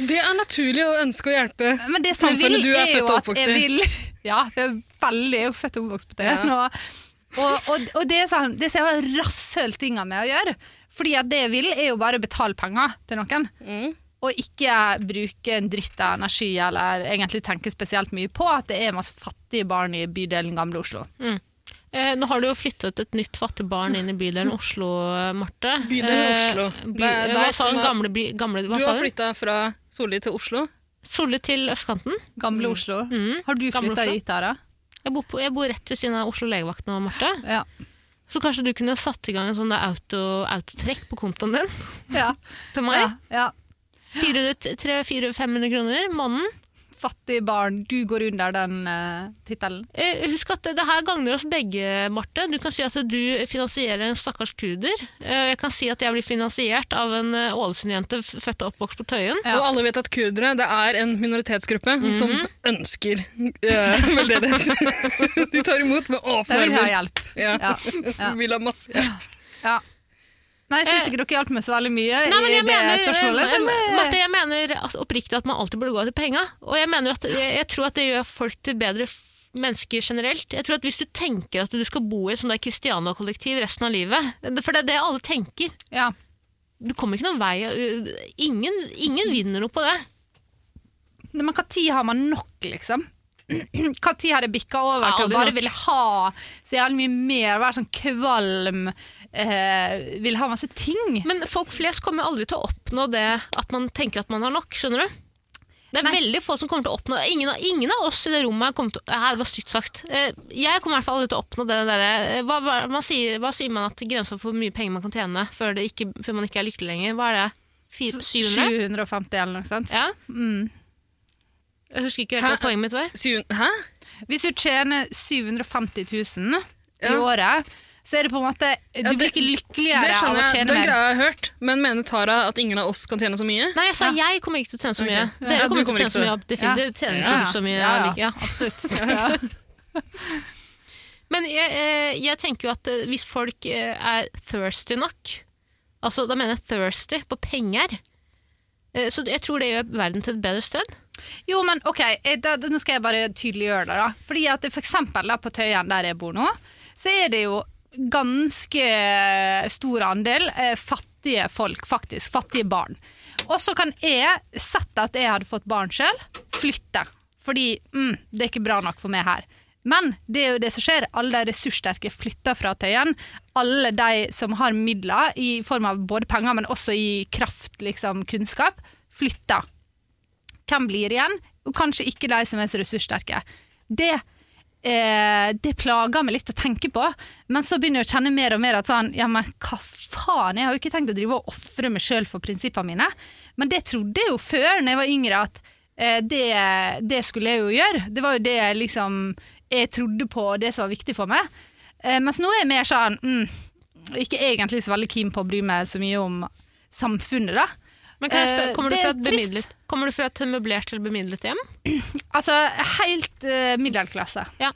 [SPEAKER 1] Det er naturlig å ønske å hjelpe.
[SPEAKER 3] Men det som
[SPEAKER 1] Samfunnet
[SPEAKER 3] jeg vil,
[SPEAKER 1] du er
[SPEAKER 3] er,
[SPEAKER 1] født
[SPEAKER 3] jo
[SPEAKER 1] og
[SPEAKER 3] at
[SPEAKER 1] oppvokst
[SPEAKER 3] jeg
[SPEAKER 1] i.
[SPEAKER 3] vil Ja, for jeg er veldig jeg er jo født og oppvokst på Tøyen. Og, og, og, og det er sånn, det som jeg har rasshøltinga med å gjøre. Fordi at det jeg vil, er jo bare å betale penger til noen.
[SPEAKER 1] Mm.
[SPEAKER 3] Og ikke bruke en dritt av energi eller egentlig tenke spesielt mye på at det er masse fattige barn i bydelen Gamle Oslo.
[SPEAKER 2] Eh, nå har du jo flyttet et nytt fattig barn inn i bydelen Oslo, eh, Marte.
[SPEAKER 1] Mm. Bydelen
[SPEAKER 2] Eh,
[SPEAKER 1] Oslo.
[SPEAKER 2] By,
[SPEAKER 1] Det er
[SPEAKER 2] eh,
[SPEAKER 1] deg
[SPEAKER 2] hva sa
[SPEAKER 1] som
[SPEAKER 2] hun?
[SPEAKER 1] har-
[SPEAKER 2] Gamle by, gamle, hva
[SPEAKER 1] Du
[SPEAKER 2] sa
[SPEAKER 1] har
[SPEAKER 2] hun?
[SPEAKER 1] flytta fra Solli til Oslo.
[SPEAKER 2] Solli til østkanten.
[SPEAKER 3] Gamle Oslo.
[SPEAKER 2] Mm.
[SPEAKER 3] Har du
[SPEAKER 2] Gamle
[SPEAKER 3] flytta
[SPEAKER 2] Oslo?
[SPEAKER 3] dit, Tara?
[SPEAKER 2] Jeg bor, på, jeg bor rett ved siden av Oslo legevakt nå, Marte.
[SPEAKER 3] Ja.
[SPEAKER 2] Så kanskje du kunne satt i gang en sånn der auto, autotrekk på kontoen din
[SPEAKER 3] ja.
[SPEAKER 2] til meg.
[SPEAKER 3] ja. ja.
[SPEAKER 2] 400-500 kroner måneden.
[SPEAKER 3] Fattige barn, du går under den uh, tittelen.
[SPEAKER 2] Eh, Husk at det her gagner oss begge, Marte. Du kan si at du finansierer en stakkars kurder. Eh, Jeg kan si at jeg blir finansiert av en eh, Ålesund-jente f- født og oppvokst på Tøyen.
[SPEAKER 3] Ja.
[SPEAKER 1] Og alle vet at kurdere det er en minoritetsgruppe
[SPEAKER 2] Mhm.
[SPEAKER 1] som ønsker eh, veldedighet. De tar imot med åpne
[SPEAKER 3] Der vil jeg ha
[SPEAKER 1] armer.
[SPEAKER 3] hjelp.
[SPEAKER 1] Ja.
[SPEAKER 3] Ja. ja.
[SPEAKER 1] Vil ha masse hjelp.
[SPEAKER 3] ja. Nei, jeg syns ikke dere hjalp meg så veldig mye
[SPEAKER 2] Nei, men
[SPEAKER 3] i
[SPEAKER 2] jeg
[SPEAKER 3] det
[SPEAKER 2] mener,
[SPEAKER 3] spørsmålet.
[SPEAKER 2] jeg-
[SPEAKER 3] men- eh,
[SPEAKER 2] Marte, jeg mener at, oppriktig at man alltid burde gå etter penga. Og jeg mener jo at jeg, jeg tror at det gjør folk til bedre f- mennesker generelt. Jeg tror at Hvis du tenker at du skal bo i et sånt der Christiania-kollektiv resten av livet eh, For det er det alle tenker.
[SPEAKER 3] eh, ja.
[SPEAKER 2] Du kommer ikke noen vei. øh, Ingen, ingen vinner noe på det.
[SPEAKER 3] Nei, Men når har man nok, liksom? Når har det bikka over
[SPEAKER 2] Ja,
[SPEAKER 3] til å
[SPEAKER 2] aldri
[SPEAKER 3] bare
[SPEAKER 2] nok.
[SPEAKER 3] ville ha så jævlig mye mer, være sånn kvalm, eh, vil ha masse ting?
[SPEAKER 2] Men folk flest kommer aldri til å oppnå det at man tenker at man har nok, skjønner du? Det er
[SPEAKER 3] Nei.
[SPEAKER 2] veldig få som kommer til å oppnå Ingen av, ingen av oss i det rommet her kommer til å Nei, Det var stygt sagt. Eh, Jeg kommer i hvert fall aldri til å oppnå det derre eh, hva, hva, man sier- hva sier man at grensa for hvor mye penger man kan tjene før, det ikke, før man ikke er lykkelig lenger? Hva er det? Fire, 700?
[SPEAKER 3] 750 eller noe sånt.
[SPEAKER 2] Ja?
[SPEAKER 3] Mm.
[SPEAKER 2] Jeg husker ikke helt hva
[SPEAKER 1] Hæ?
[SPEAKER 2] poenget mitt var.
[SPEAKER 1] Sier hun, Hæ?
[SPEAKER 3] Hvis du tjener 750 000 i
[SPEAKER 1] Ja.
[SPEAKER 3] året, så er det på en måte Du
[SPEAKER 1] Ja, det-
[SPEAKER 3] blir ikke
[SPEAKER 1] Det
[SPEAKER 3] lykkeligere av
[SPEAKER 1] skjønner
[SPEAKER 3] å
[SPEAKER 1] jeg.
[SPEAKER 3] tjene
[SPEAKER 1] Den
[SPEAKER 3] mer.
[SPEAKER 1] greia jeg har hørt. Men mener Tara at ingen av oss kan tjene så mye?
[SPEAKER 2] Nei, jeg sa jeg kommer ikke til å tjene så mye.
[SPEAKER 1] Ok.
[SPEAKER 2] Dere
[SPEAKER 1] Ja, du
[SPEAKER 2] kommer ikke
[SPEAKER 1] kommer
[SPEAKER 2] til å tjene så mye.
[SPEAKER 1] ikke
[SPEAKER 3] Ja.
[SPEAKER 2] Definitivt. Dere tjener
[SPEAKER 3] Ja,
[SPEAKER 2] sikkert så mye.
[SPEAKER 3] ja, ja.
[SPEAKER 2] Ja.
[SPEAKER 3] Absolutt. Ja.
[SPEAKER 2] Men jeg, eh, jeg tenker jo at eh, hvis folk eh, er thirsty nok, altså da mener jeg thirsty på penger, eh, så jeg tror det gjør verden til et bedre sted.
[SPEAKER 3] Jo, men ok, eh, da, da, nå skal jeg bare tydeliggjøre det da. Fordi at det for eksempel da, på Tøyen der jeg bor nå, så er det jo ganske stor andel eh, fattige folk, faktisk. Fattige barn. Og så kan jeg, sett at jeg hadde fått barn selv, flytte. Fordi mm, det er ikke bra nok for meg her. Men det er jo det som skjer. Alle de ressurssterke flytter fra Tøyen. Alle de som har midler, i form av både penger, men også i kraft, liksom, kunnskap, flytter hvem blir igjen, og kanskje ikke de som er så ressurssterke. Det, eh, det plager meg litt å tenke på, men så begynner jeg å kjenne mer og mer at sånn, ja, men hva faen, jeg har jo ikke tenkt å drive og ofre meg sjøl for prinsippene mine. Men det trodde jeg jo før, når jeg var yngre, at eh, det, det skulle jeg jo gjøre. Det var jo det jeg liksom, jeg trodde på, og det som var viktig for meg. Eh, mens nå er jeg mer sånn mm, Ikke egentlig så veldig keen på å bry meg så mye om samfunnet, da.
[SPEAKER 2] Men kan jeg
[SPEAKER 3] Eh,
[SPEAKER 2] spørre, kommer,
[SPEAKER 3] det
[SPEAKER 2] du fra
[SPEAKER 3] er
[SPEAKER 2] et
[SPEAKER 3] trist.
[SPEAKER 2] bemidlet, kommer du fra et møblert eller bemidlet hjem?
[SPEAKER 3] Altså helt eh, middelklasse.
[SPEAKER 2] Ja.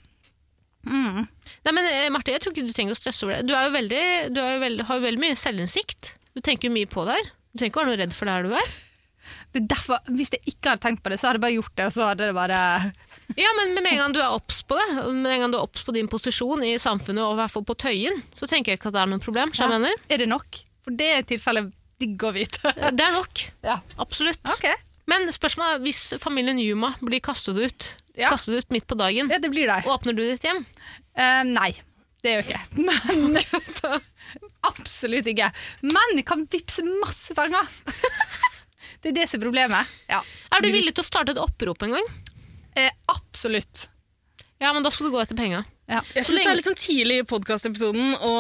[SPEAKER 3] Mm.
[SPEAKER 2] Nei, men eh, Marte, jeg tror ikke du trenger å stresse over det. Du, er jo veldig, du er jo veldig, har jo veldig mye selvinnsikt. Du tenker jo mye på det her. Du trenger ikke være noe redd for det her du er.
[SPEAKER 3] Det er derfor, Hvis jeg ikke hadde tenkt på det, så hadde jeg bare gjort det. og så hadde det bare...
[SPEAKER 2] Ja, men med en gang du er obs på det, med en gang du er obs på din posisjon i samfunnet, og i hvert fall på tøyen, så tenker jeg ikke at det er noe problem. skjønner du hva jeg
[SPEAKER 3] Er det nok? For det er tilfellet digg å vite.
[SPEAKER 2] mener. Det er nok.
[SPEAKER 3] Ja.
[SPEAKER 2] Absolutt.
[SPEAKER 3] Ok.
[SPEAKER 2] Men spørsmålet er, hvis familien Yuma blir kastet ut,
[SPEAKER 3] Ja.
[SPEAKER 2] kastet ut midt på dagen,
[SPEAKER 3] Ja, det blir det.
[SPEAKER 2] åpner du ditt hjem?
[SPEAKER 3] Eh, nei, det gjør jeg ikke. Men Absolutt ikke. Men jeg kan vippse masse penger! det er det som er problemet. Ja.
[SPEAKER 2] Er du villig til å starte et opprop en gang?
[SPEAKER 3] Eh, absolutt.
[SPEAKER 2] Ja, men da skal du gå etter penga.
[SPEAKER 3] Ja.
[SPEAKER 1] Jeg syns det er litt sånn tidlig i podkastepisoden å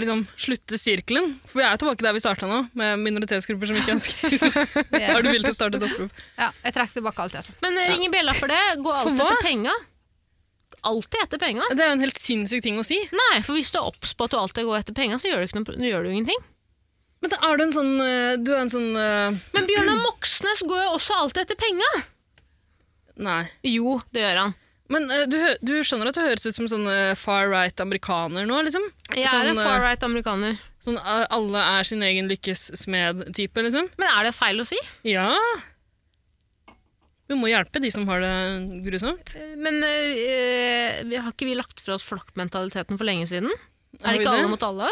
[SPEAKER 1] liksom slutte sirkelen. For vi er jo tilbake der vi starta nå, med minoritetsgrupper som ikke ønsker
[SPEAKER 3] Det-
[SPEAKER 1] Er du villig til å starte et opprop?
[SPEAKER 3] ja, jeg trekker tilbake alt jeg altså. har sagt.
[SPEAKER 2] Men eh, ring i bjella for det. Gå alltid
[SPEAKER 1] hva?
[SPEAKER 2] etter penga. Alltid etter penga.
[SPEAKER 1] Det er jo en helt sinnssyk ting å si.
[SPEAKER 2] Nei, for hvis du er obs på at du alltid går etter penga, så gjør du, ikke noe, gjør du ingenting.
[SPEAKER 1] Men da er du en sånn eh, Du er en sånn eh,
[SPEAKER 2] Men Bjørnar Moxnes går jo også alltid etter penga.
[SPEAKER 1] Nei.
[SPEAKER 2] Jo, det gjør han.
[SPEAKER 1] Men eh, du, hø- du skjønner at du høres ut som sånn eh, far right amerikaner nå, liksom?
[SPEAKER 2] Jeg er
[SPEAKER 1] sånn,
[SPEAKER 2] en
[SPEAKER 1] eh,
[SPEAKER 2] far right amerikaner.
[SPEAKER 1] Sånn eh, alle er sin egen lykkes smed-type, liksom?
[SPEAKER 2] Men er det feil å si?
[SPEAKER 1] Ja. Vi må hjelpe de som har det grusomt.
[SPEAKER 2] Eh, Men eh, vi- har ikke vi lagt fra oss flokkmentaliteten for lenge siden? Er
[SPEAKER 1] Har vi
[SPEAKER 2] det ikke alle
[SPEAKER 1] det?
[SPEAKER 2] mot alle?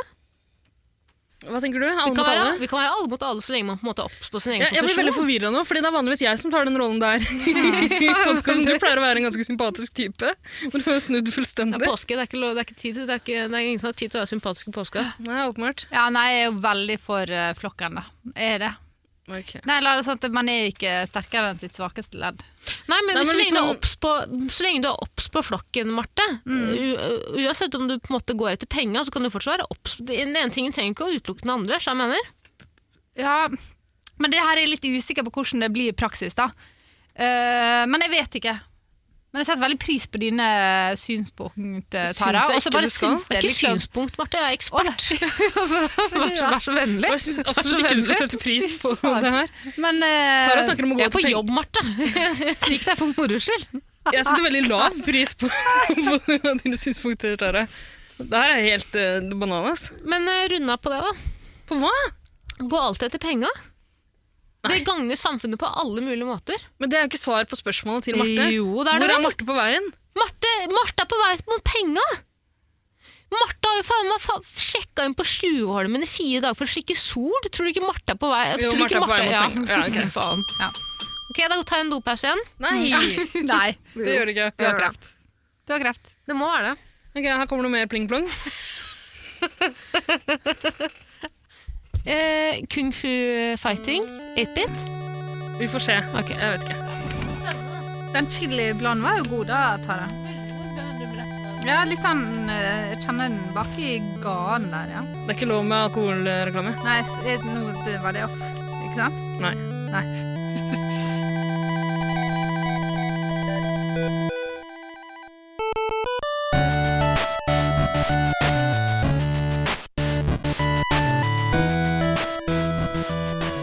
[SPEAKER 1] Hva tenker du?
[SPEAKER 2] Vi
[SPEAKER 1] Alle
[SPEAKER 2] kan,
[SPEAKER 1] mot
[SPEAKER 2] være,
[SPEAKER 1] alle?
[SPEAKER 2] vi kan være alle mot alle så lenge man på en måte er obs på sin egen
[SPEAKER 1] Jeg, jeg blir
[SPEAKER 2] posisjon.
[SPEAKER 1] veldig forvirra nå, fordi det er vanligvis jeg som tar den rollen der. I podcasten. Du pleier å være en ganske sympatisk type, men du har snudd
[SPEAKER 2] Det er
[SPEAKER 1] fullstendig.
[SPEAKER 2] påske, det er, ikke, lov- det er, ikke tid, til- det er, ikke, det er ingen som har tid til å være sympatisk i påska.
[SPEAKER 1] Nei, åpenbart.
[SPEAKER 3] Ja, nei, jeg er jo veldig for eh, flokken, da. Jeg er det.
[SPEAKER 1] Ok.
[SPEAKER 3] Nei, la det sånn at Man er ikke sterkere enn sitt svakeste ledd.
[SPEAKER 2] Nei, men,
[SPEAKER 1] Nei, men
[SPEAKER 2] så,
[SPEAKER 1] hvis
[SPEAKER 2] lenge du er
[SPEAKER 1] man- Mm.
[SPEAKER 2] obs på, så lenge du er obs på flokken, Marte, u- uansett om du på en måte går etter penga, så kan du fortsatt være obs. Den ene tingen trenger ikke å utelukke den andre. Så jeg mener.
[SPEAKER 3] Ja, men det her er jeg litt usikker på hvordan det blir i praksis, da. Eh, men jeg vet ikke. Men jeg setter veldig pris på dine synspunkt, eh,
[SPEAKER 1] Det syns
[SPEAKER 3] Tara.
[SPEAKER 1] jeg
[SPEAKER 3] Og så
[SPEAKER 1] ikke
[SPEAKER 3] bare
[SPEAKER 1] du skal.
[SPEAKER 3] syns
[SPEAKER 2] Det er ikke
[SPEAKER 3] liksom-
[SPEAKER 2] synspunkt, Marte. Jeg er
[SPEAKER 3] Å,
[SPEAKER 2] ekspert.
[SPEAKER 3] nei.
[SPEAKER 2] Altså, vær, så, vær så vennlig.
[SPEAKER 1] Jeg syns absolutt ikke du skal sette pris på det her.
[SPEAKER 3] Men eh,
[SPEAKER 1] Tara snakker om
[SPEAKER 2] Jeg
[SPEAKER 1] å gå
[SPEAKER 2] er på
[SPEAKER 1] til
[SPEAKER 2] jobb, Marte. Jeg sier ikke det er for moro skyld.
[SPEAKER 1] penger. Jeg setter veldig lav pris på, på dine synspunkter, Tara. Det her er helt eh, bananas.
[SPEAKER 2] Men uh, runda på det, da.
[SPEAKER 1] På hva?
[SPEAKER 2] Gå alltid etter penga. Det gagner samfunnet på alle mulige måter.
[SPEAKER 1] Men det er jo ikke svar på spørsmålet til Marte.
[SPEAKER 2] Jo, det er det
[SPEAKER 1] Hvor er
[SPEAKER 2] vel.
[SPEAKER 1] Marte på veien?
[SPEAKER 2] Marte, Marte er på vei mot penga! Marte har jo faen meg fa sjekka inn på Slueholmen i fire dager for å slikke sol. Tror du ikke Marte er på vei
[SPEAKER 1] Jo,
[SPEAKER 2] tror du
[SPEAKER 1] Marte
[SPEAKER 2] ikke
[SPEAKER 1] er på vei
[SPEAKER 2] Marte-
[SPEAKER 1] mot
[SPEAKER 2] ja.
[SPEAKER 1] penga. Ja, ok.
[SPEAKER 2] Fy faen.
[SPEAKER 3] Ja.
[SPEAKER 2] Ok, da tar jeg en dopause igjen.
[SPEAKER 1] Nei,
[SPEAKER 3] Nei,
[SPEAKER 1] det gjør det ikke.
[SPEAKER 3] du har kreft. Du har kreft.
[SPEAKER 2] Det må være det.
[SPEAKER 1] Ok, Her kommer det mer pling-plong.
[SPEAKER 2] Eh, Kung fu fighting, 8-bit.
[SPEAKER 1] Vi får se.
[SPEAKER 2] Ok.
[SPEAKER 1] Jeg vet ikke.
[SPEAKER 3] Den chiliblanen var jo god da, Tara. Ja, litt sånn eh, Jeg kjenner den bak i ganen der, ja.
[SPEAKER 1] Det er ikke lov med alkoholreklame.
[SPEAKER 3] Nei, s- eh, nå det- var det off, ikke sant?
[SPEAKER 1] Nei.
[SPEAKER 3] Nei.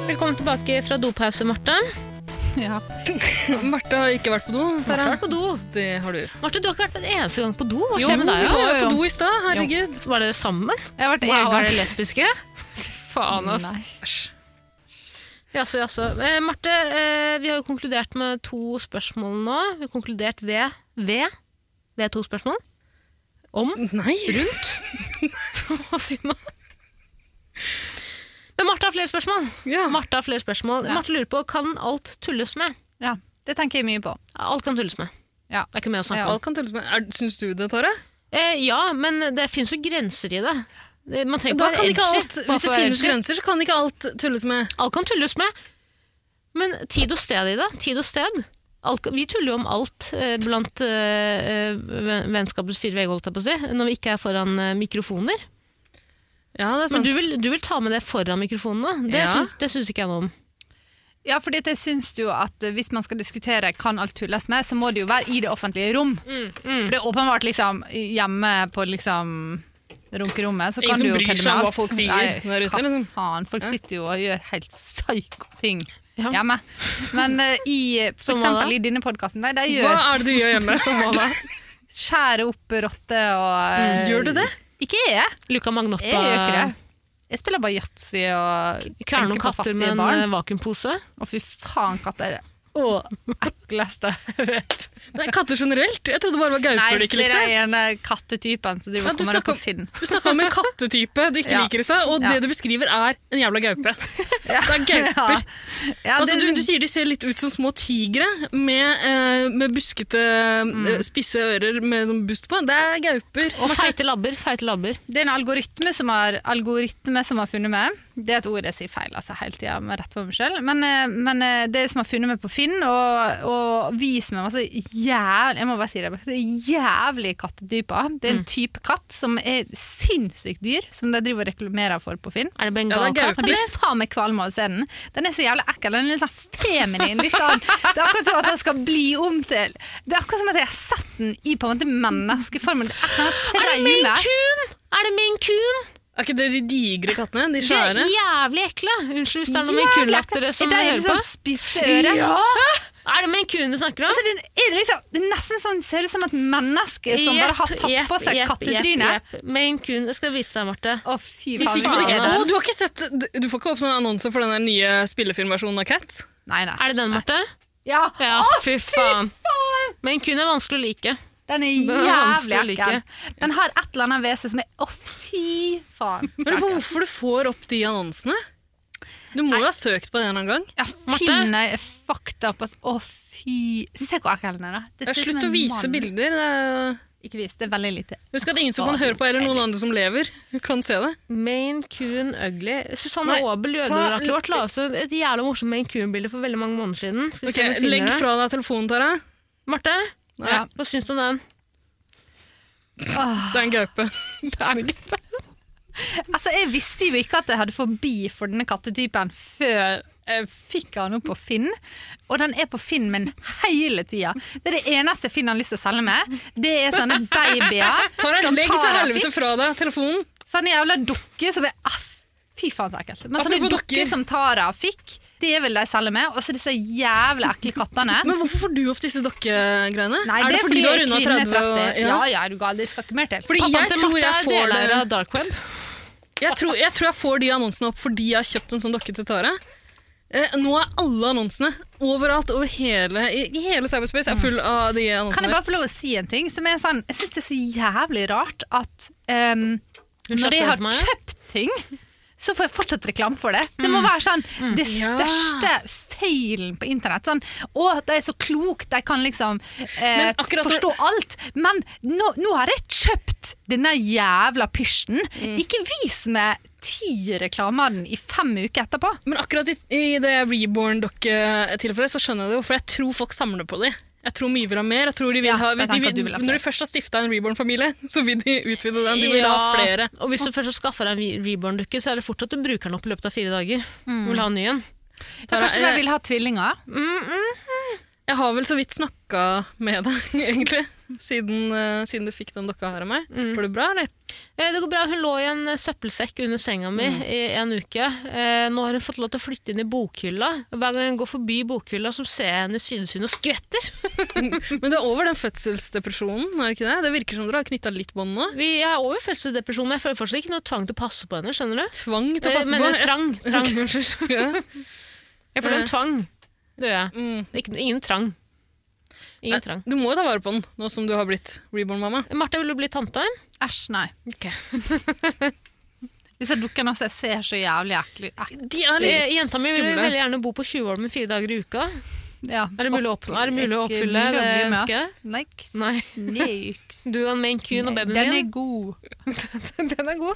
[SPEAKER 2] Velkommen tilbake fra dopause, Marte.
[SPEAKER 3] Ja.
[SPEAKER 1] Marte har ikke vært på do.
[SPEAKER 2] Marte har
[SPEAKER 1] Tara.
[SPEAKER 2] vært på do.
[SPEAKER 1] Det har du.
[SPEAKER 2] Marte, du har ikke vært en eneste gang på do. Hva
[SPEAKER 1] Jo,
[SPEAKER 2] skjer
[SPEAKER 1] vi
[SPEAKER 2] med deg?
[SPEAKER 3] jo,
[SPEAKER 1] var jo
[SPEAKER 3] jo.
[SPEAKER 1] på do i stad. Herregud.
[SPEAKER 2] Så var dere sammen?
[SPEAKER 3] Jeg har vært
[SPEAKER 2] Wow,
[SPEAKER 3] en gang.
[SPEAKER 2] er dere lesbiske? Faen, ass.
[SPEAKER 3] Nei.
[SPEAKER 1] Æsj.
[SPEAKER 2] Jaså, jaså. Eh, Marte, eh, vi har jo konkludert med to spørsmål nå. Vi har konkludert ved Ved, ved to spørsmål. Om
[SPEAKER 1] Nei.
[SPEAKER 2] Rundt. Hva sier man? Men Marte har flere spørsmål.
[SPEAKER 1] Ja.
[SPEAKER 2] Marte har flere spørsmål.
[SPEAKER 3] Ja.
[SPEAKER 2] Marte lurer på kan alt tulles med.
[SPEAKER 3] Ja, det tenker jeg mye på.
[SPEAKER 2] Alt kan tulles med.
[SPEAKER 3] Ja.
[SPEAKER 2] Det er ikke mer å snakke
[SPEAKER 3] Ja.
[SPEAKER 2] om.
[SPEAKER 1] Alt kan tulles med. Er- Syns du det, Tare?
[SPEAKER 2] Eh, ja, men det fins jo grenser i det. Det- Man trenger
[SPEAKER 1] Da
[SPEAKER 2] ikke
[SPEAKER 1] kan
[SPEAKER 2] være
[SPEAKER 1] ikke
[SPEAKER 2] edgy,
[SPEAKER 1] alt,
[SPEAKER 2] bare
[SPEAKER 1] Hvis det
[SPEAKER 2] for å være
[SPEAKER 1] finnes
[SPEAKER 2] edgy.
[SPEAKER 1] grenser, så kan ikke alt tulles med.
[SPEAKER 2] Alt kan tulles med, men tid og sted i det. Tid og sted. Alt, kan- vi tuller jo om alt eh, blant eh, eh, ven- vennskapets fire vegger, holdt jeg på å si, når vi ikke er foran eh, mikrofoner.
[SPEAKER 1] Ja, det er
[SPEAKER 2] Men
[SPEAKER 1] sant.
[SPEAKER 2] du vil, du vil ta med det foran mikrofonene? Det,
[SPEAKER 1] Ja.
[SPEAKER 2] syns, det syns ikke jeg noe om.
[SPEAKER 3] Ja, fordi at jeg syns jo at eh, hvis man skal diskutere kan alt tulles med, så må det jo være i det offentlige rom.
[SPEAKER 1] Mm,
[SPEAKER 3] For det er åpenbart liksom hjemme på liksom runkerommet, så
[SPEAKER 1] Ingen
[SPEAKER 3] kan
[SPEAKER 1] som
[SPEAKER 3] du jo
[SPEAKER 1] bryr
[SPEAKER 3] kødde
[SPEAKER 1] seg
[SPEAKER 3] med
[SPEAKER 1] om hva
[SPEAKER 3] alt.
[SPEAKER 1] folk sier der ute,
[SPEAKER 3] hva
[SPEAKER 1] liksom.
[SPEAKER 3] faen, folk
[SPEAKER 1] Ja.
[SPEAKER 3] sitter jo og gjør helt psyko ting
[SPEAKER 2] Ja.
[SPEAKER 3] hjemme. Men eh, i for
[SPEAKER 2] Som hva da?
[SPEAKER 3] eksempel i denne podkasten, nei, de
[SPEAKER 1] Hva
[SPEAKER 3] gjør
[SPEAKER 1] er det du gjør hjemme?
[SPEAKER 3] skjærer opp rotter og eh,
[SPEAKER 1] Mm, Gjør du det?
[SPEAKER 3] Ikke jeg.
[SPEAKER 2] Luca Magnotta
[SPEAKER 3] Jeg gjør ikke det. Jeg spiller bare yatzy og
[SPEAKER 2] kverner eh, noen
[SPEAKER 3] tenker på
[SPEAKER 2] katter
[SPEAKER 3] fattige
[SPEAKER 2] med en
[SPEAKER 3] barn.
[SPEAKER 2] eh, vakuumpose.
[SPEAKER 3] Å, fy faen, katter. Å, ekleste jeg vet.
[SPEAKER 1] Nei, katter generelt? Jeg trodde bare det var
[SPEAKER 3] Nei,
[SPEAKER 1] gauper du ikke
[SPEAKER 3] det
[SPEAKER 1] likte.
[SPEAKER 3] er ene kattetypen som driver
[SPEAKER 1] Ja,
[SPEAKER 3] og
[SPEAKER 1] du
[SPEAKER 3] kommer opp
[SPEAKER 1] snakker
[SPEAKER 3] på Finn.
[SPEAKER 1] Du snakka om en kattetype du ikke
[SPEAKER 3] Ja.
[SPEAKER 1] liker i seg, og
[SPEAKER 3] Ja.
[SPEAKER 1] det du beskriver er en jævla gaupe. Det er gauper.
[SPEAKER 3] Ja. Ja,
[SPEAKER 1] Altså,
[SPEAKER 3] det,
[SPEAKER 1] du, du sier de ser litt ut som små tigre med, eh, med buskete,
[SPEAKER 3] Mm.
[SPEAKER 1] eh, spisse ører med sånn bust på. Det er gauper.
[SPEAKER 2] Og feite labber. Feite labber.
[SPEAKER 3] det er en algoritme som, har, algoritme som har funnet meg. Det er et ord jeg sier feil altså, hele tida, med rett på meg sjøl. Men, eh, men eh, det som har funnet meg på Finn, og, og vist meg masse jævlig Jeg må bare si det, det er jævlig kattetyper.
[SPEAKER 1] Mm.
[SPEAKER 3] Det er en type katt som er sinnssykt dyr, som de driver og reklamerer for på Finn.
[SPEAKER 2] Er det
[SPEAKER 1] Ja, det er
[SPEAKER 2] bengalkatt?
[SPEAKER 1] gauper.
[SPEAKER 3] Han blir faen meg kvalm av å se den. Den er så jævlig ekkel. Den er litt sånn feminin. Litt sånn. Det er akkurat som at den skal bli om til Det er akkurat som at jeg har sett den i på en måte menneskeformen. Det er sånn
[SPEAKER 2] er det min
[SPEAKER 3] traume.
[SPEAKER 2] kun? Er det min kun?
[SPEAKER 1] Er ikke det de digre kattene? De
[SPEAKER 2] Det er
[SPEAKER 1] svære?
[SPEAKER 2] jævlig ekle. Unnskyld hvis det er noen
[SPEAKER 3] Jævlig
[SPEAKER 2] minkunlaktere
[SPEAKER 3] ekkel.
[SPEAKER 2] som
[SPEAKER 3] det er
[SPEAKER 2] hører
[SPEAKER 3] litt sånn
[SPEAKER 2] på.
[SPEAKER 3] spisse ører.
[SPEAKER 2] Er det minkun du snakker om?
[SPEAKER 3] Altså, det, er liksom, det er nesten sånn ser ut som et menneske som bare har tatt på seg kattetryne.
[SPEAKER 2] Minkun. Jeg skal vise deg, Marte.
[SPEAKER 3] Å, fy
[SPEAKER 1] Hvis
[SPEAKER 3] faen.
[SPEAKER 1] ikke,
[SPEAKER 3] hvis
[SPEAKER 1] så
[SPEAKER 3] det
[SPEAKER 1] ikke
[SPEAKER 3] er
[SPEAKER 1] Altså, Å,
[SPEAKER 3] den.
[SPEAKER 1] du har ikke sett Du får ikke opp sånn annonse for den der nye spillefilmversjonen av Cats?
[SPEAKER 3] Nei, nei.
[SPEAKER 2] Er det den, Marte?
[SPEAKER 3] Ja.
[SPEAKER 2] Ja,
[SPEAKER 3] Å,
[SPEAKER 2] fy faen. Minkun er vanskelig å like.
[SPEAKER 3] Den er
[SPEAKER 2] er vanskelig
[SPEAKER 3] jævlig
[SPEAKER 2] å like.
[SPEAKER 3] ekkel. Den har et eller annet ved seg som er Å, fy faen.
[SPEAKER 1] Jeg lurer på hvorfor du får opp de annonsene? Du må jo ha søkt på det en eller annen gang.
[SPEAKER 3] Ja,
[SPEAKER 2] Marte?
[SPEAKER 3] finn ei fakta på Å, fy Se hvor ekkel den er, da. Det
[SPEAKER 1] Ja,
[SPEAKER 3] ser ut
[SPEAKER 1] Slutt
[SPEAKER 3] som
[SPEAKER 1] å
[SPEAKER 3] en
[SPEAKER 1] vise
[SPEAKER 3] mann.
[SPEAKER 1] bilder. Det er jo
[SPEAKER 3] Ikke vis, det er veldig lite.
[SPEAKER 1] Husk at ingen som kan høre på, eller noen andre som lever, kan se det.
[SPEAKER 2] Minkun ugly. Susanne
[SPEAKER 1] Nei,
[SPEAKER 2] Aabel,
[SPEAKER 1] ta-
[SPEAKER 2] jødeoraklet vårt, la også et jævla morsomt minkun-bilde for veldig mange måneder siden. Skal vi
[SPEAKER 1] Ok,
[SPEAKER 2] se om vi finner
[SPEAKER 1] Legg
[SPEAKER 2] det.
[SPEAKER 1] fra deg telefonen, Tara.
[SPEAKER 2] Marte,
[SPEAKER 1] Nei,
[SPEAKER 3] Ja.
[SPEAKER 2] hva syns du om den?
[SPEAKER 1] Det er en gaupe.
[SPEAKER 3] Altså, Jeg visste jo ikke at jeg hadde forbi for denne kattetypen før jeg fikk han opp på Finn. Og den er på Finn min hele tida. Det er det eneste Finn har lyst til å selge meg. Det er sånne babyer
[SPEAKER 1] Tara,
[SPEAKER 3] som
[SPEAKER 1] legg til
[SPEAKER 3] Tara
[SPEAKER 1] helvete
[SPEAKER 3] fikk.
[SPEAKER 1] fra deg telefonen.
[SPEAKER 3] Sånne jævla dukker som er ah, Fy faen, så ekkelt. Men sånne
[SPEAKER 1] Apropos
[SPEAKER 3] dukker,
[SPEAKER 1] dukker.
[SPEAKER 3] som Tara fikk, det vil de selge med. Og så disse jævla ekle kattene.
[SPEAKER 1] Men hvorfor får du opp disse dokkegreiene?
[SPEAKER 3] Nei,
[SPEAKER 1] er det fordi du har runda
[SPEAKER 3] jeg er kvinne
[SPEAKER 1] 30?
[SPEAKER 3] 30.
[SPEAKER 1] Og,
[SPEAKER 3] Ja,
[SPEAKER 1] ja.
[SPEAKER 3] ja, er du gal. Det skal ikke mer til.
[SPEAKER 1] Fordi
[SPEAKER 2] Pappaen
[SPEAKER 1] jeg
[SPEAKER 2] til
[SPEAKER 1] tror
[SPEAKER 2] Marte
[SPEAKER 1] jeg
[SPEAKER 2] er
[SPEAKER 1] får
[SPEAKER 2] deleier
[SPEAKER 1] det
[SPEAKER 2] av dark web.
[SPEAKER 1] Jeg tror, jeg tror jeg får de annonsene opp fordi jeg har kjøpt en sånn dokke til Tara. Eh, nå er alle annonsene overalt over hele, i, i hele cyberspace er full av de
[SPEAKER 3] Mm. Kan jeg
[SPEAKER 1] annonsene.
[SPEAKER 3] bare få lov å si en ting som er sånn Jeg syns det er så jævlig rart at ehm,
[SPEAKER 2] kjøpte
[SPEAKER 3] når jeg
[SPEAKER 2] det
[SPEAKER 3] har
[SPEAKER 2] som meg, ja?
[SPEAKER 3] kjøpt ting, så får jeg fortsatt reklame for det. Det må være sånn det
[SPEAKER 1] Mm. Ja.
[SPEAKER 3] største feilen på internett. Sånn, å, de er så kloke, de kan liksom eh,
[SPEAKER 1] Men akkurat når-
[SPEAKER 3] forstå alt. Men nå, nå har jeg kjøpt denne jævla pysjen.
[SPEAKER 1] Mm.
[SPEAKER 3] Ikke vis meg ti reklamer av den i fem uker etterpå.
[SPEAKER 1] Men akkurat i, i det Reborn-dokke-tilfellet så skjønner jeg det jo, for jeg tror folk samler på de. Jeg tror mye vil ha mer. Jeg tror de vil
[SPEAKER 3] Ja,
[SPEAKER 1] ha,
[SPEAKER 3] jeg
[SPEAKER 1] de
[SPEAKER 3] tenker at
[SPEAKER 1] vil,
[SPEAKER 3] du vil ha flere.
[SPEAKER 1] når de først har stifta en Reborn-familie, så vil de utvide den. De vil ha flere.
[SPEAKER 2] Og hvis du først har skaffa deg en reborn-dukke, så er det fortsatt du bruker den opp i løpet av fire dager. Du vil ha en ny en.
[SPEAKER 3] Da
[SPEAKER 1] Tara,
[SPEAKER 3] kanskje de
[SPEAKER 1] jeg-
[SPEAKER 3] vil ha tvillinger.
[SPEAKER 2] Mm,
[SPEAKER 1] Jeg har vel så vidt snakka med deg, egentlig, siden, eh, siden du fikk den dokka her av meg.
[SPEAKER 2] Mm.
[SPEAKER 1] Går det bra, eller?
[SPEAKER 2] Eh, Det går bra. Hun lå i en eh, søppelsekk under senga mi i en uke. Eh, Nå har hun fått lov til å flytte inn i bokhylla. Hver gang jeg går forbi bokhylla, så ser jeg henne i sidesynet og skvetter.
[SPEAKER 1] Men du er over den fødselsdepresjonen, er det ikke det? Det virker som dere har knytta litt bånd nå.
[SPEAKER 2] Vi jeg er over fødselsdepresjon, men jeg føler fortsatt ikke noe tvang til å passe på henne. skjønner du?
[SPEAKER 1] Tvang til å
[SPEAKER 2] Eh,
[SPEAKER 1] passe
[SPEAKER 2] men
[SPEAKER 1] på.
[SPEAKER 2] eh, trang. trang.
[SPEAKER 1] trang. Ja.
[SPEAKER 2] Jeg føler
[SPEAKER 1] Eh.
[SPEAKER 2] en tvang. Det gjør jeg.
[SPEAKER 1] Mm.
[SPEAKER 2] Ikke, ingen trang. Ingen trang.
[SPEAKER 1] Du må jo ta vare på den, nå som du har blitt reborn-mamma.
[SPEAKER 2] Martha, vil du bli tante?
[SPEAKER 3] Æsj, nei. Disse dukkene også, jeg ser så jævlig ekle ut.
[SPEAKER 1] De er
[SPEAKER 2] Eh, Jenta mi vil veldig gjerne bo på Tjuvholmen fire dager i uka.
[SPEAKER 3] Ja.
[SPEAKER 2] Er det mulig å, oppnå? Er det mulig å
[SPEAKER 3] Ikke
[SPEAKER 2] oppfylle
[SPEAKER 3] mulig å
[SPEAKER 2] det
[SPEAKER 3] bli med,
[SPEAKER 2] ønsket?
[SPEAKER 3] ass. Niks.
[SPEAKER 2] Nei.
[SPEAKER 3] Niks.
[SPEAKER 2] Du og Maine Coon og babyen
[SPEAKER 3] Den er
[SPEAKER 2] din.
[SPEAKER 3] god.
[SPEAKER 2] Den er god.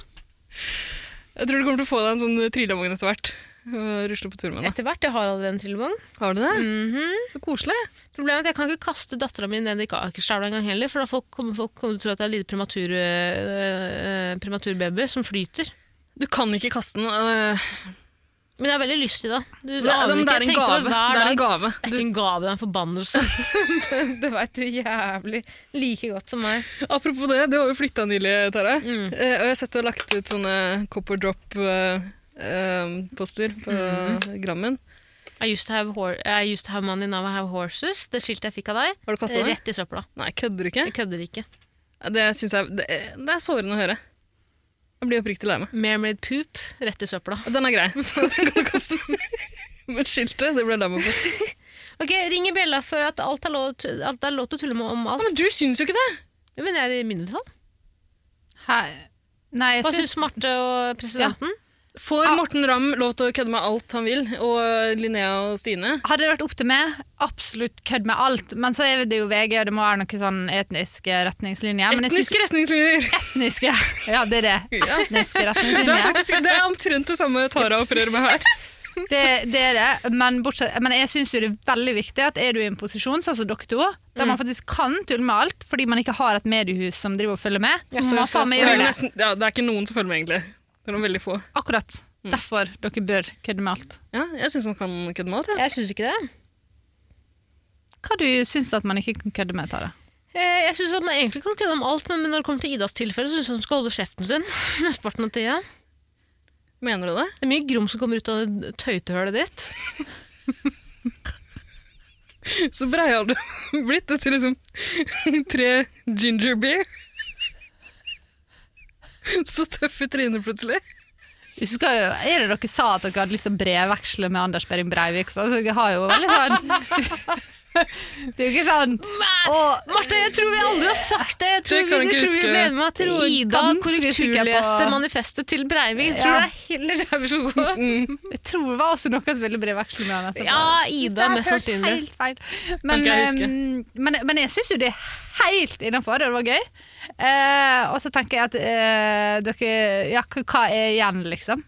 [SPEAKER 1] Jeg tror du kommer til å få deg en sånn trillevogn etter hvert. eh, og Rusle på tur med den.
[SPEAKER 2] Etter hvert. Jeg har allerede en trillebong.
[SPEAKER 1] Har du det?
[SPEAKER 2] Mhm.
[SPEAKER 1] Så koselig.
[SPEAKER 2] Problemet er at jeg kan ikke kaste dattera mi ned i Akerselva engang heller, for da folk kommer folk kommer til å tro at jeg er en liten prematur, øh, øh, prematurbaby som flyter.
[SPEAKER 1] Du kan ikke kaste den. øh,
[SPEAKER 2] Men jeg har veldig lyst til det. Du, du
[SPEAKER 1] det,
[SPEAKER 2] aner
[SPEAKER 1] men
[SPEAKER 2] ikke.
[SPEAKER 1] det
[SPEAKER 2] Jeg
[SPEAKER 1] er en
[SPEAKER 2] tenker på
[SPEAKER 1] gave.
[SPEAKER 2] det hver
[SPEAKER 1] Det er en
[SPEAKER 2] dag.
[SPEAKER 1] gave.
[SPEAKER 2] Det er ikke en gave, det er en forbannelse. det det veit du jævlig like godt som meg.
[SPEAKER 1] Apropos det, du har jo flytta nylig, Tara.
[SPEAKER 2] Mm.
[SPEAKER 1] Eh, og jeg har sett du har lagt ut sånne copper drop-poster på Grammen.
[SPEAKER 2] I used, to have hor I used to have money, now I have horses. Det skiltet jeg fikk av deg,
[SPEAKER 1] Har du kasta det?
[SPEAKER 2] rett i søpla.
[SPEAKER 1] Nei, kødder du ikke?
[SPEAKER 2] Jeg kødder ikke.
[SPEAKER 1] Det syns jeg det, det er sårende å høre. Jeg blir oppriktig lei meg.
[SPEAKER 2] Mermaid poop, rett i søpla.
[SPEAKER 1] Den er grei. Den kan du kaste. Men skiltet, det ble jeg lei meg for.
[SPEAKER 2] Ok, Ring i bjella for at alt er lov, alt er lov til å tulle med om alt.
[SPEAKER 1] Men du syns jo ikke det!
[SPEAKER 2] Men jeg er i mindretall.
[SPEAKER 3] Hei. Nei, jeg
[SPEAKER 2] Hva
[SPEAKER 3] syns
[SPEAKER 2] syns Marte og presidenten?
[SPEAKER 1] Får Morten Ramm lov til å kødde med alt han vil, og Linnea og Stine?
[SPEAKER 3] hadde det vært opp til meg, absolutt kødd med alt. Men så er det jo VG, og det må være noen sånn etniske retningslinjer. Men jeg syns
[SPEAKER 1] Etniske retningslinjer!
[SPEAKER 3] etniske Ja, det er det.
[SPEAKER 1] Ja.
[SPEAKER 3] Etniske
[SPEAKER 1] Det er,
[SPEAKER 3] retningslinjer.
[SPEAKER 1] faktisk, det er omtrent det samme Tara opererer med her.
[SPEAKER 3] Det, det er det. Men, bortsett, men jeg syns det er veldig viktig at er du i en posisjon, sånn som dere to, der man faktisk kan tulle med alt fordi man ikke har et mediehus som driver og følger med,
[SPEAKER 2] Ja, så-
[SPEAKER 3] så må man
[SPEAKER 2] så-
[SPEAKER 3] faen
[SPEAKER 1] Det
[SPEAKER 3] meg
[SPEAKER 1] er,
[SPEAKER 3] gjøre
[SPEAKER 1] jo
[SPEAKER 3] det.
[SPEAKER 1] nesten, ja, det er ikke noen som følger med, egentlig. Det er noen veldig få.
[SPEAKER 3] Akkurat. Derfor dere bør kødde med alt.
[SPEAKER 1] Ja, jeg syns man kan kødde med alt. Ja.
[SPEAKER 2] Jeg syns ikke det.
[SPEAKER 3] Hva du syns at man ikke kan kødde med, Tara?
[SPEAKER 2] Eh, Jeg synes at Man egentlig kan kødde om alt, men når det kommer til Idas tilfelle, så syns jeg hun skal holde kjeften sin. mesteparten av tida.
[SPEAKER 1] Mener du det?
[SPEAKER 2] Det er mye grom som kommer ut av det tøytehølet ditt.
[SPEAKER 1] Så brei har du blitt etter liksom tre ginger beer. Så tøff i trynet plutselig.
[SPEAKER 3] Hvis du skal, er det dere sa at dere hadde lyst til å brevveksle med Anders Behring Breivik? Så altså, dere har jo veldig sånn Det er jo ikke sånn og,
[SPEAKER 2] Marte, jeg tror vi aldri har sagt det! Jeg tror,
[SPEAKER 1] Det kan
[SPEAKER 2] vi,
[SPEAKER 1] jeg ikke
[SPEAKER 2] jeg tror vi
[SPEAKER 1] huske.
[SPEAKER 2] ble enige om at
[SPEAKER 3] er
[SPEAKER 2] Ida
[SPEAKER 3] ganske sikker
[SPEAKER 2] korrekturleste
[SPEAKER 3] på-
[SPEAKER 2] manifestet til Breivik. Jeg tror
[SPEAKER 3] Ja.
[SPEAKER 2] det er heller der vi skal gå.
[SPEAKER 1] Mm.
[SPEAKER 3] Jeg tror det var også noe som ville brevveksle med han etterpå.
[SPEAKER 2] Ja,
[SPEAKER 3] Jeg synes
[SPEAKER 2] Ida,
[SPEAKER 3] det er
[SPEAKER 2] mest
[SPEAKER 3] helt
[SPEAKER 2] sannsynlig.
[SPEAKER 3] Helt feil. Men,
[SPEAKER 1] Kan ikke jeg huske.
[SPEAKER 3] ehm, men, men jeg syns jo det er helt innafor, og det var gøy. Eh, og så tenker jeg at eh, dere Ja, hva- hva er igjen, liksom?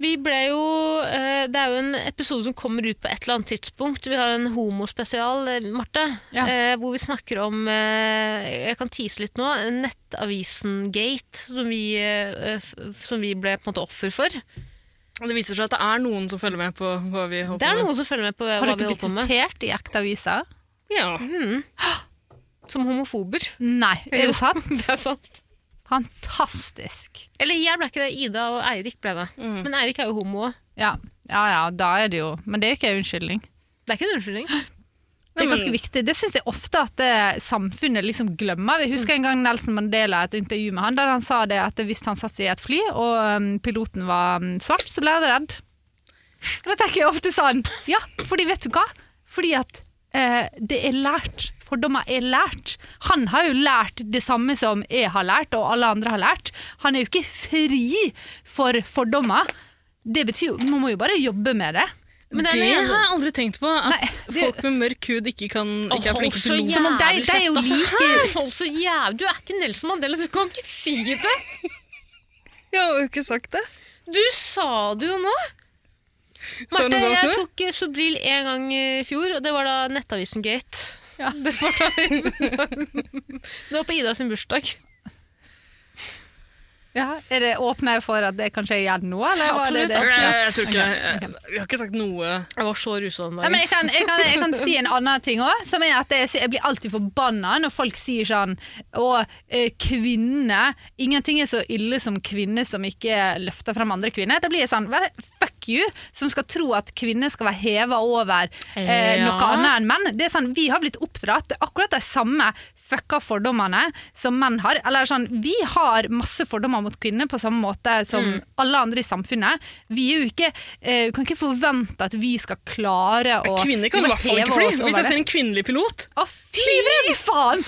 [SPEAKER 2] Vi ble jo, eh, Det er jo en episode som kommer ut på et eller annet tidspunkt. Vi har en homospesial, eh, Marte,
[SPEAKER 3] Ja.
[SPEAKER 2] eh, hvor vi snakker om eh, Jeg kan tise litt nå. Nettavisen Gate, som vi, eh, f- som vi ble på en måte offer for.
[SPEAKER 1] Det viser seg at det er noen som følger med på hva vi holder
[SPEAKER 2] Det er
[SPEAKER 1] på med.
[SPEAKER 2] noen som følger med på
[SPEAKER 3] Har
[SPEAKER 2] hva vi
[SPEAKER 3] dere blitt
[SPEAKER 2] holder på med.
[SPEAKER 3] sitert i ekte aviser?
[SPEAKER 1] Ja.
[SPEAKER 2] Som homofober.
[SPEAKER 3] Nei, er det sant?
[SPEAKER 2] Det er sant.
[SPEAKER 3] Fantastisk.
[SPEAKER 2] Eller jeg ble ikke det. Ida og Eirik ble det.
[SPEAKER 3] Mm.
[SPEAKER 2] Men Eirik er jo homo òg.
[SPEAKER 3] Ja. ja, ja, da er det jo Men det er jo ikke en unnskyldning.
[SPEAKER 2] Det er ikke en unnskyldning.
[SPEAKER 3] Det er
[SPEAKER 1] Nei, men-
[SPEAKER 3] ganske viktig. Det syns jeg ofte at eh, samfunnet liksom glemmer. Vi husker en gang Nelson Mandela et intervju med han, der han sa det at hvis han satte seg i et fly og um, piloten var um, svart, så ble han redd. Og da tenker jeg ofte sånn Ja, fordi vet du hva? Fordi at eh, det er lært. Fordommer er lært. Han har jo lært det samme som jeg har lært, og alle andre har lært. Han er jo ikke fri for fordommer. Det betyr jo Man må jo bare jobbe med det.
[SPEAKER 2] Men
[SPEAKER 1] det
[SPEAKER 2] det er
[SPEAKER 1] har
[SPEAKER 2] noe-
[SPEAKER 1] jeg aldri tenkt på. At
[SPEAKER 3] Nei, det-
[SPEAKER 1] folk med mørk hud ikke, kan, ikke er
[SPEAKER 2] Hold
[SPEAKER 1] flinke
[SPEAKER 2] så
[SPEAKER 1] til å lo.
[SPEAKER 3] Som om de, de er jo
[SPEAKER 2] jævlig kjeft,
[SPEAKER 3] like
[SPEAKER 2] Hold så jævlig, du er ikke Nelson Mandela, du kan ikke si det!
[SPEAKER 1] Jeg har jo ikke sagt det.
[SPEAKER 2] Du sa det jo nå!
[SPEAKER 1] Sa du
[SPEAKER 2] Marte,
[SPEAKER 1] noe galt
[SPEAKER 2] jeg
[SPEAKER 1] nå?
[SPEAKER 2] tok eh, Sobril en gang i fjor, og det var da Nettavisen Gate.
[SPEAKER 3] Ja.
[SPEAKER 2] Det, var da, det var på Ida sin bursdag.
[SPEAKER 3] Ja, Er det åpner for at det kanskje er igjen nå, eller var det
[SPEAKER 2] Absolutt,
[SPEAKER 3] det?
[SPEAKER 1] Jeg, jeg, jeg tror
[SPEAKER 3] Ok,
[SPEAKER 1] ikke
[SPEAKER 3] ok.
[SPEAKER 1] jeg, jeg har ikke sagt noe
[SPEAKER 2] Jeg var så rusa den
[SPEAKER 3] Ja, men
[SPEAKER 2] dagen.
[SPEAKER 3] jeg, kan, jeg, kan, jeg kan si en annen ting òg, som er at jeg, jeg blir alltid forbanna når folk sier sånn Å, eh, kvinner Ingenting er så ille som kvinner som ikke løfter frem andre kvinner. Da blir jeg sånn vel, Fuck you, som skal tro at kvinner skal være heva over eh,
[SPEAKER 2] Ja.
[SPEAKER 3] noe annet enn menn. Det er sånn, Vi har blitt oppdratt til akkurat de samme fucka fordommene som menn har. Eller sånn, Vi har masse fordommer mot kvinner på samme måte som
[SPEAKER 1] Mm.
[SPEAKER 3] alle andre i samfunnet. Vi er jo ikke, eh, kan ikke forvente at vi skal klare å
[SPEAKER 1] Kvinner kan i hvert fall
[SPEAKER 3] heve
[SPEAKER 1] ikke fly.
[SPEAKER 3] oss over
[SPEAKER 1] Hvis jeg
[SPEAKER 3] det.
[SPEAKER 1] ser en kvinnelig pilot
[SPEAKER 3] Å, fy faen!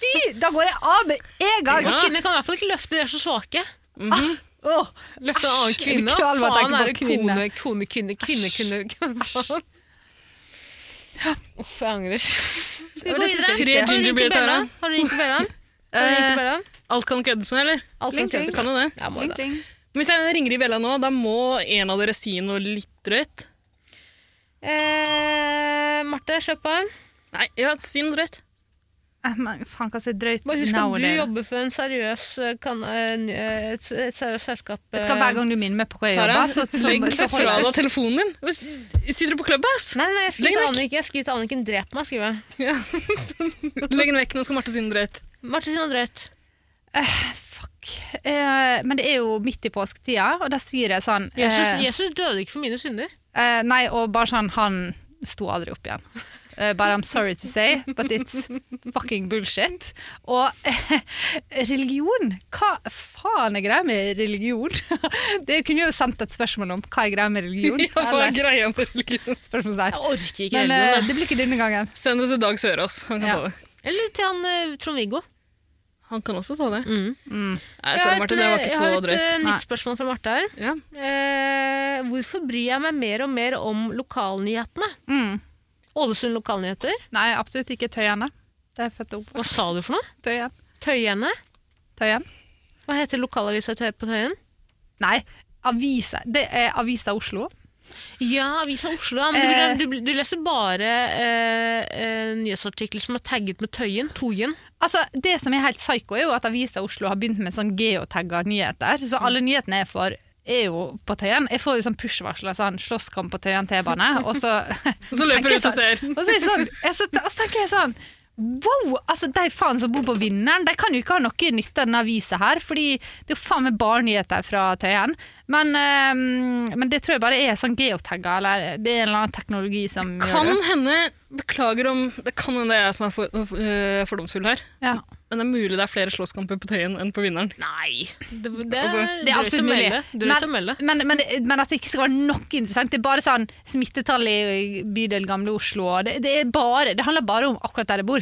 [SPEAKER 3] Fy! Da går jeg av med en gang!
[SPEAKER 2] Og
[SPEAKER 1] Ja.
[SPEAKER 2] kvinner kan i hvert fall ikke løfte, de er så svake.
[SPEAKER 3] Åh,
[SPEAKER 2] Løfte en annen
[SPEAKER 3] æsj, jeg blir
[SPEAKER 2] kvinne.
[SPEAKER 3] kvalm av å
[SPEAKER 2] Faen
[SPEAKER 3] tenke
[SPEAKER 2] er det
[SPEAKER 3] på
[SPEAKER 2] kone, kone, kvinne, kvinne, kvinne, kvinne. faen. Uff, jeg angrer. Vi
[SPEAKER 3] Og
[SPEAKER 2] går
[SPEAKER 3] det synes
[SPEAKER 2] videre.
[SPEAKER 3] jeg
[SPEAKER 1] Tre
[SPEAKER 3] er
[SPEAKER 2] Har du ringt til
[SPEAKER 1] gingerbread
[SPEAKER 3] viktig.
[SPEAKER 1] her.
[SPEAKER 2] Bella? Har du ringt til Bella? Har du ringt til
[SPEAKER 1] Eh,
[SPEAKER 2] Bella?
[SPEAKER 1] Alt kan køddes med, eller?
[SPEAKER 2] Alt kan
[SPEAKER 3] Kling, kling.
[SPEAKER 1] Du
[SPEAKER 2] køddes
[SPEAKER 1] kan jo det.
[SPEAKER 2] Jeg må
[SPEAKER 3] Kling,
[SPEAKER 2] det.
[SPEAKER 3] kling.
[SPEAKER 1] Men Hvis jeg ringer i Bella nå, da må en av dere si noe litt drøyt.
[SPEAKER 2] Eh, Marte, kjøp på.
[SPEAKER 1] Nei, ja, si noe drøyt.
[SPEAKER 3] Eh, men Faen, hva så drøyt
[SPEAKER 2] Bare husk at du
[SPEAKER 3] nowadays.
[SPEAKER 2] jobber for en seriøs, eh, kan, eh, n- eh, et, et seriøst selskap. eh.
[SPEAKER 3] Vet du hva, Hver gang du minner meg på hva jeg
[SPEAKER 1] Tara,
[SPEAKER 3] jobber, så, så, så,
[SPEAKER 1] legg
[SPEAKER 3] så holder
[SPEAKER 1] fra
[SPEAKER 3] jeg
[SPEAKER 1] deg telefonen din. Hvis- Sitter du på Clubhouse?
[SPEAKER 2] Nei, nei, jeg
[SPEAKER 1] Legg
[SPEAKER 2] skriver
[SPEAKER 1] den
[SPEAKER 2] til Anniken. Jeg skriver til Anniken, drep meg, skriver jeg.
[SPEAKER 1] Legg den vekk, nå skal Marte si noe drøyt.
[SPEAKER 2] Marte sin drøyt.
[SPEAKER 3] Fuck. Eh, men det er jo midt i påsketida, og da sier jeg sånn eh,
[SPEAKER 2] Jesus, Jesus døde ikke for mine synder.
[SPEAKER 3] eh, Nei, og bare sånn Han sto aldri opp igjen. Eh, but I'm sorry to say, but it's fucking bullshit. Og eh, religion Hva faen er greia med religion? det kunne jeg jo sendt et spørsmål om. Hva er greia med religion?
[SPEAKER 1] Ja, hva er greia med religion?
[SPEAKER 3] spørsmålstegn.
[SPEAKER 2] orker ikke
[SPEAKER 3] Men eh, det blir ikke denne gangen.
[SPEAKER 1] Send det til Dag Sørås. Han kan
[SPEAKER 3] Ja.
[SPEAKER 1] ta det.
[SPEAKER 2] Eller til han eh, Trond-Viggo.
[SPEAKER 1] Han kan også ta det.
[SPEAKER 2] Mm.
[SPEAKER 1] Nei, sorry, Marte, det var ikke
[SPEAKER 2] jeg har
[SPEAKER 1] så
[SPEAKER 2] et eh,
[SPEAKER 1] drøyt.
[SPEAKER 3] Nei.
[SPEAKER 2] nytt spørsmål fra Marte her.
[SPEAKER 1] Ja.
[SPEAKER 2] Eh, hvorfor bryr jeg meg mer og mer om lokalnyhetene?
[SPEAKER 3] Mm.
[SPEAKER 2] Ålesund lokalnyheter.
[SPEAKER 3] Nei, absolutt ikke Tøyene. Det er født opp
[SPEAKER 2] Hva sa du for noe?
[SPEAKER 3] Tøyen.
[SPEAKER 2] Tøyene?
[SPEAKER 3] Tøyen.
[SPEAKER 2] Hva heter lokalavisa i Tøy- på Tøyen?
[SPEAKER 3] Nei, avisa. Det er Avisa Oslo.
[SPEAKER 2] Ja, Avisa Oslo. ja, Men
[SPEAKER 3] Eh.
[SPEAKER 2] du, du, du leser bare eh, eh, nyhetsartikler som er tagget med Tøyen. Toyen.
[SPEAKER 3] Altså, Det som er helt psyko, er jo at Avisa Oslo har begynt med sånn geotagga nyheter. Så alle nyhetene jeg får, er jo på Tøyen. Jeg får jo sånn push-varsler, sånn 'slåsskamp på Tøyen T-bane', og så
[SPEAKER 1] Og så løper du
[SPEAKER 3] tenker jeg
[SPEAKER 1] ut og
[SPEAKER 3] sånn-
[SPEAKER 1] ser.
[SPEAKER 3] Og så, er jeg sånn, jeg, så, og så tenker jeg sånn Wow! altså De faen som bor på Vinneren, de kan jo ikke ha noe nytte av denne avisa her. Fordi det er jo faen meg bare nyheter fra Tøyen. Men, eh, men det tror jeg bare er sånn geotagga, eller det er en eller annen teknologi som
[SPEAKER 1] Kan
[SPEAKER 3] gjør det.
[SPEAKER 1] hende Beklager om Det kan hende det er jeg som er for, øh, fordomsfull her.
[SPEAKER 3] Ja.
[SPEAKER 1] Men det er mulig det er flere slåsskamper på Tøyen enn på Vinneren.
[SPEAKER 2] Nei! Det, det,
[SPEAKER 1] Altså,
[SPEAKER 2] er
[SPEAKER 3] Det er
[SPEAKER 2] drøyt
[SPEAKER 3] absolutt
[SPEAKER 2] å
[SPEAKER 3] mulig.
[SPEAKER 2] melde. Drøyt å
[SPEAKER 3] Men,
[SPEAKER 2] melde.
[SPEAKER 3] men, men, men at det ikke skal være noe interessant. Det er bare sånn smittetall i bydel Gamle Oslo. og Det, det, er bare, det handler bare om akkurat der jeg bor.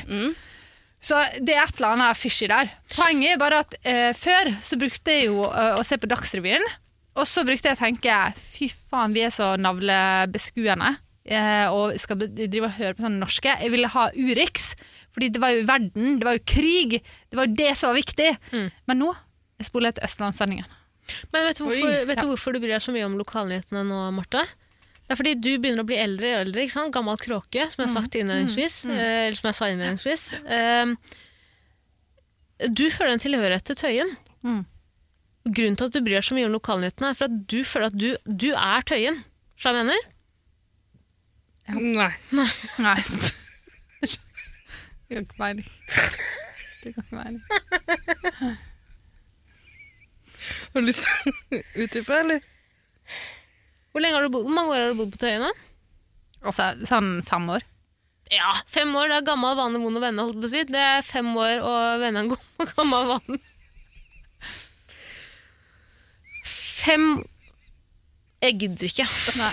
[SPEAKER 3] Så det er et eller annet fishy der. Poenget er bare at eh, før så brukte jeg jo eh, å se på Dagsrevyen. Og så brukte jeg å tenke fy faen, vi er så navlebeskuende. eh, og skal be- drive og høre på sånne norske. Jeg ville ha Urix. Fordi det var jo verden, det var jo krig. Det var jo det som var viktig. Men nå jeg spoler jeg til Østlandssendingen.
[SPEAKER 2] Men vet du, hvorfor,
[SPEAKER 1] Oi,
[SPEAKER 2] vet du hvorfor du bryr deg så mye om lokalnyhetene nå, Marte? Det er fordi du begynner å bli eldre og eldre. ikke sant? Gammel kråke, som jeg, har
[SPEAKER 3] Mm.
[SPEAKER 2] sagt innledningsvis, eh, eller som jeg sa innledningsvis. Eh, du føler en tilhørighet til Tøyen.
[SPEAKER 3] Mm.
[SPEAKER 2] Grunnen til at du bryr deg så mye om lokalnyhetene, er for at du føler at du, du er Tøyen. Skjønner du hva jeg mener?
[SPEAKER 1] Nei.
[SPEAKER 3] Nei. Det går ikke mening. Det går ikke mening.
[SPEAKER 1] Har du lyst til å utdype, eller?
[SPEAKER 2] Hvor, lenge har du bodd, hvor mange år har du bodd på Tøyen? da?
[SPEAKER 3] Altså, sånn fem år.
[SPEAKER 2] ja, fem år det er gammel vane, vond å vende, holdt på å si. Det er fem år å vende en god- gammel vane. Fem Jeg gidder ikke.
[SPEAKER 3] Nei.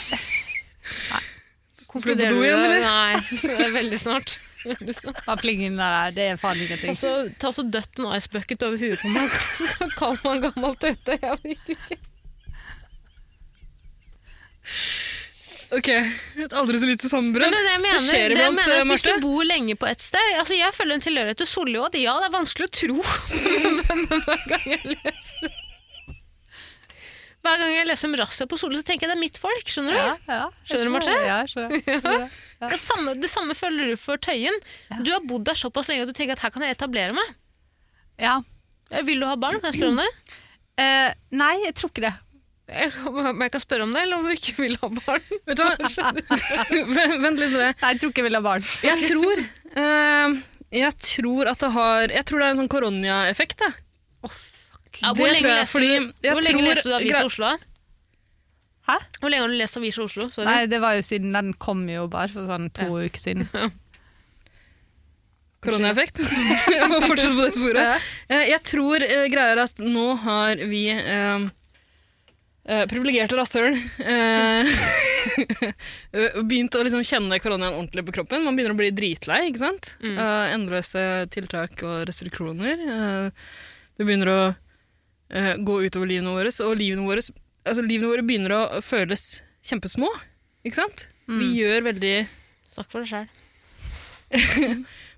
[SPEAKER 1] Skal du på do igjen, eller?
[SPEAKER 2] Nei, det er veldig snart. Veldig snart.
[SPEAKER 3] Bare pling inn der, det er faen ingenting.
[SPEAKER 2] Altså, ta så dødt en ice bucket over huet på meg. Kall meg en gammel tøyte. Jeg vet ikke.
[SPEAKER 1] Ok, et aldri så lite sammenbrudd.
[SPEAKER 2] Men det, jeg mener,
[SPEAKER 1] det skjer
[SPEAKER 2] det jeg
[SPEAKER 1] iblant,
[SPEAKER 2] mener
[SPEAKER 1] eh,
[SPEAKER 2] at Hvis
[SPEAKER 1] Marte.
[SPEAKER 2] du bor lenge på et sted altså Jeg føler en tilhørighet til Solli òg. Ja, det er vanskelig å tro Men hver gang jeg leser Hver gang jeg leser om razzia på Solli, så tenker jeg det er mitt folk. skjønner du?
[SPEAKER 3] Ja, ja.
[SPEAKER 2] Skjønner du, Marte?
[SPEAKER 3] Ja, skjønner. skjønner.
[SPEAKER 2] Det, samme, det samme føler du for Tøyen. Du har bodd der såpass lenge at du tenker at her kan jeg etablere meg.
[SPEAKER 3] ja.
[SPEAKER 2] Eh, Vil du ha barn? Kan jeg spørre om det?
[SPEAKER 3] Eh, nei, jeg tror ikke det.
[SPEAKER 2] Jeg, om jeg kan spørre om det, eller om du ikke vil ha barn?
[SPEAKER 1] Vet du hva? Vent vent litt med det.
[SPEAKER 3] Nei, jeg tror ikke jeg vil ha barn.
[SPEAKER 1] Jeg tror, eh, jeg tror at det har Jeg tror det er en sånn koronia-effekt. jeg.
[SPEAKER 2] Ja,
[SPEAKER 1] Det
[SPEAKER 2] hvor lenge
[SPEAKER 1] tror jeg,
[SPEAKER 2] leste
[SPEAKER 1] fordi
[SPEAKER 2] du,
[SPEAKER 1] jeg
[SPEAKER 2] hvor lenge
[SPEAKER 1] tror-
[SPEAKER 2] leste du Avisa
[SPEAKER 1] greit.
[SPEAKER 2] Oslo? da?
[SPEAKER 3] Hæ?
[SPEAKER 2] Hvor lenge har du lest Avisa Oslo? Sorry.
[SPEAKER 3] Nei, det var jo siden den kom jo bare for sånn to uker siden.
[SPEAKER 1] Koronaeffekt. jeg må fortsette på det sporet. Eh, Jeg tror eh, greier at nå har vi eh, eh, privilegerte rasshøl eh, begynt å liksom kjenne koronaen ordentlig på kroppen. Man begynner å bli dritlei. ikke sant?
[SPEAKER 2] Mm.
[SPEAKER 3] Mm.
[SPEAKER 1] Eh, endløse tiltak og restriksjoner. Eh, det begynner å eh, gå utover livene våre, og livene våre, altså livene våre begynner å føles kjempesmå. ikke sant?
[SPEAKER 3] Mm.
[SPEAKER 1] Vi gjør veldig
[SPEAKER 2] Snakk for deg sjøl.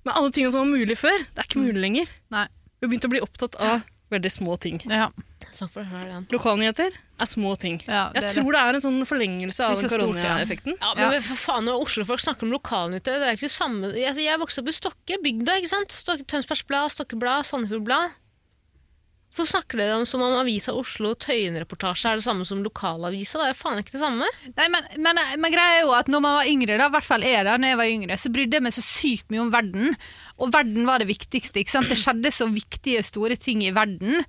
[SPEAKER 1] Men alle tingene som var mulig før, det er ikke mulig lenger.
[SPEAKER 3] Mm. Nei.
[SPEAKER 1] Vi har begynt å bli opptatt av veldig små ting.
[SPEAKER 3] Ja,
[SPEAKER 2] Snakk for deg selv, Jan.
[SPEAKER 1] Lokalnyheter er små ting.
[SPEAKER 3] ja,
[SPEAKER 1] Jeg
[SPEAKER 3] det er det.
[SPEAKER 1] tror det er en sånn forlengelse av
[SPEAKER 3] Ikke
[SPEAKER 1] den
[SPEAKER 3] så stort, ja.
[SPEAKER 1] koronaeffekten.
[SPEAKER 2] Ja, men for faen, når Oslofolk snakker om lokalnytte, det er ikke det samme altså, Jeg vokste opp i Stokke, bygda, ikke sant? Stok Tønsbergs Blad, Stokke Blad, Sandefjord Blad. Hvorfor snakker dere om som om Avisa Oslo og Tøyen-reportasje er det samme som lokalavisa? Det er jo faen ikke det samme.
[SPEAKER 3] Nei, men, men, men greia er jo at når man var yngre, da, i hvert fall er det, når jeg var yngre, så brydde jeg meg så sykt mye om verden. Og verden var det viktigste. ikke sant? Det skjedde så viktige, store ting i verden.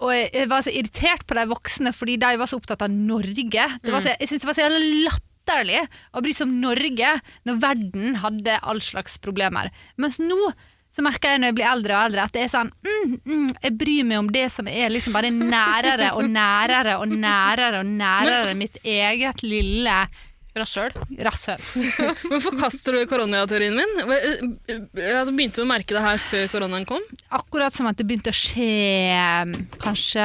[SPEAKER 3] Og jeg, jeg var så irritert på de voksne fordi de var så opptatt av Norge. Det var så, jeg syntes det var så jævla latterlig å bry seg om Norge når verden hadde all slags problemer. Mens nå så merker jeg når jeg blir eldre og eldre at det er sånn mm, mm, Jeg bryr meg om det som er liksom bare nærere og nærere og nærere og nærere mitt eget lille
[SPEAKER 2] Rasshøl.
[SPEAKER 3] rasshøl.
[SPEAKER 1] Men forkaster du koronateorien min? Hva- eh, eh, Altså, begynte du å merke det her før koronaen kom?
[SPEAKER 3] Akkurat som at det begynte å skje mm, kanskje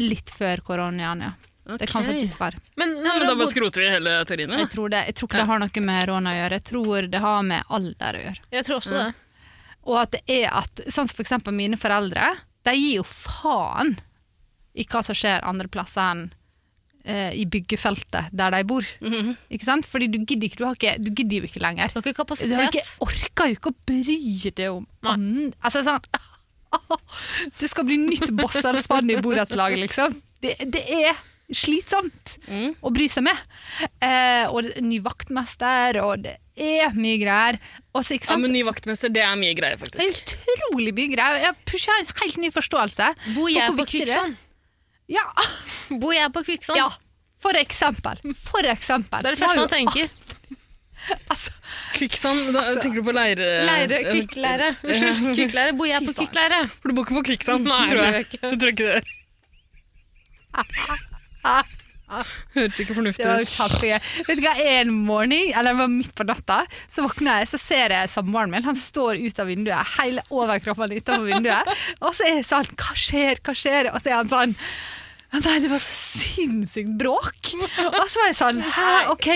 [SPEAKER 3] litt før koronaen, ja. Det kan
[SPEAKER 1] Ok.
[SPEAKER 3] faktisk være.
[SPEAKER 2] Men,
[SPEAKER 1] Ja, men
[SPEAKER 2] når
[SPEAKER 1] da
[SPEAKER 2] du
[SPEAKER 1] bare
[SPEAKER 2] har bodd-
[SPEAKER 1] skroter vi hele teorien min.
[SPEAKER 3] Jeg
[SPEAKER 1] da.
[SPEAKER 3] tror, det, jeg tror ikke det har noe med råna å gjøre. Jeg tror det har med alder å gjøre.
[SPEAKER 2] jeg tror også det.
[SPEAKER 3] Og at det er at, sånn som for eksempel mine foreldre, de gir jo faen i hva som skjer andre plasser enn eh, i byggefeltet der de bor. Ikke sant? Fordi du gidder, ikke, du, har ikke, du gidder jo ikke lenger.
[SPEAKER 2] Du har ikke
[SPEAKER 3] Du har
[SPEAKER 2] kapasitet.
[SPEAKER 3] ikke orka jo ikke å bry deg om annen Altså sånn Det skal bli nytt Bossel Spann i borettslaget, liksom. Det, det er slitsomt
[SPEAKER 1] Mm.
[SPEAKER 3] å bry seg med. Eh, og det- ny vaktmester, og det er mye greier. Og så, ikke
[SPEAKER 1] Ja,
[SPEAKER 3] sant?
[SPEAKER 1] men ny vaktmester, det er mye greier,
[SPEAKER 3] Det
[SPEAKER 1] faktisk.
[SPEAKER 3] er utrolig mye greier. Jeg pusher en helt ny forståelse.
[SPEAKER 2] Bor
[SPEAKER 3] For
[SPEAKER 2] jeg
[SPEAKER 3] hvor
[SPEAKER 2] på
[SPEAKER 3] viktig det er.
[SPEAKER 2] Kvikksand?
[SPEAKER 3] Ja,
[SPEAKER 2] Bor jeg på Kvikksand?
[SPEAKER 3] ja. For eksempel. For eksempel.
[SPEAKER 2] Det er det
[SPEAKER 3] Jeg
[SPEAKER 2] første
[SPEAKER 3] har jo
[SPEAKER 2] man tenker.
[SPEAKER 1] ah,
[SPEAKER 3] al- Altså,
[SPEAKER 1] Kvikksand, da tenker du på leire...
[SPEAKER 2] Altså, Leire,
[SPEAKER 1] eh,
[SPEAKER 2] kvikkleire. Unnskyld, kvikkleire. Bor jeg
[SPEAKER 3] Fy
[SPEAKER 2] på
[SPEAKER 3] faen.
[SPEAKER 2] kvikkleire?
[SPEAKER 1] For du bor ikke på kvikksand,
[SPEAKER 2] Nei,
[SPEAKER 1] tror
[SPEAKER 2] det
[SPEAKER 1] jeg. Jeg tror ikke det. Høres ikke fornuftig
[SPEAKER 3] det var jo
[SPEAKER 1] ut.
[SPEAKER 3] kjempegøy. Vet du hva, en morgen, eller det var midt på natta, så våkner jeg, så ser jeg samboeren min. Han står ut av vinduet, hele overkroppen utenfor vinduet. Og så er jeg sånn Hva skjer, hva skjer? Og så er han sånn Nei, det var så sinnssykt bråk! Og så var jeg sånn Hæ, OK,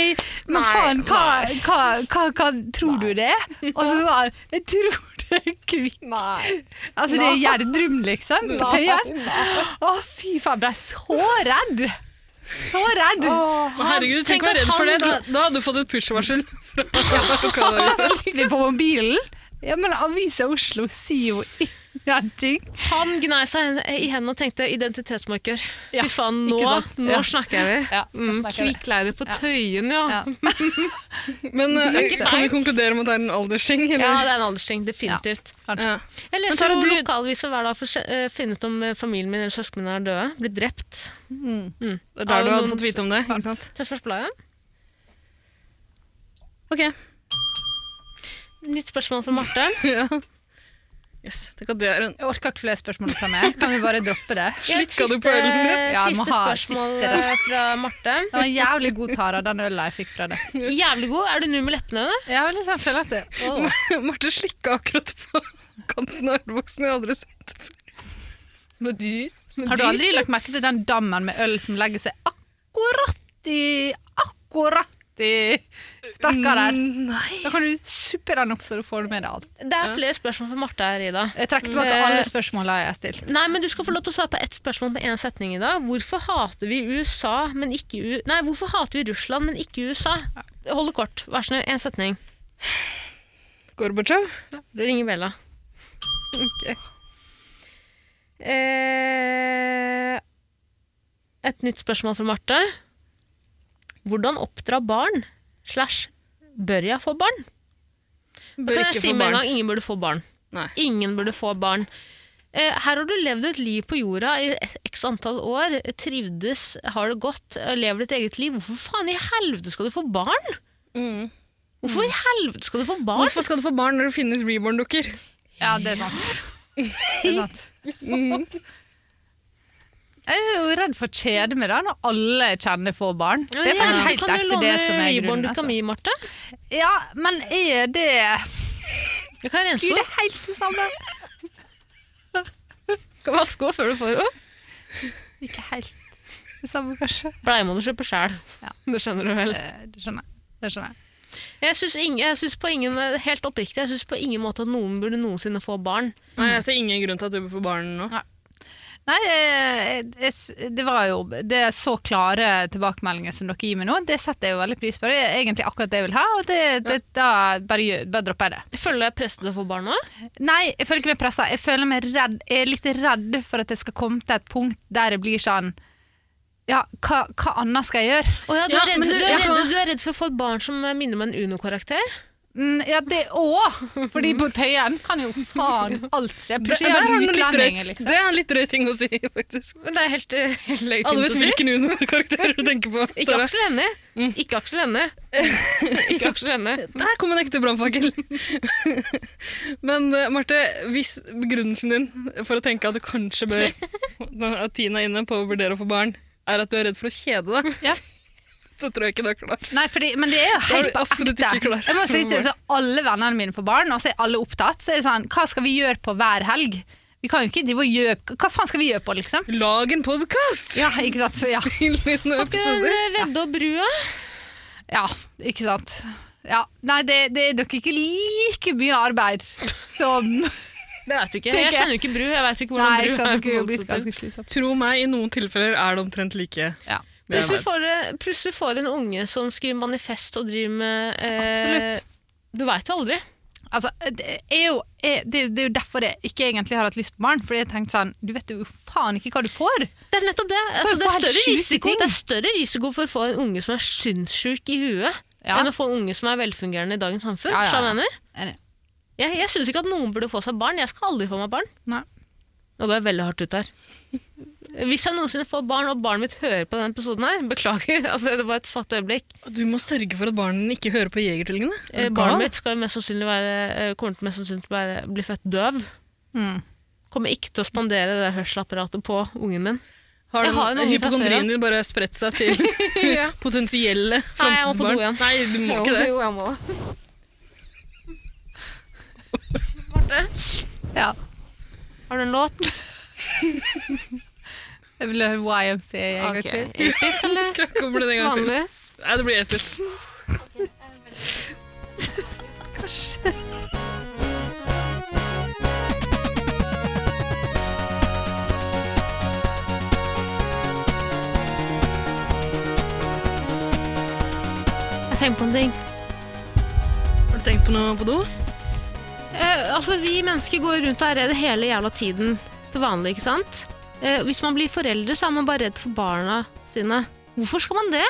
[SPEAKER 3] men
[SPEAKER 2] Nei,
[SPEAKER 3] faen, hva, hva, hva, hva tror du det er? Og så sa han Jeg tror det er kvikk. Altså, det er Gjerdrum, liksom, på Tøyen. Å, fy faen, ble jeg så redd! Så redd!
[SPEAKER 1] Men Herregud, tenk å være redd for det. Da, da hadde du fått et push-varsel. fra
[SPEAKER 3] Da
[SPEAKER 1] lokalavisen.
[SPEAKER 3] sitter vi på mobilen. Ja, men Avisa Oslo sier jo ingenting.
[SPEAKER 2] Han gnei seg i hendene og tenkte identitetsmarkør.
[SPEAKER 3] Ja,
[SPEAKER 2] Fy faen, nå,
[SPEAKER 3] ikke sant?
[SPEAKER 2] nå
[SPEAKER 3] Ja.
[SPEAKER 2] snakker vi.
[SPEAKER 3] Ja,
[SPEAKER 2] Mm, Kvikkleire på Tøyen, ja.
[SPEAKER 3] Ja.
[SPEAKER 2] ja.
[SPEAKER 1] Men eh,
[SPEAKER 2] ikke
[SPEAKER 1] kan vi
[SPEAKER 2] feil.
[SPEAKER 1] konkludere med at det er en aldersting? Eller?
[SPEAKER 2] det er en aldersting, definitivt.
[SPEAKER 1] Ja.
[SPEAKER 2] Jeg
[SPEAKER 1] Men
[SPEAKER 2] leser
[SPEAKER 1] Tara,
[SPEAKER 2] jo
[SPEAKER 1] du-
[SPEAKER 2] lokalaviser hver dag for å se- eh, finne ut om eh, familien min eller søsknene mine er døde. Blitt drept.
[SPEAKER 1] Det er der du
[SPEAKER 2] Ja,
[SPEAKER 1] hadde
[SPEAKER 2] noen-
[SPEAKER 1] fått vite om det. Ikke sant?
[SPEAKER 2] Tønsbergs Blad, ja.
[SPEAKER 1] Ok.
[SPEAKER 2] Nytt spørsmål fra Marte.
[SPEAKER 1] ja. Yes, tenk at det er en
[SPEAKER 3] Jeg orker ikke flere spørsmål fra meg. Kan vi bare droppe det?
[SPEAKER 2] Helt
[SPEAKER 1] Slikka du
[SPEAKER 2] siste-
[SPEAKER 1] på ølen din?
[SPEAKER 3] Ja, jeg må
[SPEAKER 2] Siste
[SPEAKER 3] ha
[SPEAKER 2] spørsmål
[SPEAKER 3] siste, da.
[SPEAKER 2] eh, fra Marte.
[SPEAKER 3] Det var en jævlig god tara, den øla jeg fikk fra det.
[SPEAKER 2] Jævlig god. Er du nu med leppene henne?
[SPEAKER 3] Jeg har liksom følt at det
[SPEAKER 1] Marte slikka akkurat på kanten av ølboksen. Jeg har aldri sett det før. Med dyr? Med
[SPEAKER 3] Har du
[SPEAKER 1] dyr?
[SPEAKER 3] aldri lagt merke til den dammen med øl som legger seg akkurat i Akkurat i sprekka der?
[SPEAKER 1] Mm, Nei.
[SPEAKER 3] Da kan du suppe den opp, så du får med deg alt.
[SPEAKER 2] Det er flere spørsmål fra Marte her, Ida.
[SPEAKER 3] Jeg trekker tilbake
[SPEAKER 2] Eh.
[SPEAKER 3] alle spørsmåla jeg har stilt.
[SPEAKER 2] Nei, men Du skal få lov til å svare på ett spørsmål på én setning. Ida. Hvorfor hater vi USA, men ikke U... Nei, hvorfor hater vi Russland, men ikke USA? Hold det kort. Vær så snill, én setning.
[SPEAKER 1] Gorbatsjov?
[SPEAKER 2] Du ringer Bella.
[SPEAKER 1] Ok.
[SPEAKER 2] Eh, et nytt spørsmål fra Marte. Hvordan oppdra barn? Slash, bør jeg få barn? Da
[SPEAKER 1] Bør
[SPEAKER 2] kan jeg
[SPEAKER 1] ikke
[SPEAKER 2] si
[SPEAKER 1] få
[SPEAKER 2] med en
[SPEAKER 1] barn.
[SPEAKER 2] gang ingen burde få barn.
[SPEAKER 1] Nei.
[SPEAKER 2] Ingen burde få barn. Eh, her har du levd et liv på jorda i x antall år, trivdes, har det godt, eh, lever ditt eget liv. Hvorfor faen i helvete skal du få barn?
[SPEAKER 1] Mm.
[SPEAKER 2] Hvorfor i helvete skal du få barn?
[SPEAKER 1] Hvorfor skal du få barn når det finnes reborn-dukker?
[SPEAKER 3] Ja, det er sant. Det er sant. Jeg er jo redd for å kjede meg da, når alle jeg kjenner får barn.
[SPEAKER 2] Ja,
[SPEAKER 3] Det er
[SPEAKER 2] men
[SPEAKER 3] faktisk
[SPEAKER 2] jeg-
[SPEAKER 3] helt
[SPEAKER 2] kan du
[SPEAKER 3] ekte det
[SPEAKER 2] låne
[SPEAKER 3] som er
[SPEAKER 2] Reborn
[SPEAKER 3] grunnen.
[SPEAKER 2] du kan
[SPEAKER 3] Altså.
[SPEAKER 2] gi, Marte?
[SPEAKER 3] Ja, men er det
[SPEAKER 2] Jeg kan rense
[SPEAKER 3] Blir det
[SPEAKER 2] opp.
[SPEAKER 3] helt det samme?
[SPEAKER 2] Kan vaske opp før du får opp.
[SPEAKER 3] Ikke helt det samme, kanskje.
[SPEAKER 2] Bleie må du kjøpe sjæl.
[SPEAKER 3] Ja.
[SPEAKER 2] Det skjønner du vel.
[SPEAKER 3] Eh, Det skjønner jeg. Det skjønner jeg.
[SPEAKER 2] Jeg synes ingen, jeg synes på ingen, helt oppriktig, jeg syns på ingen måte at noen burde noensinne få barn.
[SPEAKER 1] Nei, Jeg ser ingen grunn til at du bør få barn nå.
[SPEAKER 3] Nei, eh, jeg s- det var jo det er så klare tilbakemeldinger som dere gir meg nå. Det setter jeg jo veldig pris på. Det er egentlig akkurat det jeg vil ha, og det, det, da bare, gjør- bare dropper jeg det.
[SPEAKER 2] Jeg føler jeg presset til å få barn nå.
[SPEAKER 3] Nei, jeg føler ikke meg pressa. Jeg føler meg redd. Jeg er litt redd for at jeg skal komme til et punkt der jeg blir sånn Ja, hva, hva annet skal jeg gjøre?
[SPEAKER 2] Å ja, du,
[SPEAKER 1] Ja,
[SPEAKER 2] er redd,
[SPEAKER 1] men
[SPEAKER 2] du,
[SPEAKER 1] du-
[SPEAKER 2] er
[SPEAKER 1] jeg
[SPEAKER 2] redd,
[SPEAKER 1] tror-
[SPEAKER 2] du er redd for å få et barn som eh, minner om en Uno-karakter?
[SPEAKER 3] Mm, ja, det òg! Fordi på Tøyen kan jo faen alt skje.
[SPEAKER 1] Det,
[SPEAKER 3] Plutselig
[SPEAKER 1] der
[SPEAKER 3] er
[SPEAKER 1] har
[SPEAKER 3] han
[SPEAKER 1] du litt
[SPEAKER 3] utlending.
[SPEAKER 1] drøyt.
[SPEAKER 3] Liksom.
[SPEAKER 1] Det er en litt drøy ting å si, faktisk.
[SPEAKER 2] Men det er helt, eh, helt legitimt
[SPEAKER 1] Alle vet
[SPEAKER 2] å si.
[SPEAKER 1] hvilken Uno-karakter du tenker på.
[SPEAKER 2] Ikke
[SPEAKER 1] Tara.
[SPEAKER 2] Aksel Hennie. Ikke Aksel Hennie. Mm. Ikke Aksel Hennie.
[SPEAKER 1] Der kom en ekte brannfakkel! Men eh, Marte, hvis begrunnelsen din for å tenke at du kanskje bør Nå er Tina inne på å vurdere å få barn, er at du er redd for å kjede deg,
[SPEAKER 3] Ja.
[SPEAKER 1] så tror jeg ikke du er klar.
[SPEAKER 3] Nei, fordi, men det er jo helt
[SPEAKER 1] Det har du
[SPEAKER 3] på
[SPEAKER 1] absolutt
[SPEAKER 3] ekte.
[SPEAKER 1] ikke klart.
[SPEAKER 3] Jeg må si til så Alle vennene mine får barn, og så er alle opptatt. Så er det sånn, hva skal vi gjøre på hver helg? Vi kan jo ikke drive og gjøre Hva faen skal vi gjøre på, liksom?
[SPEAKER 1] Lag en podkast!
[SPEAKER 3] Ja, ikke sant? Ja,
[SPEAKER 1] Spill inn noen episoder.
[SPEAKER 2] eh, Vedde og brua.
[SPEAKER 3] ja ikke sant? Ja. Nei, det, det er nok ikke like mye arbeid som
[SPEAKER 2] Det vet du ikke.
[SPEAKER 3] Tenker
[SPEAKER 2] Jeg
[SPEAKER 3] jeg.
[SPEAKER 2] kjenner jo ikke bru. Jeg vet ikke hvordan
[SPEAKER 3] Nei,
[SPEAKER 2] bru
[SPEAKER 3] ikke
[SPEAKER 2] er på
[SPEAKER 3] sant?
[SPEAKER 2] sånn.
[SPEAKER 3] Dere er jo
[SPEAKER 2] motsatt
[SPEAKER 3] blitt
[SPEAKER 2] side.
[SPEAKER 3] ganske slitsomt.
[SPEAKER 1] Tro meg, i noen tilfeller er det omtrent like.
[SPEAKER 3] Ja.
[SPEAKER 1] Det
[SPEAKER 2] Plutselig
[SPEAKER 1] er
[SPEAKER 2] får, det- plutselig får en unge som skriver manifest og driver med eh,
[SPEAKER 3] Absolutt.
[SPEAKER 2] Du veit jo aldri.
[SPEAKER 3] Altså, det er, jo, er, det, er, det er jo derfor jeg ikke egentlig har hatt lyst på barn. Fordi jeg tenkte sånn Du vet jo faen ikke hva du får!
[SPEAKER 2] Det er nettopp det. Altså,
[SPEAKER 3] jo
[SPEAKER 2] det, er
[SPEAKER 3] få helt
[SPEAKER 2] større
[SPEAKER 3] sjuke
[SPEAKER 2] risiko,
[SPEAKER 3] ting.
[SPEAKER 2] det er større risiko for å få en unge som er sinnssjuk i huet,
[SPEAKER 3] Ja.
[SPEAKER 2] enn å få en unge som er velfungerende i dagens samfunn.
[SPEAKER 3] Ja, ja,
[SPEAKER 2] skjønner du hva
[SPEAKER 3] ja.
[SPEAKER 2] Jeg, mener.
[SPEAKER 3] Enig.
[SPEAKER 2] jeg, jeg syns ikke at noen burde få seg barn. Jeg skal aldri få meg barn.
[SPEAKER 3] Nei.
[SPEAKER 2] Nå går jeg veldig hardt ut her. Hvis jeg noensinne får barn, og barnet mitt hører på denne episoden her, beklager. Altså, det var et svart øyeblikk.
[SPEAKER 1] Du må sørge for at barna dine ikke hører på Jegertvillingene.
[SPEAKER 2] Eh,
[SPEAKER 1] Er du gal?
[SPEAKER 2] Barnet mitt skal jo mest sannsynlig være, eh, kommer til mest sannsynlig til å være, bli født døv.
[SPEAKER 3] Mm.
[SPEAKER 2] Kommer ikke til å spandere det hørselapparatet på ungen min.
[SPEAKER 1] Har
[SPEAKER 2] Jeg har jo noen fra
[SPEAKER 1] den
[SPEAKER 2] før,
[SPEAKER 1] hypokondrien din bare spredt seg til potensielle
[SPEAKER 2] Nei, jeg må på do
[SPEAKER 1] framtidsbarn?
[SPEAKER 2] igjen.
[SPEAKER 1] Nei, du må ikke det.
[SPEAKER 2] Jo, jeg må.
[SPEAKER 3] Ja.
[SPEAKER 2] Har du en låt?
[SPEAKER 3] Jeg ville høre YMCA en gang
[SPEAKER 2] Ok.
[SPEAKER 3] til.
[SPEAKER 2] Epic, eller?
[SPEAKER 1] Hvordan blir det en gang til?
[SPEAKER 2] Vanlig.
[SPEAKER 1] Nei, det blir etisk.
[SPEAKER 2] Jeg tenker på en ting.
[SPEAKER 1] Har du tenkt på noe på do?
[SPEAKER 2] Eh, altså, vi mennesker går rundt og er redde hele jævla tiden til vanlig, ikke sant? Eh, hvis man blir foreldre, så er man bare redd for barna sine. Hvorfor skal man det?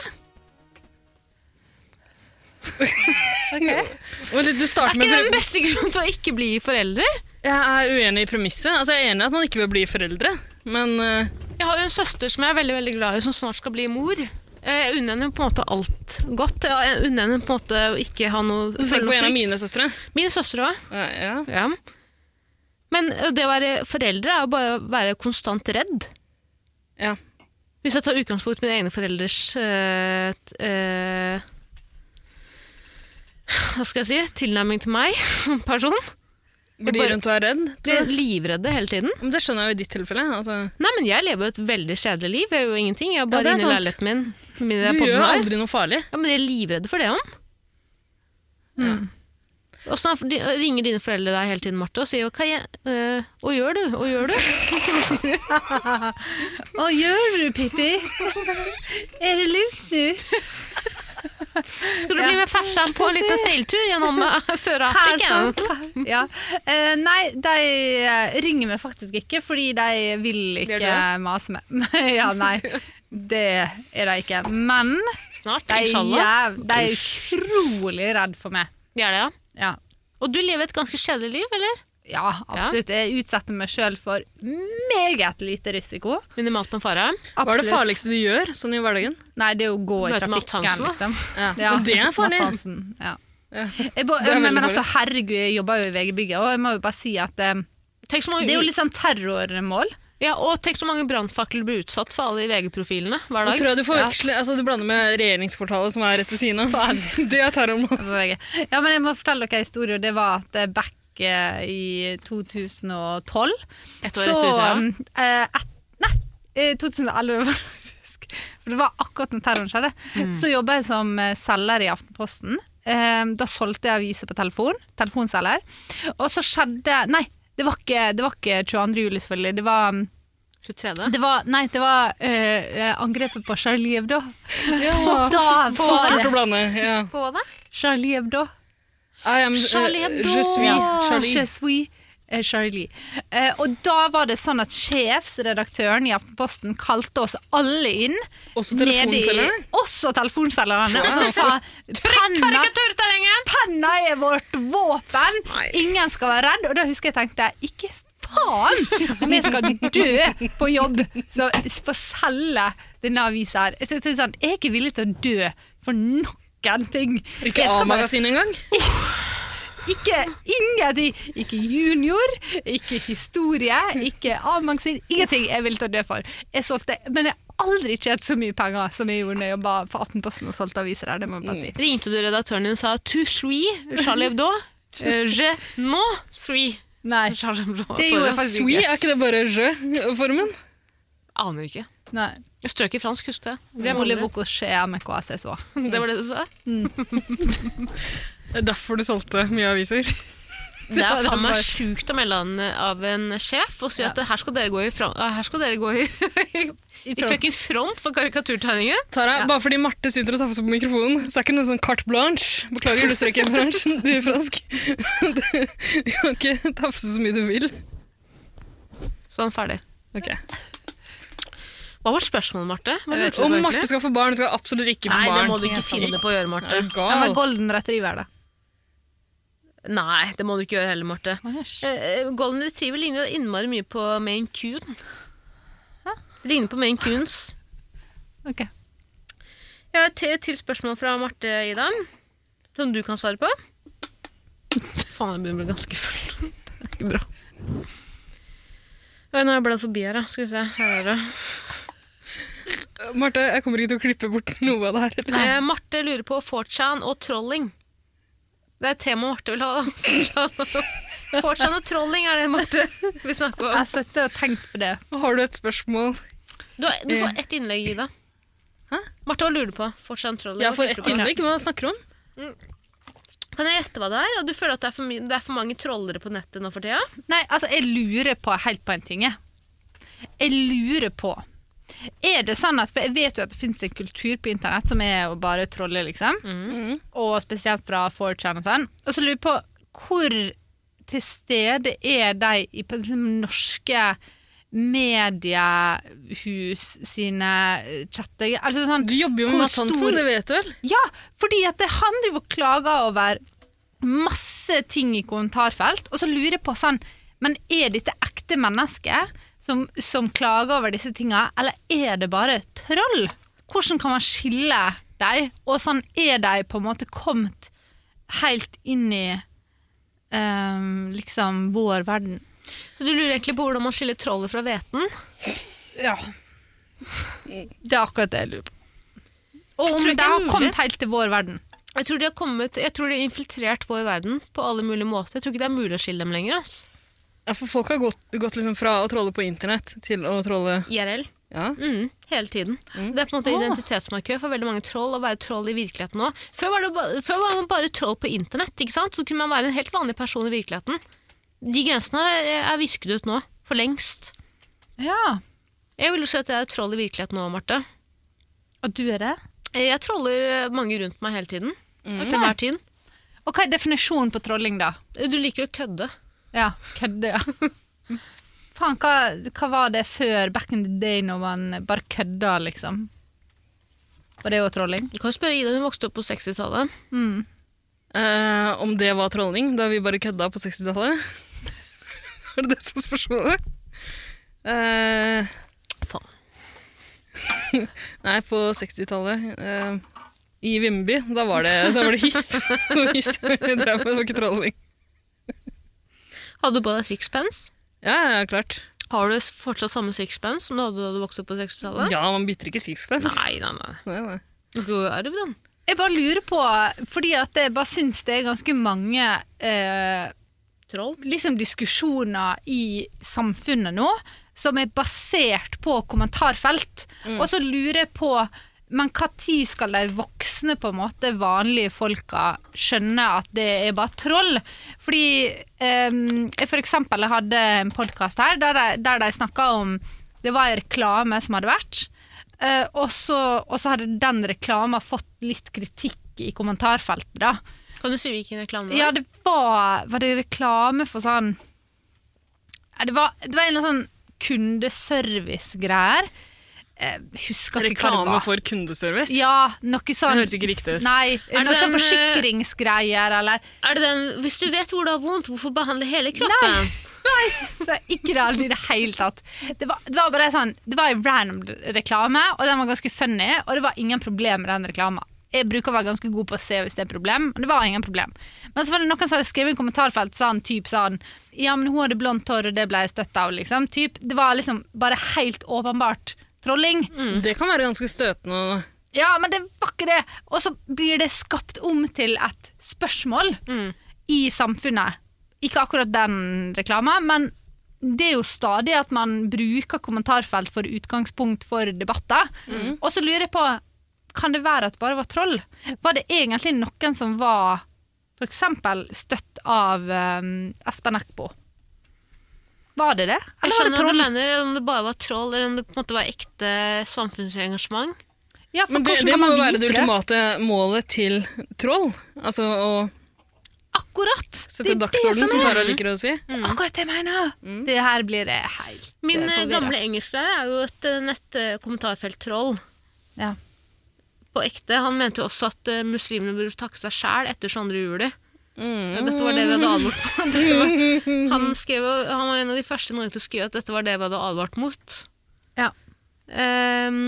[SPEAKER 1] Vent litt, du
[SPEAKER 2] Er
[SPEAKER 1] starter
[SPEAKER 2] ikke
[SPEAKER 1] med
[SPEAKER 2] det den
[SPEAKER 1] pre-
[SPEAKER 2] beste grunnen til å ikke bli foreldre?
[SPEAKER 1] Jeg er uenig i premisset. Altså, jeg er enig i at man ikke bør bli foreldre, men eh,
[SPEAKER 2] Jeg har jo en søster som jeg er veldig veldig glad i, som snart skal bli mor. Eh, Jeg unner henne på en måte alt godt. Jeg unner henne på en måte å ikke ha noe
[SPEAKER 1] Du
[SPEAKER 2] føle
[SPEAKER 1] tenker på
[SPEAKER 2] noe
[SPEAKER 1] en av
[SPEAKER 2] frykt.
[SPEAKER 1] mine søstre?
[SPEAKER 2] Mine søstre òg.
[SPEAKER 1] Ja, ja.
[SPEAKER 2] Ja. Men ø, det å være foreldre er jo bare å være konstant redd.
[SPEAKER 1] ja.
[SPEAKER 2] Hvis jeg tar utgangspunkt i mine egne foreldres eh, t- eh, Hva skal jeg si? Tilnærming til meg som person.
[SPEAKER 1] Blir de
[SPEAKER 2] bare-
[SPEAKER 1] rundt og er redd?
[SPEAKER 2] De er livredde hele tiden.
[SPEAKER 1] Men det skjønner jeg jo i ditt tilfelle. Altså,
[SPEAKER 2] Nei, men jeg lever jo et veldig kjedelig liv. Jeg gjør jo ingenting. Jeg er bare
[SPEAKER 1] det er
[SPEAKER 2] inne i
[SPEAKER 1] sant.
[SPEAKER 2] leiligheten min. med det
[SPEAKER 1] du
[SPEAKER 2] podden
[SPEAKER 1] gjør
[SPEAKER 2] her.
[SPEAKER 1] aldri noe farlig.
[SPEAKER 2] Ja, men de er livredde for det òg.
[SPEAKER 1] Mm.
[SPEAKER 2] Åssen er- de- ringer dine foreldre deg hele tiden, Marte, og sier jo, hva jeg, eh, «Hva gjør du? Hva gjør du?
[SPEAKER 3] Hva gjør du, Pippi? Er det lurt nå?
[SPEAKER 2] Skal du
[SPEAKER 3] Ja.
[SPEAKER 2] bli med fersen på en liten seiltur gjennom eh, Sør-Afrika?
[SPEAKER 3] Ja. Eh, nei, de eh, ringer meg faktisk ikke, fordi de vil
[SPEAKER 1] Gjør
[SPEAKER 3] ikke mase meg. ja, nei, det er de ikke. Men
[SPEAKER 2] Snart,
[SPEAKER 3] de, er
[SPEAKER 2] inshallah.
[SPEAKER 3] jæv- de er utrolig redd for meg.
[SPEAKER 2] De er det, ja.
[SPEAKER 3] Ja.
[SPEAKER 2] Og du lever et ganske kjedelig liv, eller?
[SPEAKER 3] Ja, absolutt. Jeg utsetter meg sjøl for meget lite risiko.
[SPEAKER 2] Minimalt med fare.
[SPEAKER 1] Hva er
[SPEAKER 3] Absolutt.
[SPEAKER 1] det farligste du gjør sånn i hverdagen?
[SPEAKER 3] Nei, det er å gå i
[SPEAKER 2] Møte Mads
[SPEAKER 3] trafikken,
[SPEAKER 2] Hansen, da.
[SPEAKER 3] liksom.
[SPEAKER 1] Ja.
[SPEAKER 3] Ja,
[SPEAKER 1] Men det er farlig.
[SPEAKER 3] Mads Hansen, ja.
[SPEAKER 1] Ja.
[SPEAKER 3] Jeg bare-
[SPEAKER 1] Det er veldig
[SPEAKER 3] men, men
[SPEAKER 1] farlig.
[SPEAKER 3] altså, herregud, jeg jobber jo i VG-bygget, og jeg må jo bare si at eh,
[SPEAKER 2] Tenk så mange,
[SPEAKER 3] det er jo litt sånn terrormål.
[SPEAKER 2] ja, og tenk så mange brannfakler blir utsatt for alle de VG-profilene hver
[SPEAKER 1] Nå
[SPEAKER 2] dag.
[SPEAKER 1] tror jeg du forveksler altså, Du blander med regjeringskvartalet som er rett ved siden av. Det er terrormål.
[SPEAKER 3] Altså, VG. Ja, men jeg må fortelle dere en historie, og det var at eh, back eh, i 2012
[SPEAKER 2] Et år
[SPEAKER 3] Så
[SPEAKER 2] etter USA.
[SPEAKER 3] um, eh, et, Nei, eh, 2011 var det faktisk. For det var akkurat når terroren skjedde.
[SPEAKER 2] Mm.
[SPEAKER 3] Så jobba jeg som eh, selger i Aftenposten. Eh, da solgte jeg aviser på telefon. Telefonselger. Og så skjedde Nei, det var ikke, det var ikke 22. juli, selvfølgelig. Det var,
[SPEAKER 2] 23.
[SPEAKER 3] det var Nei, det var eh, eh, angrepet på Charlie Hebdo.
[SPEAKER 1] Ja.
[SPEAKER 3] Da var
[SPEAKER 1] Fort å
[SPEAKER 3] det
[SPEAKER 1] blande. Ja.
[SPEAKER 2] På det?
[SPEAKER 3] Charlie Hebdo.
[SPEAKER 1] I am, eh,
[SPEAKER 2] Charlie Hebdo.
[SPEAKER 1] Je suis
[SPEAKER 2] Ja.
[SPEAKER 1] Charlie.
[SPEAKER 3] Je suis eh, Charlie. Eh, og da var det sånn at sjefsredaktøren i Aftenposten kalte oss alle inn.
[SPEAKER 1] Også
[SPEAKER 3] nede i
[SPEAKER 1] telefonselgeren.
[SPEAKER 3] Også telefonselgerne. Og så sa penna,
[SPEAKER 2] Karikaturterrenget!
[SPEAKER 3] penna er vårt våpen, ingen skal være redd. Og da husker jeg tenkte ikke faen, vi skal dø på jobb så for å selge denne avisa her. Jeg, synes, det er sånn, jeg er ikke villig til å dø for noen ting.
[SPEAKER 1] Ikke
[SPEAKER 3] Jeg skal bare-
[SPEAKER 1] A-magasinet engang.
[SPEAKER 3] ikke ingenting. Ikke junior, ikke historie, ikke A-magasin. Ingenting jeg ville ta død for. Jeg solgte, men jeg har aldri tjent så mye penger som jeg gjorde når jeg jobba for Aftenposten og solgte aviser her. Det må jeg bare si.
[SPEAKER 2] Ringte du redaktøren din og sa «Tu suis Charlie Hebdo?» Eh, «Je no suis
[SPEAKER 3] Nei.
[SPEAKER 2] Charlie Hebdo».
[SPEAKER 3] Det gjorde jeg
[SPEAKER 2] For-
[SPEAKER 3] faktisk
[SPEAKER 1] Sui,
[SPEAKER 3] ikke.
[SPEAKER 1] er ikke det bare je-formen?
[SPEAKER 2] Aner ikke.
[SPEAKER 3] Nei.
[SPEAKER 2] Jeg strøk i fransk, husker jeg. Det var
[SPEAKER 3] Voulez
[SPEAKER 2] aldri-
[SPEAKER 3] vous coucher avec quoi ce soir?
[SPEAKER 2] det var det du sa?
[SPEAKER 1] Det er derfor du solgte mye aviser.
[SPEAKER 2] Det er
[SPEAKER 3] var
[SPEAKER 2] faen meg
[SPEAKER 3] derfor.
[SPEAKER 2] sjukt å melde an eh, av en sjef og si at her skal dere gå i, fra eh, her skal dere gå i, i,
[SPEAKER 3] front.
[SPEAKER 2] fuckings front for karikaturtegningen.
[SPEAKER 1] Tara, Bare fordi Marte sitter og tafser på mikrofonen, så er ikke noe sånn carte blanche. Beklager, du strøk i bransjen, du er fransk. Du kan ikke tafse så mye du vil.
[SPEAKER 2] Sånn, ferdig.
[SPEAKER 1] Ok.
[SPEAKER 2] Hva var spørsmålet, Eh, Marte? Hva lurte du på
[SPEAKER 1] Om
[SPEAKER 2] egentlig?
[SPEAKER 1] Marte skal få barn, skal hun absolutt ikke få
[SPEAKER 2] Nei, det
[SPEAKER 1] barn.
[SPEAKER 2] må du ikke finne på å gjøre, Marte.
[SPEAKER 1] Er du
[SPEAKER 3] Ja, men
[SPEAKER 1] gal?
[SPEAKER 3] golden retriever, da.
[SPEAKER 2] Nei, det må du ikke gjøre heller, Marte. Eh, eh, Golden retriever ligner jo innmari mye på Maine Coon. Det Ligner på Maine Coons.
[SPEAKER 3] Ok.
[SPEAKER 2] Jeg har et til- til spørsmål fra Marte Ida, som du kan svare på. Faen, jeg begynner å bli ganske full. Det er ikke bra. Oi, nå har jeg bladd forbi her, da. Skal vi se. Her er det.
[SPEAKER 1] Marte, jeg kommer ikke til å klippe bort noe av det her.
[SPEAKER 2] Eh, Marte lurer på 4chan og trolling. Det er et tema Marte vil ha, da. 4chan og trolling er det Marte vil snakke
[SPEAKER 3] Jeg
[SPEAKER 2] om.
[SPEAKER 3] har sittet og tenkt på det.
[SPEAKER 1] Har du et spørsmål?
[SPEAKER 2] Du, har, du får ett innlegg, Ida.
[SPEAKER 1] Hæ?
[SPEAKER 2] Marte, hva lurer du på? 4chan og trolling?
[SPEAKER 1] Jeg
[SPEAKER 2] Hva
[SPEAKER 1] får
[SPEAKER 2] tenker
[SPEAKER 1] ett
[SPEAKER 2] du på?
[SPEAKER 1] innlegg. Hva snakker du om?
[SPEAKER 2] Kan jeg gjette hva det er? Og du føler at det er for, my det er for mange trollere på nettet nå for tida?
[SPEAKER 3] Nei, altså, jeg lurer på helt på en ting, jeg. Jeg lurer på Er det sånn at For jeg vet jo at det finnes en kultur på internett som er å bare trolle, liksom.
[SPEAKER 1] Mm.
[SPEAKER 3] Og spesielt fra 4chan og sånn. Og så lurer jeg på hvor til stede er de i på liksom, norske mediehus sine eh, chatter... Altså sånn
[SPEAKER 1] Du jobber jo
[SPEAKER 3] Hvor
[SPEAKER 1] med Mads
[SPEAKER 3] stor-
[SPEAKER 1] Hansen, det vet du vel?
[SPEAKER 3] ja, fordi at det, han driver og klager over masse ting i kommentarfelt, og så lurer jeg på sånn Men er dette ekte mennesker som, som klager over disse tinga, eller er det bare troll? Hvordan kan man skille dem, og sånn er de på en måte kommet helt inn i ehm, liksom vår verden?
[SPEAKER 2] Så du lurer egentlig på hvordan man skiller trollet fra hveten?
[SPEAKER 3] Ja. Det er akkurat det jeg lurer på. Og
[SPEAKER 2] Tror
[SPEAKER 3] om
[SPEAKER 2] du ikke
[SPEAKER 3] de har
[SPEAKER 2] det er mulig?
[SPEAKER 3] kommet helt til vår verden.
[SPEAKER 2] Jeg tror de har kommet, jeg tror de har infiltrert vår verden på alle mulige måter. Jeg tror ikke det er mulig å skille dem lenger. ass.
[SPEAKER 1] Ja, for folk har gått, gått liksom fra å trolle på internett til å trolle
[SPEAKER 2] IRL.
[SPEAKER 1] Ja.
[SPEAKER 2] Mm, hele tiden. Det er på en måte
[SPEAKER 3] Ah.
[SPEAKER 2] identitetsmarkør for veldig mange troll å være troll i virkeligheten òg. Før, var det ba- før var man bare troll på internett, ikke sant? så kunne man være en helt vanlig person i virkeligheten. De grensene er, er visket ut nå, for lengst.
[SPEAKER 3] Ja,
[SPEAKER 2] Jeg vil jo si at jeg er troll i virkeligheten nå, Marte.
[SPEAKER 3] og du er det?
[SPEAKER 2] Jeg troller eh, mange rundt meg hele tiden. Til hver tid.
[SPEAKER 3] Og hva er definisjonen på trolling, da?
[SPEAKER 2] Du liker å kødde.
[SPEAKER 3] Ja, kødde, ja. Faen, hva, hva var det før back in the day når man bare kødda, liksom? Var det jo trolling?
[SPEAKER 2] Du kan jo spørre Ida, hun vokste opp på 60-tallet.
[SPEAKER 3] Mm.
[SPEAKER 1] Eh, om det var trolling da vi bare kødda på 60-tallet? er det det som er spørsmålet? Eh,
[SPEAKER 2] Faen.
[SPEAKER 1] nei, på 60-tallet eh, i Vimmerby, da var det, da var det hyss. det var hyss vi drev med, det var ikke trolling.
[SPEAKER 2] Hadde du på deg sixpence?
[SPEAKER 1] Ja, ja, klart.
[SPEAKER 2] Har du fortsatt samme sixpence som du hadde da du vokste opp på 60-tallet?
[SPEAKER 1] Ja, man bytter ikke sixpence.
[SPEAKER 2] Nei, nei, nei.
[SPEAKER 1] Nei, nei.
[SPEAKER 2] Du skal jo arve den.
[SPEAKER 3] Jeg bare lurer på, fordi at jeg bare syns det er ganske mange eh,
[SPEAKER 2] Troll.
[SPEAKER 3] liksom diskusjoner i samfunnet nå som er basert på kommentarfelt. Og så lurer jeg på men hva tid skal de voksne, på en måte, vanlige folka, skjønne at det er bare troll? Fordi um, jeg for eksempel hadde en podkast her der de, der de snakka om Det var en reklame som hadde vært. Eh, og, så, og så hadde den reklama fått litt kritikk i kommentarfeltet, da.
[SPEAKER 2] Kan du si hvilken reklame det
[SPEAKER 3] Ja,
[SPEAKER 2] var?
[SPEAKER 3] det var, var det reklame for sånn Nei, det var, det var en eller annen sånn kundeservice-greier. Jeg husker ikke hva det
[SPEAKER 1] Reklame
[SPEAKER 3] var.
[SPEAKER 1] for kundeservice.
[SPEAKER 3] Ja, noe sånn
[SPEAKER 1] Det høres ikke riktig ut.
[SPEAKER 3] Nei,
[SPEAKER 2] Er
[SPEAKER 3] noe
[SPEAKER 2] det
[SPEAKER 3] sånn
[SPEAKER 2] den, eh,
[SPEAKER 3] forsikringsgreier eller
[SPEAKER 2] Er det den, Hvis du vet hvor det har vondt, hvorfor behandle hele kroppen?
[SPEAKER 3] Det var Ikke det aldri i det hele tatt. Det var, det var bare sånn Det var en random reklame, og den var ganske funny, og det var ingen problem med den reklama. Jeg bruker å være ganske god på å se hvis det er et problem, men det var ingen problem. Men så var det noen som hadde skrevet i kommentarfelt sånn typ sånn Ja, men hun hadde blondt hår, og det ble jeg støtt av, liksom. Typ. Det var liksom bare helt åpenbart trolling.
[SPEAKER 1] Mm. Det kan være ganske støtende. da.
[SPEAKER 3] Ja, men det var ikke det! Og så blir det skapt om til et spørsmål
[SPEAKER 2] Mm.
[SPEAKER 3] i samfunnet. Ikke akkurat den reklama, men det er jo stadig at man bruker kommentarfelt for utgangspunkt for debatter.
[SPEAKER 2] Mm.
[SPEAKER 3] Og så lurer jeg på, kan det være at det bare var troll? Var det egentlig noen som var for eksempel støtt av um, Espen Eckbo? Var det det?
[SPEAKER 2] Jeg
[SPEAKER 3] Eller var det
[SPEAKER 2] skjønner hva du
[SPEAKER 3] troll?
[SPEAKER 2] mener, eller om det bare var troll, eller om det på en måte var ekte samfunnsengasjement.
[SPEAKER 3] Ja, for
[SPEAKER 1] Men det,
[SPEAKER 3] hvordan
[SPEAKER 1] det
[SPEAKER 3] kan
[SPEAKER 1] må
[SPEAKER 3] man
[SPEAKER 1] jo være det
[SPEAKER 3] vite det?
[SPEAKER 1] ultimate målet til troll. Altså å
[SPEAKER 3] Akkurat!
[SPEAKER 1] sette
[SPEAKER 3] er
[SPEAKER 1] dagsorden,
[SPEAKER 3] som
[SPEAKER 1] som
[SPEAKER 3] er- Mm.
[SPEAKER 1] Tara liker å si.
[SPEAKER 3] Akkurat det jeg mener! Det her blir det helt
[SPEAKER 2] Min eh,
[SPEAKER 3] forvirret.
[SPEAKER 2] gamle engelsklærer er jo et eh, nett eh, kommentarfelt-troll.
[SPEAKER 3] ja.
[SPEAKER 2] På ekte. Han mente jo også at eh, muslimene burde takke seg sjæl etter 22. juli.
[SPEAKER 1] Mm.
[SPEAKER 2] Ja, Dette var det vi hadde advart mot. Dette var- Han, skrev, jo- han var en av de første i Norge til å skrive at dette var det vi hadde advart mot.
[SPEAKER 3] Ja.
[SPEAKER 2] Ehm,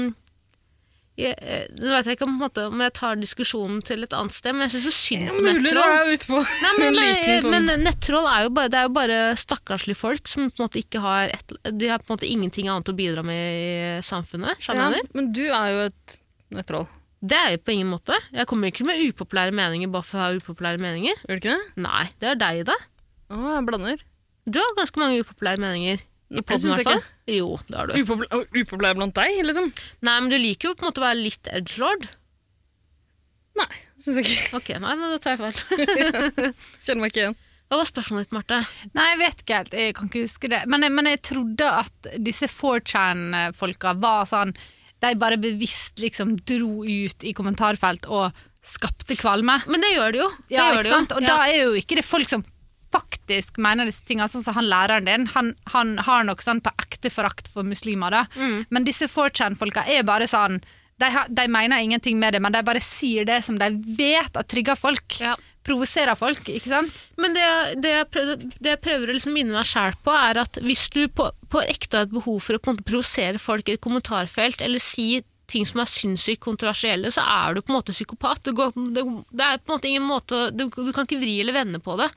[SPEAKER 2] jeg, eh, nå vet jeg ikke om, på en måte, om jeg tar diskusjonen til et annet sted, men jeg syns jo synd på
[SPEAKER 1] Mulig du
[SPEAKER 2] nettroll.
[SPEAKER 1] er ute på
[SPEAKER 2] Nei, men,
[SPEAKER 1] en
[SPEAKER 2] eh,
[SPEAKER 1] liten sånn
[SPEAKER 2] men nettroll er jo bare, det er jo bare stakkarslige folk som på en måte ikke har et, De har på en måte ingenting annet å bidra med i samfunnet.
[SPEAKER 1] ja,
[SPEAKER 2] skjønner du?
[SPEAKER 1] Men du er jo et nettroll,
[SPEAKER 2] Det er jeg på ingen måte. Jeg kommer ikke med upopulære meninger bare for å ha upopulære meninger.
[SPEAKER 1] gjør du ikke det?
[SPEAKER 2] Nei, det er deg, da.
[SPEAKER 1] Å, jeg blander.
[SPEAKER 2] Du har ganske mange upopulære meninger. I
[SPEAKER 1] Jeg
[SPEAKER 2] podden, i
[SPEAKER 1] syns
[SPEAKER 2] hvert
[SPEAKER 1] ikke.
[SPEAKER 2] fall. Jo, det har du.
[SPEAKER 1] Upopulær, upopulær blant deg, liksom?
[SPEAKER 2] Nei, men du liker jo på en måte å være litt edgelord.
[SPEAKER 1] Nei, syns jeg ikke.
[SPEAKER 2] Ok, nei, men da tar jeg feil.
[SPEAKER 1] Kjenner meg ikke igjen.
[SPEAKER 2] Hva var spørsmålet ditt, Marte?
[SPEAKER 3] Nei, jeg vet ikke helt. Jeg kan ikke huske det. Men, jeg- men jeg trodde at disse 4chan-folka var sånn De bare bevisst liksom dro ut i kommentarfelt og skapte kvalme.
[SPEAKER 2] Men det gjør det jo. Det
[SPEAKER 3] Ja,
[SPEAKER 2] gjør
[SPEAKER 3] ikke
[SPEAKER 2] det jo.
[SPEAKER 3] sant? Og
[SPEAKER 2] Ja.
[SPEAKER 3] da er jo ikke det folk som faktisk mener disse tingene, sånn som han læreren din. Han, han har nok sånn på ekte forakt for muslimer, da.
[SPEAKER 2] Mm.
[SPEAKER 3] Men disse 4chan-folka er bare sånn de, har, de mener ingenting med det, men de bare sier det som de vet at trigger folk.
[SPEAKER 2] Ja.
[SPEAKER 3] Provoserer folk, ikke sant?
[SPEAKER 2] Men det, det, jeg prøvde, det jeg prøver å liksom minne meg sjæl på, er at hvis du på, på ekte har et behov for å på en måte provosere folk i et kommentarfelt, eller si ting som er sinnssykt kontroversielle, så er du på en måte psykopat. Det, går, det, det er på en måte ingen måte å- du, du kan ikke vri eller vende på det.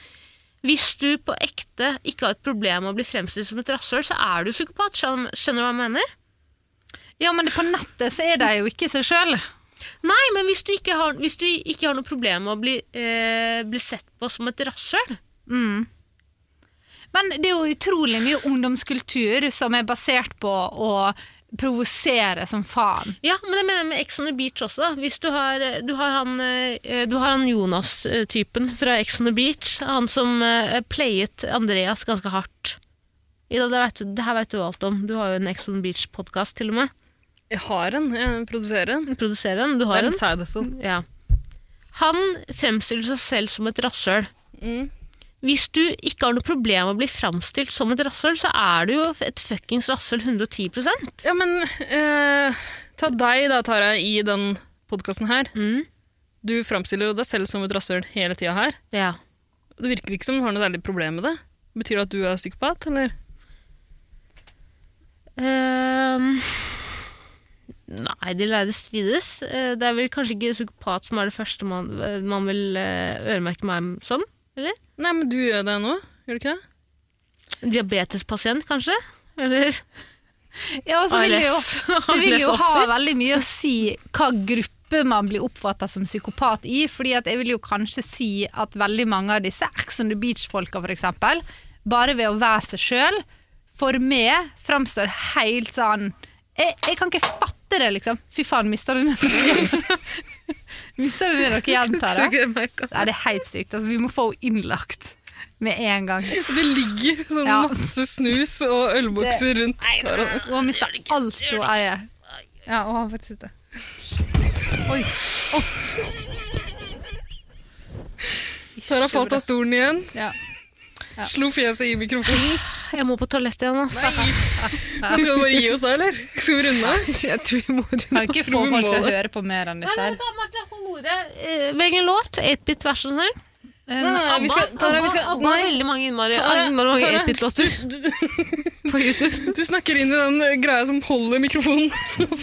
[SPEAKER 2] Hvis du på ekte ikke har et problem med å bli fremstilt som et rasshøl, så er du psykopat. Skjønner skjønner du hva jeg mener?
[SPEAKER 3] Ja, men på nettet så er de jo ikke seg sjøl.
[SPEAKER 2] Nei, men hvis du ikke har, hvis du ikke har noe problem med å bli, eh, bli sett på som et rasshøl
[SPEAKER 3] Men det er jo utrolig mye ungdomskultur som er basert på å provosere som faen.
[SPEAKER 2] Ja, men det mener jeg med Ex on the Beach også. da. Hvis du har, du har han, eh, du har han Jonas-typen fra Ex on the Beach, han som eh, playet Andreas ganske hardt. Ida, det, vet, det her vet du alt om. Du har jo en Ex on the Beach-podkast til og med.
[SPEAKER 1] Jeg har en. Jeg produserer en.
[SPEAKER 2] Du produserer den, du
[SPEAKER 1] Det
[SPEAKER 2] har
[SPEAKER 1] er
[SPEAKER 2] den.
[SPEAKER 1] en side hustle.
[SPEAKER 2] Ja. Han fremstiller seg selv som et rasshøl.
[SPEAKER 1] Mm.
[SPEAKER 2] Hvis du ikke har noe problem med å bli fremstilt som et rasshøl, så er du jo et fuckings rasshøl 110
[SPEAKER 1] Ja, men eh, ta deg da, Tara, i den podkasten her.
[SPEAKER 2] mm.
[SPEAKER 1] Du framstiller jo deg selv som et rasshøl hele tida her.
[SPEAKER 2] Ja.
[SPEAKER 1] Det virker ikke som du har noe særlig problem med det. Betyr det at du er psykopat, eller?
[SPEAKER 2] Ehm, nei, de lærde strides. Eh, det er vel kanskje ikke psykopat som er det første man, eh, man vil eh, øremerke meg som.
[SPEAKER 1] Nei, men du gjør det nå, gjør du ikke det?
[SPEAKER 2] En Diabetespasient, kanskje? Eller
[SPEAKER 3] Ja, og så vil det jo, det vil jo ha
[SPEAKER 2] ALS-offer?
[SPEAKER 3] veldig mye å si hva gruppe man blir oppfatta som psykopat i. fordi at jeg vil jo kanskje si at veldig mange av disse Ex on the Beach-folka f.eks. bare ved å være seg sjøl, for meg framstår helt sånn jeg, jeg kan ikke fatte det, liksom. Fy faen, mister du noe igjen? mister du noe igjen, Tara? Nei, det er helt sykt. Altså, vi må få henne innlagt med en gang.
[SPEAKER 1] Det ligger sånn
[SPEAKER 3] Ja.
[SPEAKER 1] masse snus og ølbokser rundt Tara.
[SPEAKER 3] Og hun mista alt hun eier. Ja, og han faktisk ikke. Oi.
[SPEAKER 1] Tara falt av stolen igjen,
[SPEAKER 3] Ja.
[SPEAKER 1] slo fjeset i mikrofonen.
[SPEAKER 2] Jeg må på toalettet igjen, ass.
[SPEAKER 1] Men skal vi bare gi oss da, eller? Skal vi runde av?
[SPEAKER 2] Jeg tror vi må runde
[SPEAKER 3] Kan ikke
[SPEAKER 1] tror
[SPEAKER 3] få
[SPEAKER 1] vi
[SPEAKER 3] folk
[SPEAKER 1] må
[SPEAKER 3] til å
[SPEAKER 1] det.
[SPEAKER 3] høre på mer enn dette.
[SPEAKER 2] Nei,
[SPEAKER 3] her.
[SPEAKER 2] da, Martha, få ordet. Eh, Velg en låt. 8-bit, vær så snill.
[SPEAKER 1] Nei, nei, nei, vi
[SPEAKER 2] Abba,
[SPEAKER 1] skal, Tara, vi skal,
[SPEAKER 2] Abba, Abba har
[SPEAKER 1] nei,
[SPEAKER 2] veldig mange innmari, ah,
[SPEAKER 1] Tara,
[SPEAKER 2] innmari mange
[SPEAKER 1] Tara.
[SPEAKER 2] 8-bit-låter på YouTube.
[SPEAKER 1] du snakker inn i den eh, greia som holder mikrofonen.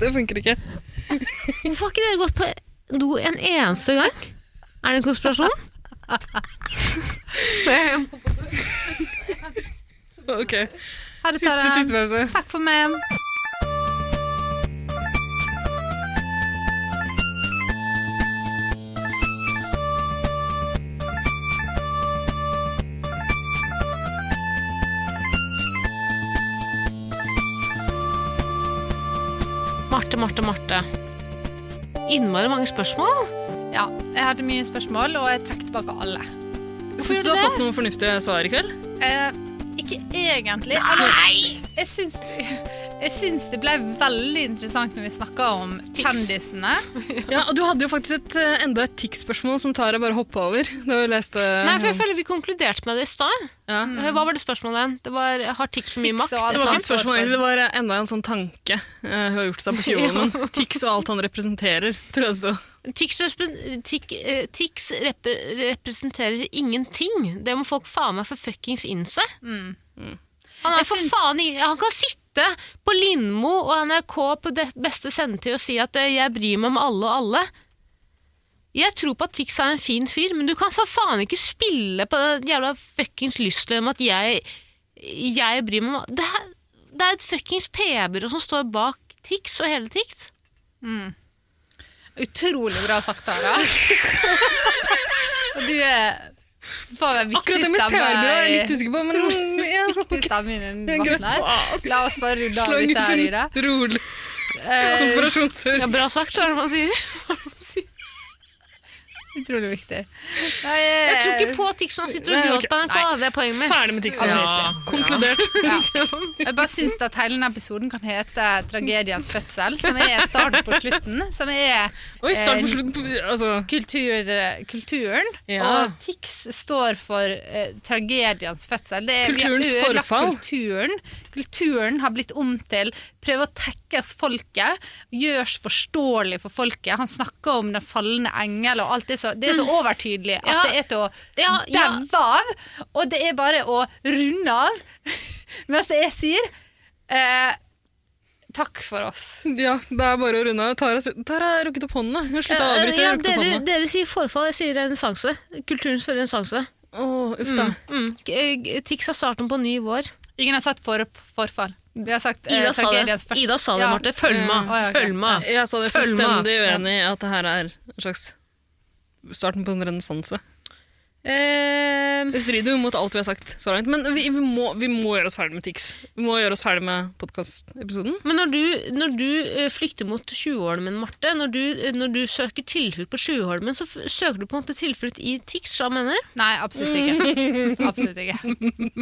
[SPEAKER 1] Det funker ikke.
[SPEAKER 2] Hvorfor har ikke dere gått på do en eneste gang? Er det en konspirasjon?
[SPEAKER 1] Ok,
[SPEAKER 3] Ha det,
[SPEAKER 1] siste
[SPEAKER 3] Tara.
[SPEAKER 1] tissepause.
[SPEAKER 3] Takk for meg.
[SPEAKER 2] Marte, Marte, Marte. Innmari mange spørsmål.
[SPEAKER 3] Ja, jeg hadde mye spørsmål, og jeg trakk tilbake alle.
[SPEAKER 1] Syns du du har fått noen fornuftige svar i kveld?
[SPEAKER 3] Eh, ikke egentlig. Nei! Jeg syns, jeg syns det ble veldig interessant når vi snakka om kjendisene.
[SPEAKER 1] Ja, og Du hadde jo faktisk et, eh, enda et tics-spørsmål som Tara bare hoppa over. Da vi leste
[SPEAKER 2] Nei, for jeg føler Vi konkluderte med det i stad.
[SPEAKER 1] ja.
[SPEAKER 2] Eh, Hva var det spørsmålet igjen? Det var Har tics for mye
[SPEAKER 3] Tics
[SPEAKER 2] makt?
[SPEAKER 3] og alt
[SPEAKER 2] eller
[SPEAKER 1] Det var
[SPEAKER 2] noe
[SPEAKER 1] ikke
[SPEAKER 2] annet?
[SPEAKER 1] et spørsmål, egentlig, det var enda en sånn tanke eh, hun har gjort seg på 20 år. Men tics og alt han representerer, tror jeg så.
[SPEAKER 2] Tics, repre- tic, eh, tics repre, representerer ingenting. Det må folk faen meg for fuckings innse. Han, er
[SPEAKER 3] Mm. Jeg
[SPEAKER 2] for
[SPEAKER 3] syns-
[SPEAKER 2] faen ingen, han kan sitte på Lindmo og NRK på det beste sendetid og si at eh, 'jeg bryr meg om alle og alle'. Jeg tror på at Tix er en fin fyr, men du kan for faen ikke spille på det jævla fuckings lystløyet om at jeg, jeg bryr meg om alle. Det, er- det er et fuckings PR-byrå som står bak Tix og hele Tix.
[SPEAKER 3] Utrolig bra sagt, Tara. Og du er får en viktig
[SPEAKER 1] Akkurat det med
[SPEAKER 3] stemme
[SPEAKER 1] PR-byrå er jeg
[SPEAKER 3] i-
[SPEAKER 1] litt usikker på, men ja,
[SPEAKER 3] viktig stemme i den
[SPEAKER 1] det er
[SPEAKER 3] debatten
[SPEAKER 1] greit.
[SPEAKER 3] her. La oss bare rydde av
[SPEAKER 1] Slang
[SPEAKER 3] litt
[SPEAKER 1] ut
[SPEAKER 3] her i
[SPEAKER 1] en
[SPEAKER 3] det.
[SPEAKER 1] rolig
[SPEAKER 3] Eh,
[SPEAKER 2] Ja,
[SPEAKER 1] konspirasjonshør.
[SPEAKER 2] bra sagt, hva er det man sier?
[SPEAKER 3] utrolig viktig.
[SPEAKER 2] Jeg tror ikke på Tix når han sitter og
[SPEAKER 1] Nei,
[SPEAKER 2] gråter
[SPEAKER 1] ok.
[SPEAKER 2] på NRK. Det er poenget mitt.
[SPEAKER 1] Ferdig med tics.
[SPEAKER 2] Ja.
[SPEAKER 1] Konkludert.
[SPEAKER 3] Ja. Jeg bare syns at hele denne episoden kan hete 'Tragediens fødsel', som er starten på slutten. Som er
[SPEAKER 1] Oi, start
[SPEAKER 3] Eh,
[SPEAKER 1] på slutten. på- Altså,
[SPEAKER 3] kultur, kulturen.
[SPEAKER 1] Ja.
[SPEAKER 3] Og TIX står for eh, tragediens fødsel. Det er,
[SPEAKER 1] Kulturens
[SPEAKER 3] vi har ødelagt
[SPEAKER 1] forfall.
[SPEAKER 3] Kulturen. kulturen har blitt om til prøve å tekkes folket, gjøres forståelig for folket. Han snakker om den fallende engel og alt det så Det er så overtydelig at
[SPEAKER 2] Mm. Ja.
[SPEAKER 3] det er til å
[SPEAKER 2] Ja, ja.
[SPEAKER 3] daue av. Og det er bare å runde av. Mens jeg sier eh, Takk for oss.
[SPEAKER 1] Ja, det er bare å runde av. Tara, Tara har rukket opp hånda. Hun slutta å
[SPEAKER 2] Eh,
[SPEAKER 1] avbryte.
[SPEAKER 2] Ja,
[SPEAKER 1] jeg rukket opp
[SPEAKER 2] dere,
[SPEAKER 1] hånda.
[SPEAKER 2] dere sier forfall, jeg sier renessanse. Kulturens renessanse.
[SPEAKER 1] Åh, uff da.
[SPEAKER 2] Mm. K- eh, Tix er starten på en ny vår.
[SPEAKER 3] Ingen har sagt for, forfall. Vi har sagt eh,
[SPEAKER 2] Ida sa det,
[SPEAKER 3] tragediens første-
[SPEAKER 2] Ida sa det
[SPEAKER 3] Ja.
[SPEAKER 2] Marte. Følg
[SPEAKER 3] Mm.
[SPEAKER 2] med!
[SPEAKER 3] Å, ja, ok.
[SPEAKER 2] Følg med!
[SPEAKER 1] Jeg sa det
[SPEAKER 2] Følg med.
[SPEAKER 1] fullstendig uenig i at det her er en slags starten på en renessanse.
[SPEAKER 2] Eh,
[SPEAKER 1] Det strider jo mot alt vi har sagt så langt, men vi, vi, må, vi må gjøre oss ferdig med Tix. Vi må gjøre oss ferdig med podkastepisoden.
[SPEAKER 2] Men når du, når du eh, flykter mot 20-årene, Marte, når du, eh, når du søker tilflukt på 20-årene, så f søker du på en måte tilflukt i Tix, hva mener jeg?
[SPEAKER 3] Nei, absolutt ikke. Absolutt ikke.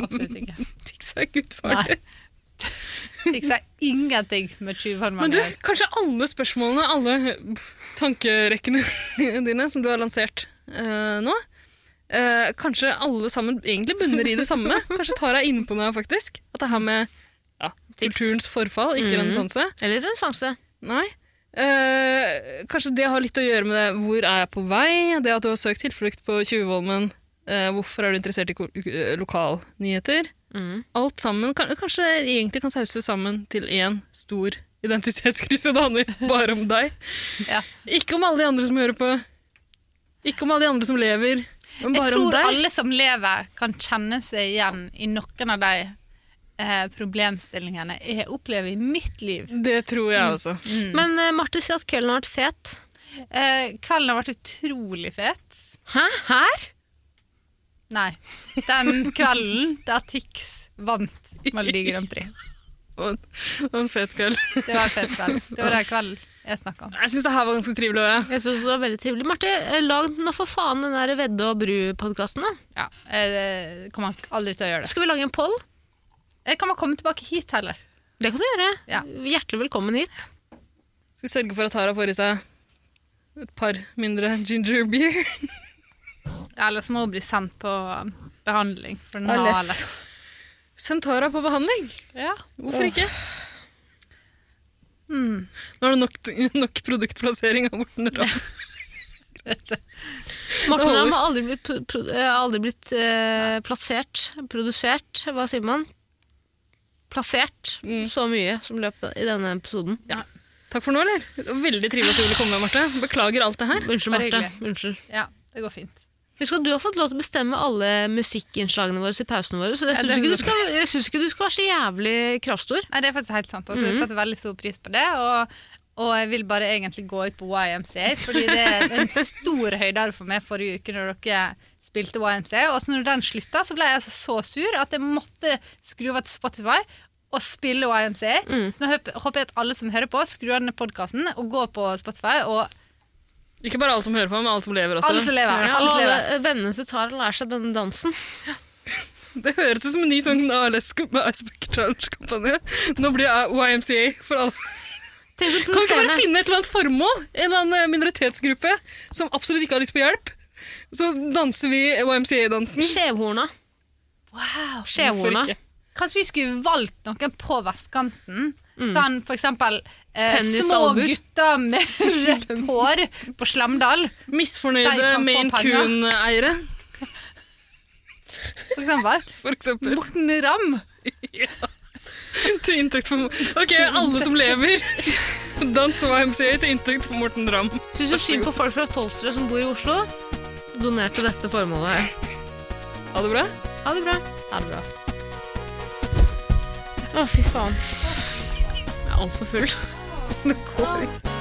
[SPEAKER 3] Absolutt ikke.
[SPEAKER 1] Tix er gudfar.
[SPEAKER 3] Nei. Fikk seg ingenting med
[SPEAKER 1] Men
[SPEAKER 3] tjuvhåndmannen.
[SPEAKER 1] du, kanskje alle spørsmålene, alle tankerekkene dine som du har lansert eh, nå, eh, kanskje alle sammen egentlig bunner i det samme. Kanskje Tara er inne på noe, faktisk. At det her med ja, kulturens forfall, ikke
[SPEAKER 2] Mhm.
[SPEAKER 1] renessanse.
[SPEAKER 2] Eller renessanse?
[SPEAKER 1] Nei. Eh, kanskje det har litt å gjøre med det. Hvor er jeg på vei? Det at du har søkt tilflukt på Tjuvholmen. Eh, hvorfor er du interessert i ko- eh, lokalnyheter?
[SPEAKER 2] Mm.
[SPEAKER 1] Alt sammen kan, kanskje egentlig kan sauses sammen til én stor identitetskrise. Det handler bare om deg.
[SPEAKER 3] Ja.
[SPEAKER 1] Ikke om alle de andre som hører på. Ikke om alle de andre som lever. Men
[SPEAKER 3] Jeg
[SPEAKER 1] bare om
[SPEAKER 3] tror
[SPEAKER 1] deg.
[SPEAKER 3] alle som lever kan kjenne seg igjen i noen av de eh, problemstillingene jeg opplever i mitt liv.
[SPEAKER 1] Det tror
[SPEAKER 3] Mm.
[SPEAKER 1] jeg også.
[SPEAKER 2] Men eh, Marte sier at kvelden har vært fet.
[SPEAKER 3] Eh, kvelden har vært utrolig fet.
[SPEAKER 2] Hæ? Her?
[SPEAKER 3] Nei, den kvelden der Tix vant Melodi Grand Prix.
[SPEAKER 1] Og, og en fet kveld.
[SPEAKER 3] Det var en fet kveld. Det var den kvelden jeg snakka om.
[SPEAKER 1] Jeg syns det her var ganske trivelig. Også, ja.
[SPEAKER 2] Jeg synes det var veldig trivelig. Marte, eh, lag nå for faen den der Vedde og Bru-podkasten, da.
[SPEAKER 3] Ja, eh, kommer aldri til å gjøre det.
[SPEAKER 2] Skal vi lage en poll?
[SPEAKER 3] Jeg kan bare komme tilbake hit heller.
[SPEAKER 2] Det kan du gjøre.
[SPEAKER 3] Ja.
[SPEAKER 2] Hjertelig velkommen hit.
[SPEAKER 1] Skal vi sørge for at Tara får i seg et par mindre ginger beer?
[SPEAKER 3] Eller så må hun bli sendt på um, behandling for den har
[SPEAKER 1] Alles.
[SPEAKER 3] ALS.
[SPEAKER 1] Send Tara på behandling.
[SPEAKER 3] Ja.
[SPEAKER 1] Hvorfor ikke? Hmm. Nå er det nok, nok produktplassering av Morten Ramm.
[SPEAKER 2] Morten
[SPEAKER 1] Det holder.
[SPEAKER 2] Ramm har aldri blitt, pro pro eh, aldri blitt eh, plassert, produsert, hva sier man? Plassert
[SPEAKER 1] Mm.
[SPEAKER 2] så mye som løp da- i denne episoden.
[SPEAKER 1] Takk for nå, eller? Det var Veldig trivelig at du ville komme, Marte. Beklager alt det her.
[SPEAKER 2] Unnskyld,
[SPEAKER 3] Bare
[SPEAKER 2] Marte. Unnskyld.
[SPEAKER 3] ja, det går fint.
[SPEAKER 2] Husk at du har fått lov til å bestemme alle musikkinnslagene våre i pausene våre, så jeg
[SPEAKER 3] Ja,
[SPEAKER 2] syns
[SPEAKER 3] det
[SPEAKER 2] ikke, du
[SPEAKER 3] er
[SPEAKER 2] skal- jeg synes ikke du skal være så jævlig kravstor.
[SPEAKER 3] Nei, det er faktisk helt sant. Altså, Jeg setter veldig stor pris på det. Og, og jeg vil bare egentlig gå ut på YMCA, fordi det er en stor høydare for meg forrige uke når dere spilte YMCA. Og så når den slutta, så ble jeg altså så sur at jeg måtte skru over til Spotify og spille YMCA. Så nå håper håper jeg at alle som hører på, skrur av denne podkasten og går på Spotify. Og
[SPEAKER 1] Ikke bare alle som hører på, men alle som lever også.
[SPEAKER 3] Alle som lever.
[SPEAKER 2] Ja, og
[SPEAKER 3] alle som
[SPEAKER 2] alle
[SPEAKER 3] lever.
[SPEAKER 2] eh, vennene til Tara lærer seg denne dansen.
[SPEAKER 1] Det høres ut som en ny sånn ALS-Icebucket Challenge-kampanje. Nå blir jeg YMCA for alle.
[SPEAKER 2] Tenk å
[SPEAKER 1] Kan vi ikke bare
[SPEAKER 2] produsere
[SPEAKER 1] finne et eller annet formål? En eller annen eh, minoritetsgruppe som absolutt ikke har lyst på hjelp? Så danser vi YMCA-dansen.
[SPEAKER 2] skjevhorna.
[SPEAKER 3] Wow!
[SPEAKER 2] Skjevhorna.
[SPEAKER 3] Kanskje vi skulle valgt noen på vestkanten. Sånn for eksempel eh, små
[SPEAKER 2] Tennisalbuer.
[SPEAKER 3] gutter med rødt hår på Slemdal, De
[SPEAKER 1] Misfornøyde
[SPEAKER 3] kan få
[SPEAKER 1] Maine
[SPEAKER 3] penger.
[SPEAKER 1] Coon-eiere,
[SPEAKER 3] for eksempel.
[SPEAKER 1] for eksempel.
[SPEAKER 3] Morten Ramm.
[SPEAKER 1] Til inntekt for Ok, alle som lever. Dans YMCA E til inntekt for Morten Ramm.
[SPEAKER 2] Syns du synd på folk fra Tolsrød som bor i Oslo? Doner til dette formålet her.
[SPEAKER 1] Ha det bra.
[SPEAKER 2] Ha det bra.
[SPEAKER 3] Ha det bra.
[SPEAKER 2] Å, fy faen. Jeg er altfor full.
[SPEAKER 1] Det går ikke.